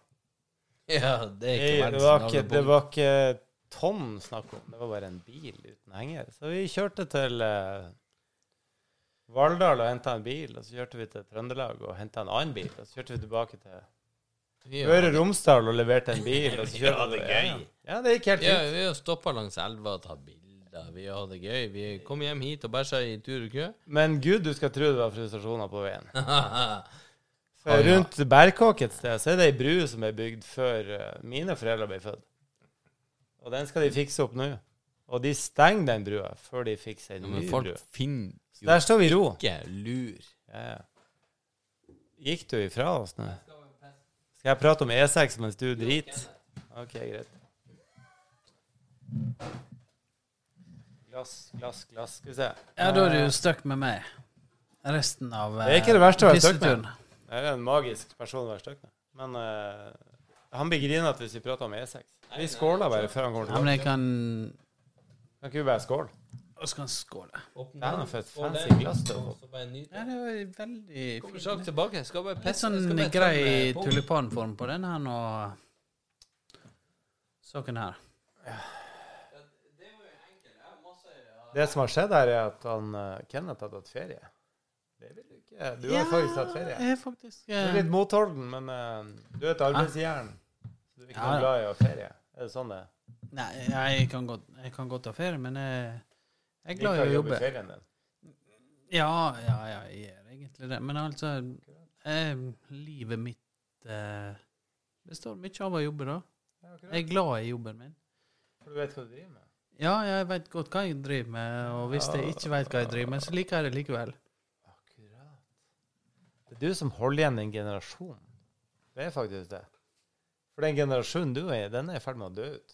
Speaker 2: Ja, det er
Speaker 4: Nei,
Speaker 2: ikke
Speaker 4: det, var
Speaker 2: verdens
Speaker 4: ikke, det var ikke tonn snakk om, det var bare en bil uten henger. Så vi kjørte til eh, Valldal og henta en bil, og så kjørte vi til Trøndelag og henta en annen bil, og så kjørte vi tilbake til Møre og Romsdal og leverte en bil. Og så
Speaker 2: [LAUGHS] Ja,
Speaker 4: kjørte
Speaker 2: det er
Speaker 4: vi-
Speaker 2: gøy.
Speaker 4: Ja, det gikk helt
Speaker 2: Ja,
Speaker 4: fint.
Speaker 2: vi har stoppa langs elva og tatt bilder. Vi har det gøy. Vi kom hjem hit og bæsja i tur og [LAUGHS] kø.
Speaker 4: Men gud, du skal tro det var frustrasjoner på veien. For
Speaker 2: Ah, ja.
Speaker 4: Rundt Berkåk et sted så er det ei bru som er bygd før eh, mine foreldre ble født. Og den skal de fikse opp nå. Og de stenger den brua før de fikser ei
Speaker 2: Ja,
Speaker 4: ny
Speaker 2: men
Speaker 4: bru.
Speaker 2: folk finner
Speaker 4: Så
Speaker 2: jo
Speaker 4: der står vi i ro.
Speaker 2: ikke lur.
Speaker 4: Ja, ja. Gikk du ifra oss nå? Skal jeg prate om E6 mens du driter? OK, greit. Glass, glass, glass. Skal vi se.
Speaker 5: Ja, da er du stuck med meg resten av eh,
Speaker 4: Det er ikke det verste å være stuck med.
Speaker 5: pisseturen.
Speaker 4: Jeg er en magisk person å være stuck med. Men eh, han blir grinete hvis vi prater om E6. Vi skåler bare før han kommer
Speaker 5: Ja, men
Speaker 4: tilbake.
Speaker 5: jeg kan
Speaker 4: Kan ikke vi bare skåle?
Speaker 5: Og så kan jeg skåle.
Speaker 4: Det er noe for et fancy glass du har fått.
Speaker 5: Ja, det var veldig
Speaker 2: Kommer
Speaker 5: fint.
Speaker 2: sak tilbake. Skal bare
Speaker 5: Litt
Speaker 2: pisse.
Speaker 5: sånn
Speaker 2: Skal bare
Speaker 5: grei
Speaker 2: tømme pungen.
Speaker 5: tulipanform på den her nå. Saken her.
Speaker 4: Det som har skjedd her, er at han, eh, Kenneth har tatt ferie. Det vil du ikke. Du har faktisk tatt ferie.
Speaker 5: Jeg er faktisk
Speaker 4: Du
Speaker 5: eh,
Speaker 4: er litt motholden, men eh, du er et arbeidsjern. Så du er ikke
Speaker 5: Ja, ja.
Speaker 4: noe glad i å ha ferie. Er det sånn det er?
Speaker 5: Nei, jeg kan godt, jeg kan godt ta ferie, men jeg, jeg er glad i
Speaker 4: Liker
Speaker 5: å
Speaker 4: å jobbe
Speaker 5: jobbe.
Speaker 4: i ferien din.
Speaker 5: Ja, ja, ja, jeg gjør egentlig det. Men altså, eh, livet mitt eh, består mye av å jobbe, da.
Speaker 4: Ja,
Speaker 5: Jeg
Speaker 4: akkurat.
Speaker 5: er glad i jobben min.
Speaker 4: For du vet hva du driver med.
Speaker 5: Ja, jeg veit godt hva jeg driver med, og hvis jeg ikke veit hva jeg driver med, så liker jeg det likevel.
Speaker 4: Akkurat. Det er du som holder igjen en generasjon. Det er faktisk det. For den generasjonen du er i, den er i ferd med å dø ut.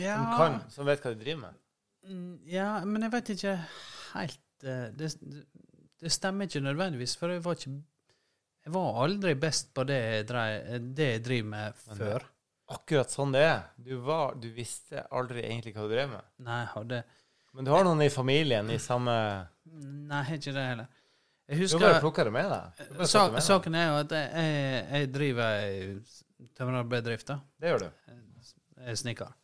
Speaker 5: Ja,
Speaker 4: Som kan, som vet hva de driver med.
Speaker 5: Mm, ja men jeg veit ikke helt eh, det, det stemmer ikke nødvendigvis, for jeg var ikke Jeg var aldri best på det jeg, drei, det jeg driver med
Speaker 4: Men det-
Speaker 5: før.
Speaker 4: Akkurat sånn det er. Du, var, du visste aldri egentlig hva du drev med.
Speaker 5: Nei, jeg hadde
Speaker 4: Men du har noen i familien i samme
Speaker 5: Nei, jeg har ikke det heller. Jeg
Speaker 4: Du
Speaker 5: husker
Speaker 4: bare plukker det med deg. Du bare plukker
Speaker 5: Sa-
Speaker 4: det med deg.
Speaker 5: saken er jo at jeg, jeg, jeg driver ei tømmerbedrift. da.
Speaker 4: Det gjør du.
Speaker 5: Jeg er snekker.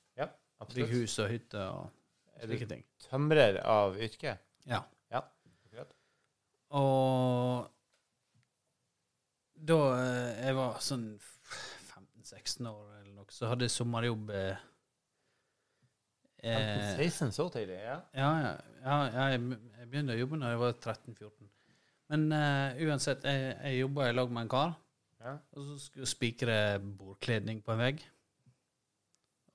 Speaker 5: Bygger
Speaker 4: Absolutt.
Speaker 5: hus og hytter og
Speaker 4: Er du
Speaker 5: slike ting.
Speaker 4: tømrer av yrke?
Speaker 5: Ja.
Speaker 4: Ja. Akkurat.
Speaker 5: Og da eh, jeg var sånn 15-16 år eller noe, så hadde jeg sommerjobb eh, eh,
Speaker 4: 16 så tidlig, ja.
Speaker 5: Ja, ja. ja ja, jeg, jeg begynte å jobbe da jeg var 13-14. Men eh, uansett, jeg, jeg jobba i lag med en kar.
Speaker 4: ja.
Speaker 5: Og så skulle jeg spikre bordkledning på en vegg.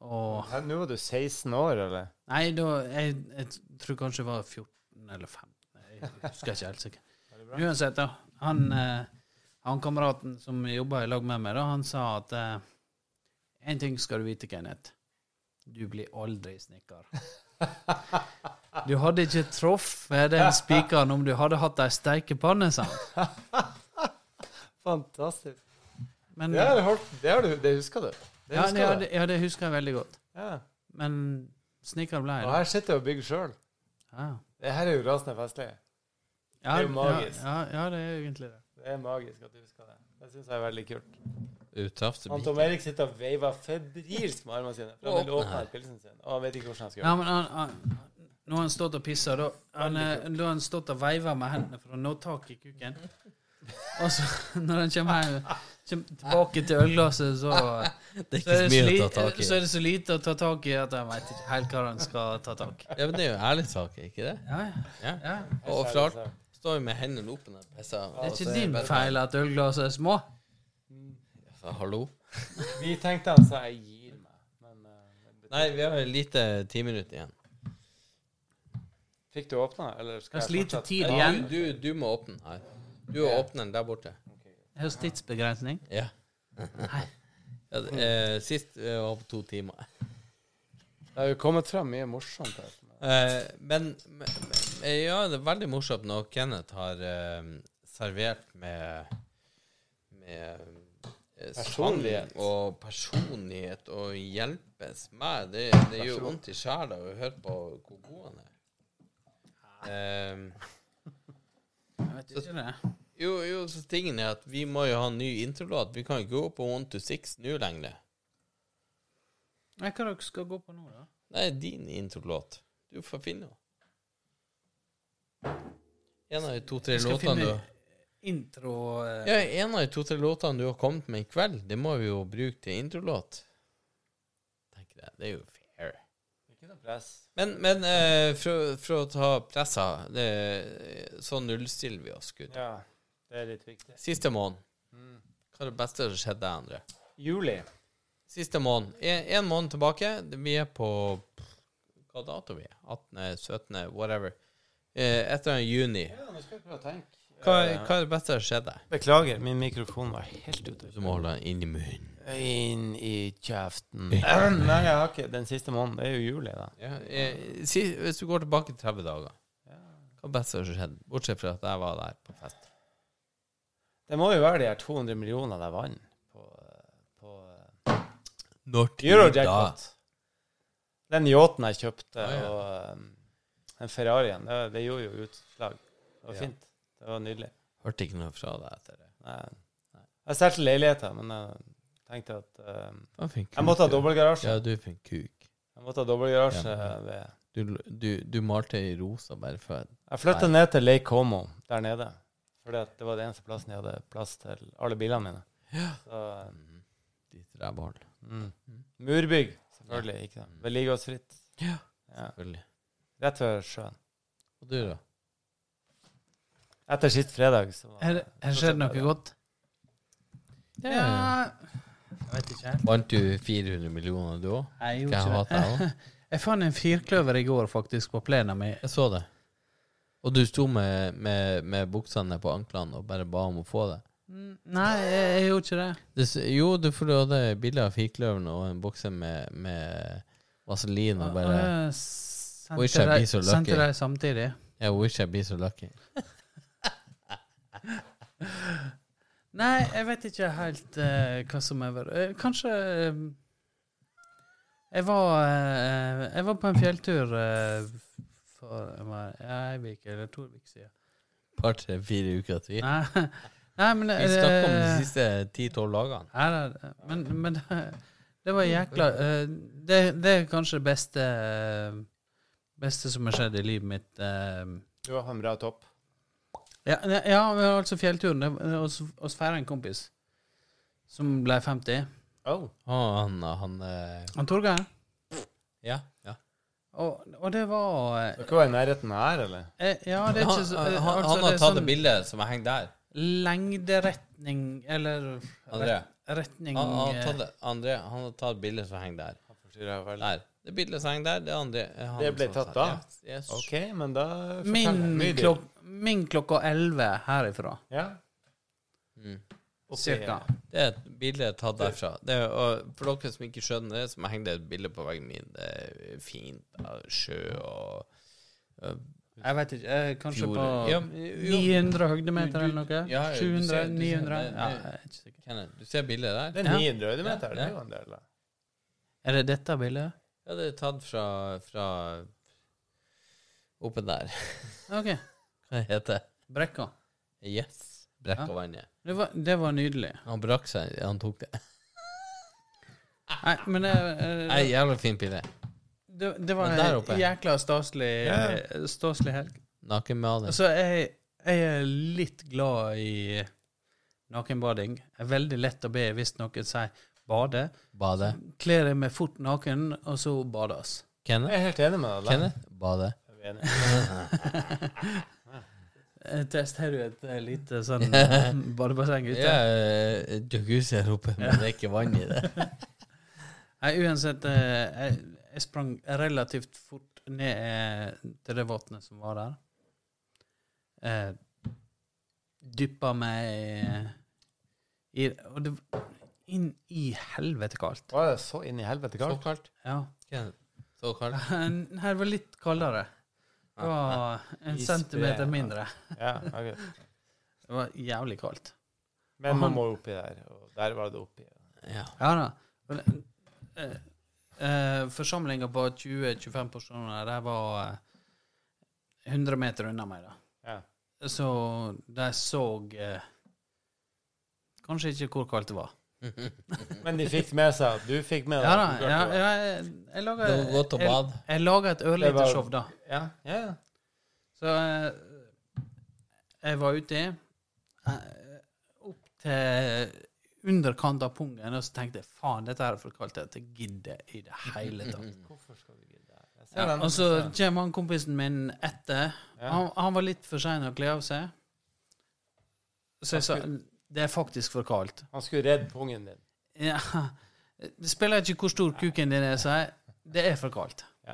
Speaker 5: Og
Speaker 4: Hæ, Nå var du 16 år, eller?
Speaker 5: Nei, da Jeg, jeg tror kanskje det var 14 eller 15. Jeg husker ikke helt sikkert.
Speaker 4: [LAUGHS]
Speaker 5: Uansett, da. Han, eh, han kameraten som jobba i lag med meg, da, han sa at én ting skal du vite, Kenneth. Du blir aldri
Speaker 4: [LAUGHS]
Speaker 5: snekker. Du hadde ikke truffet den spikeren om du hadde hatt ei steikepanne, sa han.
Speaker 4: Fantastisk.
Speaker 5: Men
Speaker 4: Det, har du holdt, det, har du, det husker du. Det
Speaker 5: ja,
Speaker 4: husker
Speaker 5: ja,
Speaker 4: du.
Speaker 5: det, ja, det husker jeg veldig godt.
Speaker 4: Ja.
Speaker 5: Men snekker ble jeg,
Speaker 4: Og
Speaker 5: da.
Speaker 4: her sitter jeg og bygger sjøl.
Speaker 5: Ja.
Speaker 4: Det her er jo rasende festlig. Det
Speaker 5: Ja,
Speaker 4: er jo magisk.
Speaker 5: Ja, ja, ja, det er egentlig det.
Speaker 4: Det er magisk at du husker det. Det syns jeg er veldig kult.
Speaker 2: Du traff det
Speaker 4: Han Tom Erik sitter og veiver febrilsk med armene sine. For han vil åpne her pilsen sin. Og han vet ikke hvordan han skal
Speaker 5: Ja,
Speaker 4: gjøre det.
Speaker 5: men han, han, Nå har han stått og pissa, da. Han, eh, da har han stått og veiva med hendene for å nå tak i kuken. Og så, [LAUGHS] når han kommer, hjem, kommer tilbake til ølglasset, så,
Speaker 2: [LAUGHS] Det er
Speaker 5: så,
Speaker 2: ikke så
Speaker 5: er det
Speaker 2: mye
Speaker 5: så,
Speaker 2: å ta tak
Speaker 5: li,
Speaker 2: i.
Speaker 5: så er det så lite å ta tak i at han veit ikke helt hva han skal ta tak i.
Speaker 2: Ja, men det er jo ærlig sak, er ikke det?
Speaker 5: Ja, ja.
Speaker 2: Ja.
Speaker 5: ja.
Speaker 2: Og overalt står vi med hendene oppe når jeg pisser.
Speaker 5: Det er ikke din feil at ølglasset er små.
Speaker 2: Altså, hallo?
Speaker 4: Vi tenkte han sa 'jeg gir meg', men eh,
Speaker 2: Nei, vi har lite ti minutter igjen.
Speaker 4: Fikk du åpna, eller skal
Speaker 5: Kanskje
Speaker 4: jeg
Speaker 5: lite
Speaker 4: fortsette?
Speaker 5: tid
Speaker 2: Nei,
Speaker 5: igjen.
Speaker 2: Du, du, du må åpne her. Du er åpneren der borte.
Speaker 5: Jeg hører tidsbegrensning.
Speaker 2: Ja.
Speaker 5: Nei.
Speaker 2: [LAUGHS] ja det, eh, sist eh, var på to timer.
Speaker 4: Det har jo kommet frem mye morsomt her.
Speaker 2: Eh, men, men men- ja, det er veldig morsomt når Kenneth har eh, servert med med eh, sang
Speaker 4: Personlighet.
Speaker 2: og personlighet og hjelpes meg. Det, det gjør vondt i sjela å høre på hvor god han er. Eh,
Speaker 5: Jeg vet ikke det.
Speaker 2: jo, jo, så tingen er at vi må jo ha en ny introlåt. Vi kan ikke gå på One to Six nå lenger.
Speaker 5: Nei, hva dere skal gå på nå, da?
Speaker 2: Nei, din introlåt. Du får finne henne. En av de to-tre
Speaker 5: Jeg skal
Speaker 2: låtene
Speaker 5: finne
Speaker 2: du
Speaker 5: intro eh,
Speaker 2: Ja, en av de to-tre låtene du har kommet med i kveld, det må vi jo bruke til introlåt. Tenker jeg, Det er jo fair.
Speaker 4: Ikke noe press.
Speaker 2: Men, men eh, for, for å ta pressa, det, så nullstiller vi oss, gutt.
Speaker 4: Ja, det er litt viktig.
Speaker 2: Siste måned. Hva er det beste som skjedde, Endre?
Speaker 4: Juli.
Speaker 2: Siste måned. Én måned tilbake. Vi er på Hva dato er vi? 18., 17., eh, whatever. Eh, et eller annet juni.
Speaker 4: Ja, nå skal jeg prøve å tenke.
Speaker 2: Hva, hva er det beste som skjedde?
Speaker 4: Beklager, min mikrofon var helt ute.
Speaker 2: Du må holde den inni munnen.
Speaker 4: Inn i kjeften. Nei, jeg har ikke den siste måneden. Det er jo juli, da.
Speaker 2: Ja, eh, si, hvis du går tilbake 30 dager, hva er det beste som skjedde? Bortsett fra at jeg var der på fest.
Speaker 4: Det må jo være de her 200 millionene jeg vant på, på eh,
Speaker 2: Når
Speaker 4: Eurojackpot. Den yachten jeg kjøpte,
Speaker 2: Ah, ja.
Speaker 4: og um, den Ferrarien, det, det gjorde jo utslag. Det var
Speaker 2: Ja.
Speaker 4: fint. Det var nydelig.
Speaker 2: Hørte ikke noe fra deg etter det.
Speaker 4: Nei. Jeg solgte leiligheten, men jeg tenkte at um,
Speaker 2: Han fikk
Speaker 4: Jeg måtte ha
Speaker 2: kuk, du.
Speaker 4: dobbeltgarasje.
Speaker 2: Ja, du fikk kuk.
Speaker 4: Jeg måtte ha dobbeltgarasje
Speaker 2: Ja.
Speaker 4: ved
Speaker 2: Du, du, du malte i rosa bare for
Speaker 4: Jeg flytta ned til Lake Como der nede. For det var den eneste plassen jeg hadde plass til alle bilene mine. Så,
Speaker 2: Um, ditt rævhål.
Speaker 4: mm. Murbygg, selvfølgelig. ikke det. Vedlikeholdsfritt.
Speaker 2: Ja.
Speaker 4: Ja.
Speaker 2: Selvfølgelig.
Speaker 4: Rett ved sjøen.
Speaker 2: Og du, da?
Speaker 4: Etter sist fredag så var
Speaker 5: Her, her skjedde noe godt.
Speaker 2: Ja.
Speaker 5: Jeg vet ikke helt.
Speaker 2: Vant du 400 millioner, du òg?
Speaker 5: Jeg
Speaker 2: Skal jeg
Speaker 5: gjorde ikke
Speaker 2: hate
Speaker 5: det.
Speaker 2: deg òg?
Speaker 5: Jeg fant en firkløver i går faktisk på plenen min.
Speaker 2: Jeg så det. Og du sto med, med, med buksene på anklene og bare ba om å få det.
Speaker 5: Mm, Nei, jeg, jeg gjorde ikke det.
Speaker 2: Det, s- jo, du får du hadde bilde av firkløveren og en bokse med, med vaselin
Speaker 5: Ah,
Speaker 2: og bare
Speaker 5: jeg
Speaker 2: Wish I
Speaker 5: sendte
Speaker 2: be
Speaker 5: deg-
Speaker 2: so lucky.
Speaker 5: sendte deg samtidig.
Speaker 2: I wish I be so lucky.
Speaker 5: Nei, jeg vet ikke helt eh, hva som er vært eh, Kanskje eh, jeg, var, eh, jeg var på en fjelltur eh, for det var ei uke eller to uker siden.
Speaker 2: Par, tre, fire uker til.
Speaker 5: Nei, [LAUGHS] nei men
Speaker 2: Vi snakker om de
Speaker 5: eh,
Speaker 2: siste ti-tolv dagene.
Speaker 5: Nei, nei, nei, men, men det, det var jækla eh, det, det er kanskje det beste eh, Beste som har skjedd i livet mitt. eh.
Speaker 4: Du har en bra topp.
Speaker 5: Ja, ne- ja men altså fjellturen. det- det- oss- Oss feira en kompis som ble 50.
Speaker 4: Oh.
Speaker 2: Og Ah, han, han eh,
Speaker 5: Han Torgeir.
Speaker 2: Ja. ja.
Speaker 5: Og, og det var eh,
Speaker 4: Dere var i nærheten her, eller?
Speaker 5: eh, Ja, det er
Speaker 2: Han,
Speaker 5: ikke så
Speaker 2: han,
Speaker 5: eh,
Speaker 2: han, han
Speaker 5: altså, det
Speaker 2: har
Speaker 5: er
Speaker 2: tatt
Speaker 5: sånn
Speaker 2: et bilde som har hengt der.
Speaker 5: Lengderetning, eller
Speaker 2: André.
Speaker 5: retning
Speaker 2: Han, han, har
Speaker 5: eh,
Speaker 2: tatt, det- André, han har tatt et bilde som henger der. Der. Det bildet som henger der, det er André. eh, han
Speaker 4: Det ble
Speaker 2: som
Speaker 4: tatt
Speaker 2: sa-
Speaker 4: da?
Speaker 2: Ja. Yes.
Speaker 4: OK, men da
Speaker 5: min,
Speaker 4: Mye dyr.
Speaker 5: klok min klokka 11 herifra,
Speaker 4: Ja.
Speaker 2: Mm.
Speaker 4: Ok.
Speaker 5: cirka.
Speaker 2: Det er et bilde tatt derfra. Det er, og for dere som ikke skjønner det, så må jeg henge det et bilde på veggen min. Det er fint av sjø og
Speaker 5: Jeg vet ikke, eh, kanskje
Speaker 2: fjord.
Speaker 5: på
Speaker 2: Ja, men- jo,
Speaker 5: 900 høydemeter
Speaker 2: Du- du-
Speaker 5: eller noe?
Speaker 2: ja, ja, du ser- du ser-
Speaker 5: 700?
Speaker 2: det-
Speaker 5: 900?
Speaker 2: det-
Speaker 5: Ja, jeg er ikke sikker.
Speaker 2: Kenneth, du ser bildet der?
Speaker 4: Det er
Speaker 5: Ja.
Speaker 4: 900 høydemeter.
Speaker 2: Ja,
Speaker 4: Det
Speaker 2: ja.
Speaker 4: er jo en del, da.
Speaker 5: Er det dette bildet?
Speaker 2: Ja, det er tatt fra, fra oppe der.
Speaker 5: OK.
Speaker 2: Hva heter det?
Speaker 5: Brekka.
Speaker 2: Yes. Brekkavannet.
Speaker 5: Det var, det var nydelig.
Speaker 2: Han brakk seg, han tok det.
Speaker 5: Nei, men det, eh,
Speaker 2: Nei, jævla fint bilde.
Speaker 5: Det, det var
Speaker 2: Men der
Speaker 5: en
Speaker 2: oppe.
Speaker 5: jækla staselig
Speaker 4: Ja.
Speaker 5: staselig helg.
Speaker 2: Nakenbading.
Speaker 5: Altså, jeg, jeg er litt glad i nakenbading. Det er veldig lett å be hvis noen sier 'bade'.
Speaker 2: Bade.
Speaker 5: Kler jeg meg fort naken, og så badas.
Speaker 2: Kenneth?
Speaker 4: Jeg er helt enig med deg.
Speaker 2: Kenneth? Bade.
Speaker 4: Kenneth.
Speaker 5: Eh, Test, har du et eh, lite sånn eh,
Speaker 2: [LAUGHS]
Speaker 5: badebasseng ute?
Speaker 2: Ja, jacuzzi her oppe, men det er ikke vann i
Speaker 5: [LAUGHS]
Speaker 2: det.
Speaker 5: Nei, uansett, eh, jeg, jeg sprang relativt fort ned eh, til det vannet som var der. Eh, Dyppa meg eh, i Og det var inn i helvete kaldt.
Speaker 4: Var det så inn i helvete
Speaker 2: Så
Speaker 4: kaldt?
Speaker 2: kaldt.
Speaker 5: Ja.
Speaker 2: Kenneth. Så kaldt.
Speaker 5: Den her var litt kaldere. Det var en
Speaker 4: Isbre.
Speaker 5: centimeter mindre.
Speaker 4: Ja, ok.
Speaker 5: Det var jævlig kaldt.
Speaker 4: Men man må oppi der, og der var det oppi.
Speaker 2: Ja.
Speaker 5: Ja da. Men, eh, eh, Forsamlinga på 20-25 personer, de var eh, 100 meter unna meg, da.
Speaker 4: Ja.
Speaker 5: Så de så eh, Kanskje ikke hvor kaldt det var.
Speaker 4: Men de fikk med seg Du fikk med deg
Speaker 5: Ja da.
Speaker 4: at du
Speaker 5: Ja,
Speaker 4: klarte det.
Speaker 5: ja, jeg, jeg laga
Speaker 2: Det var godt å
Speaker 5: jeg,
Speaker 2: bade.
Speaker 5: jeg laga et
Speaker 4: Det var-
Speaker 5: ørlite show, da.
Speaker 4: Ja, ja, ja.
Speaker 5: Så eh, jeg var ute eh, opp til underkant av pungen, og så tenkte jeg faen, dette her er for kaldt. Dette gidder jeg i det hele tatt.
Speaker 4: [LAUGHS] Hvorfor skal du gidde der? Jeg ser
Speaker 5: Ja,
Speaker 4: den.
Speaker 5: og så kommer han kompisen min etter.
Speaker 4: Ja.
Speaker 5: Han, han var litt for sein å kle av seg. Så jeg sa det er faktisk for kaldt.
Speaker 4: Han skulle redde pungen din.
Speaker 5: Ja. Det spiller ikke hvor stor kuken din er, sa jeg. Det er for kaldt.
Speaker 4: Ja.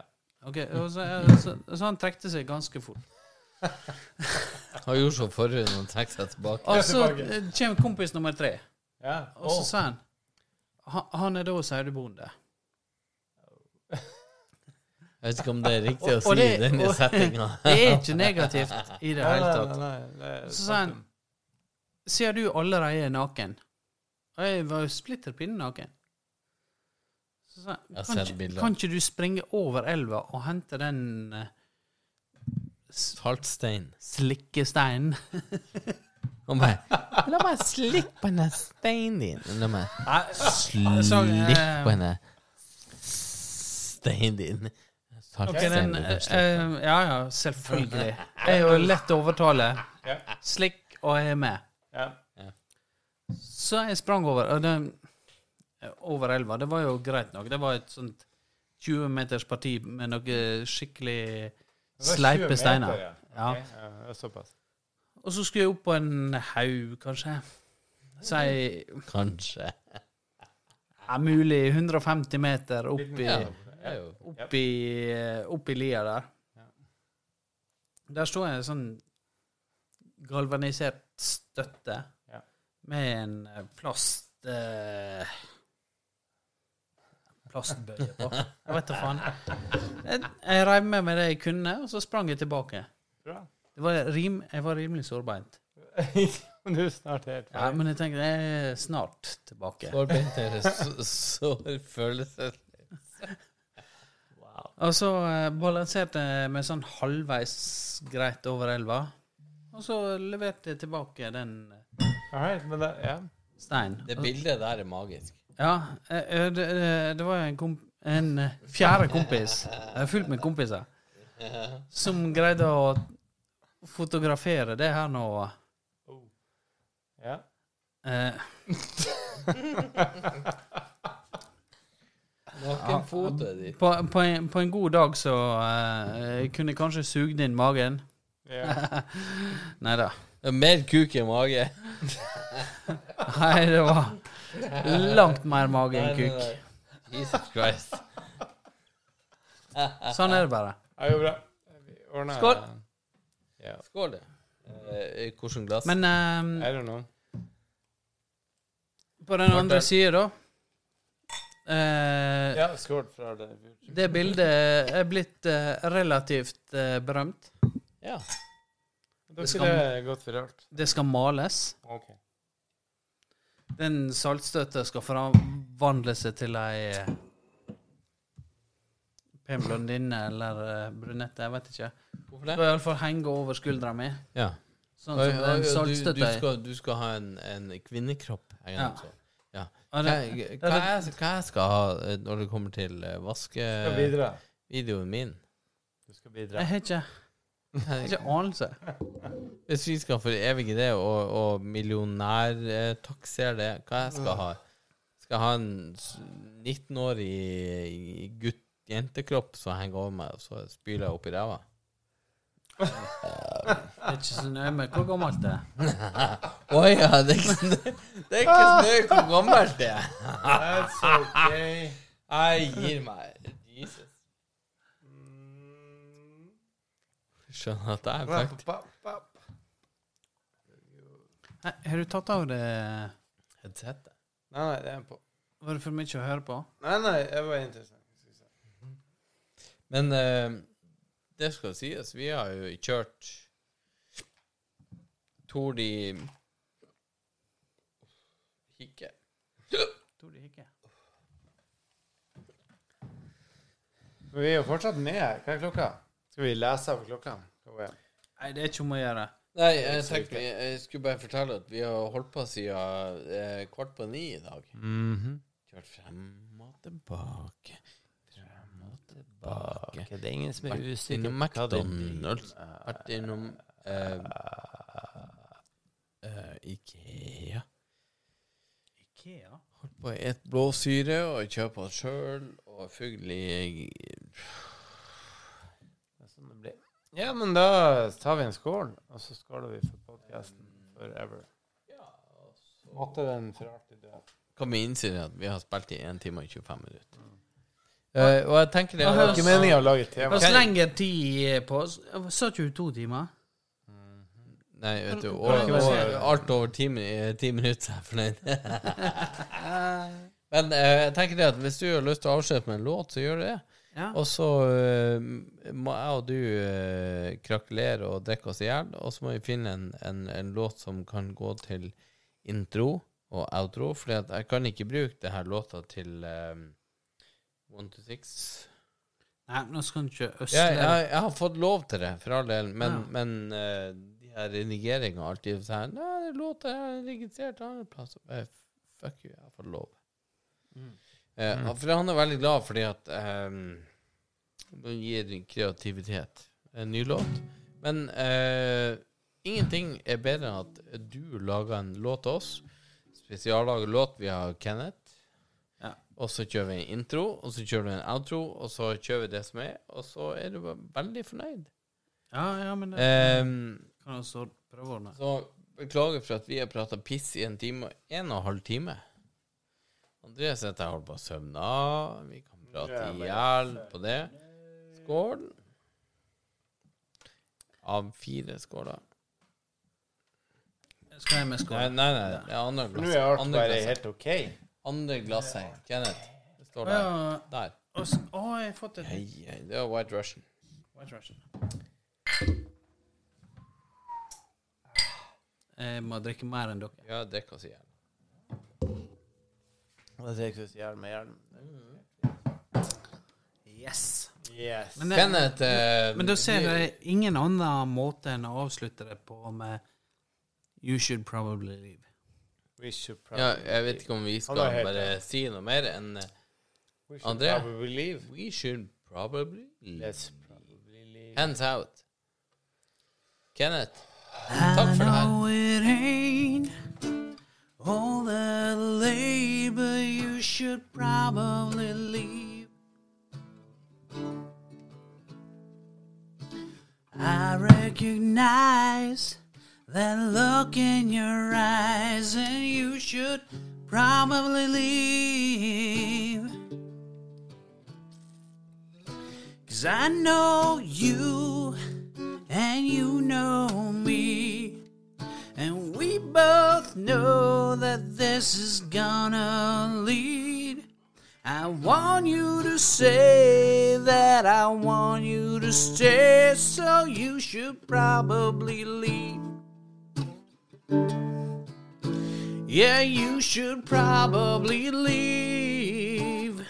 Speaker 5: Ok, og så, så, så han trekte seg ganske fort.
Speaker 2: Han gjorde som forrige når han trekker seg tilbake.
Speaker 5: Og så eh, kommer kompis nummer tre,
Speaker 4: Ja.
Speaker 5: og så sa han "Han- Han er da sauebonde.
Speaker 2: Jeg vet ikke om det er riktig å
Speaker 5: Og-
Speaker 2: si
Speaker 5: og
Speaker 2: i
Speaker 5: det-
Speaker 2: denne
Speaker 5: og-
Speaker 2: settinga.
Speaker 5: Det er ikke negativt i det hele tatt.
Speaker 4: tatt.
Speaker 5: Så sa han Sier du allerede er naken? Og jeg var jo splitter pinne naken. Så sa
Speaker 2: Jeg har
Speaker 5: jeg kan,
Speaker 2: sett
Speaker 5: ikke-
Speaker 2: bilder.
Speaker 5: kan ikke du springe over elva og hente den eh, s-
Speaker 2: Saltstein.
Speaker 5: slikkesteinen?
Speaker 2: Han bare La meg slikke på den steinen din. La meg slikke på den steinen din.
Speaker 5: Ok, den,
Speaker 2: Saltsteinen.
Speaker 5: eh,
Speaker 2: du kan
Speaker 5: eh, ja, ja, selvfølgelig. Jeg er jo lett å overtale.
Speaker 4: Ja.
Speaker 5: Slikk, og jeg er med.
Speaker 4: Ja.
Speaker 5: Så jeg sprang over, og den, over elva. Det var jo greit nok. Det var et sånt 20 meters parti med noe skikkelig
Speaker 4: Det var 20
Speaker 5: sleipe
Speaker 4: meter,
Speaker 5: steiner.
Speaker 4: ja.
Speaker 5: Ja.
Speaker 4: Ok, ja, Såpass.
Speaker 5: Og så skulle jeg opp på en haug, kanskje. Si
Speaker 2: slikke. Kanskje.
Speaker 5: ja, mulig 150 meter opp i,
Speaker 2: Ja. Det er jo-
Speaker 5: opp i, opp i lia der. Der står en sånn galvanisert støtte
Speaker 4: Ja.
Speaker 5: med en eh, plast... Eh, plastbøye på. Jeg vet da faen. Jeg, jeg reiv med meg det jeg kunne, og så sprang jeg tilbake.
Speaker 4: Bra. [LAUGHS]
Speaker 5: Det var rim, jeg var rimelig sårbeint.
Speaker 4: Du er snart helt
Speaker 5: Ja,
Speaker 4: ferdig.
Speaker 5: men jeg tenkte jeg er snart tilbake.
Speaker 2: Sårbeint er det så- sår følelser.
Speaker 5: Og så eh, balanserte jeg meg sånn halvveis greit over elva. Og så leverte jeg tilbake den eh,
Speaker 4: All right, men da, ja.
Speaker 5: steinen.
Speaker 2: Det bildet der er magisk.
Speaker 5: Ja, eh, eh, det, eh, det var jo en, komp en eh, fjerde kompis. Jeg er fullt med kompiser. Som greide å fotografere det her nå.
Speaker 4: ja.
Speaker 5: Eh,
Speaker 2: Nakenfotet ditt.
Speaker 5: på, på, en, på en god dag så eh, kunne jeg kanskje sugd inn magen.
Speaker 4: ja.
Speaker 5: [LAUGHS] Nei da.
Speaker 2: Det er Mer kuk i mage.
Speaker 5: Nei, det var langt mer mage enn
Speaker 2: Nei, nei,
Speaker 5: kuk.
Speaker 2: nei. Jesus Christ.
Speaker 5: Sånn er det bare.
Speaker 4: Ja, jo, bra. Vi ordner
Speaker 5: Skål.
Speaker 4: Ja.
Speaker 2: Skål, du. Eh, i Hvordan glass?
Speaker 5: Men eh,
Speaker 4: I don't know.
Speaker 5: på den andre sida, da eh,
Speaker 4: Ja, skål fra det.
Speaker 5: Det bildet er blitt eh, relativt eh, berømt.
Speaker 2: ja.
Speaker 4: Dere
Speaker 5: skal-
Speaker 4: er godt forrørt.
Speaker 5: Det skal males.
Speaker 4: Ok.
Speaker 5: Den saltstøtta skal forvandle seg til ei eh, pen blondine eller eh, brunette, jeg vet ikke.
Speaker 2: Hvorfor
Speaker 5: Det
Speaker 2: det?
Speaker 5: skal iallfall henge over skuldra mi.
Speaker 2: Ja.
Speaker 5: Sånn som den
Speaker 2: du, du,
Speaker 5: saltstøtta er.
Speaker 2: skal, du skal ha en, en kvinnekropp. Jeg
Speaker 5: Ja.
Speaker 2: altså. ja.
Speaker 5: Ja,
Speaker 2: Hva,
Speaker 5: det-
Speaker 2: hva, jeg, hva jeg skal ha eh, når det kommer til eh, vaske...
Speaker 4: Skal videre.
Speaker 2: videoen min.
Speaker 4: Du skal bli
Speaker 5: Jeg
Speaker 4: drept.
Speaker 5: har ikke, jeg har ikke anelse.
Speaker 2: Hvis vi skal forevige det og, og millionærtaksere det, hva jeg skal ha? Skal jeg ha en s- 19-årig gutt jentekropp som henger over meg, og så spyler jeg opp i [LAUGHS] ræva?
Speaker 5: Jeg er ikke så nøye med hvor gammelt det er.
Speaker 2: Å ja, det er ikke snø Det er ikke snø hvor gammelt det er.
Speaker 4: That's okay.
Speaker 2: Jeg gir meg. Jesus. Skjønner at jeg er fucked.
Speaker 5: Nei, Har du tatt av det
Speaker 2: Headsetet.
Speaker 4: Nei, nei, det er en på.
Speaker 5: Var det for mye å høre på?
Speaker 4: Nei, nei, det var interessant. Skal vi se.
Speaker 2: Men eh, det skal sies, vi har jo kjørt Tor de Hikke.
Speaker 5: Tror de ikke.
Speaker 4: Men vi er jo fortsatt med her. Hva er klokka? Skal vi lese av klokka? Hva var det?
Speaker 5: Nei, det er ikke om å gjøre.
Speaker 2: Nei, jeg tenkte Jeg skulle bare fortelle at vi har holdt på siden eh, kvart på ni i dag. Kjørt frem og tilbake. Frem og tilbake.
Speaker 4: Det er ingen som
Speaker 2: Vært innom McDonald's. Vært innom eh, eh, Ikea.
Speaker 5: Ikea?
Speaker 2: Holdt på å et blåsyre og kjøpe oss sjøl og fugl i
Speaker 4: sånn Ja, men da tar vi en skål, og så skåler vi for podkasten forever. Måtte den for alltid dø.
Speaker 2: Kan vi innse at vi har spilt i 1 time og 25 minutter? Eh, og jeg tenker det
Speaker 5: Hva
Speaker 4: Det
Speaker 2: at
Speaker 4: var ikke meningen å lage et tema.
Speaker 5: Hva slenger tid på oss? Sa ikke du to timer?
Speaker 2: Nei, vet du,
Speaker 5: Kan
Speaker 2: og,
Speaker 4: du-
Speaker 2: og, alt over ti, min- ti minutter, så er jeg fornøyd. Men eh, jeg tenker det at hvis du har lyst til å avslutte med en låt, så gjør du det.
Speaker 5: Ja.
Speaker 2: Og så eh, må jeg og du eh, krakelere og drikke oss i hjel, og så må vi finne en, en, en låt som kan gå til intro og outro, for jeg kan ikke bruke det her låta til eh, One to Six.
Speaker 5: Nei, nå skal du ikke øsle.
Speaker 2: Jeg, jeg, jeg har fått lov til det, for all del, men,
Speaker 5: Ja.
Speaker 2: men eh, de her redigeringene og alt det der Nei, det er låta jeg har registrert en annen plass. Og bare, fuck you, jeg har fått lov. Eh, For han er veldig glad fordi at eh, det gir kreativitet. En ny låt. Men eh, ingenting er bedre enn at du lager en låt til oss. Spesiallaget låt vi har Kenneth.
Speaker 5: Ja.
Speaker 2: Og så kjører vi en intro, og så kjører vi en outro, og så kjører vi det som er, og så er du veldig fornøyd.
Speaker 5: Ja, ja, men det
Speaker 2: Eh,
Speaker 5: kan jeg også prøve å ordne.
Speaker 2: så beklager for at vi har prata piss i en time og en og en halv time. Andreas sitter og holder på å søvne av. Vi kan prate i hjel på det. Skål. Av fire skåler.
Speaker 5: Skal jeg med
Speaker 2: Nei,
Speaker 5: skål?
Speaker 2: nei, nei. det er andre
Speaker 4: Nå er
Speaker 2: glasset.
Speaker 4: alt
Speaker 2: Andre
Speaker 4: bare
Speaker 2: glasset.
Speaker 4: helt OK.
Speaker 2: Andre glasset. Kenneth. Det står
Speaker 5: Å,
Speaker 2: der.
Speaker 5: ja.
Speaker 2: Der.
Speaker 5: Og s- Å, jeg har fått et
Speaker 2: Hei, hei. Det var White Russian.
Speaker 5: White Russian. Jeg må drikke mer enn dere.
Speaker 2: Ja, det kan si jeg.
Speaker 4: Det ser ikke ut som hjelm med hjelm.
Speaker 5: Yes.
Speaker 4: Yes.
Speaker 5: Men, det,
Speaker 2: Kenneth eh,
Speaker 5: men da ser
Speaker 2: vi-
Speaker 5: jeg ingen annen måte enn å avslutte det på med You should probably leave.
Speaker 4: We should probably,
Speaker 2: ja, Jeg vet ikke om vi skal
Speaker 4: helt
Speaker 2: bare
Speaker 4: rett.
Speaker 2: si noe mer enn eh,
Speaker 4: we should
Speaker 2: André?
Speaker 4: probably leave.
Speaker 2: We should probably
Speaker 4: Let's probably leave.
Speaker 2: Hands out. Kenneth, takk
Speaker 5: I
Speaker 2: for det her.
Speaker 5: know it ain't all that labor you should probably leave. I recognize that look in your eyes, and you should probably leave. Cause I know you and you know me. And we both know that this is gonna lead. I want you to say that I want you to stay, so you should probably leave. Yeah, you should probably leave.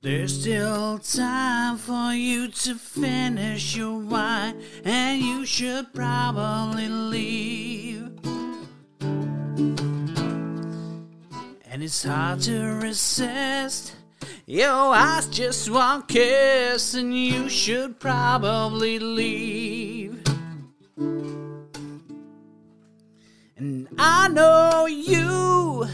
Speaker 5: There's still time for you to finish your wine, and you should probably leave. And it's hard to resist Your eyes just one kiss, and you should probably leave. And I know you,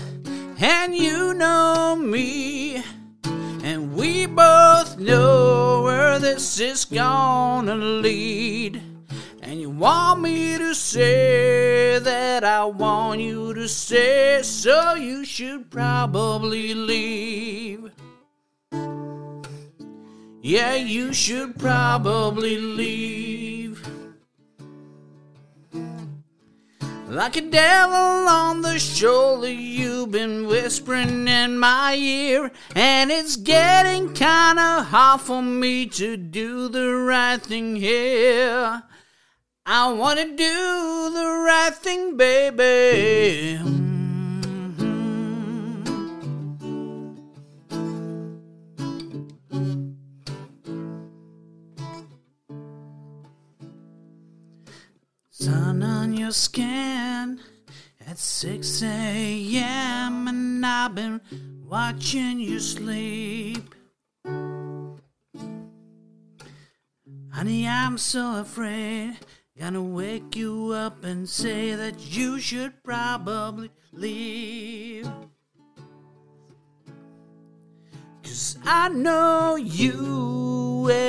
Speaker 5: and you know me, and we both know where this is gonna lead. And you want me to say that I want you to say, so you should probably leave. Yeah, you should probably leave. Like a devil on the shoulder, you've been whispering in my ear, and it's getting kinda hard for me to do the right thing here. I wanna do the right thing, baby. Mm-hmm. Sun on your skin at 6 a.m. and I've been watching you sleep. Honey, I'm so afraid. Gonna wake you up and say that you should probably leave. Cause I know you.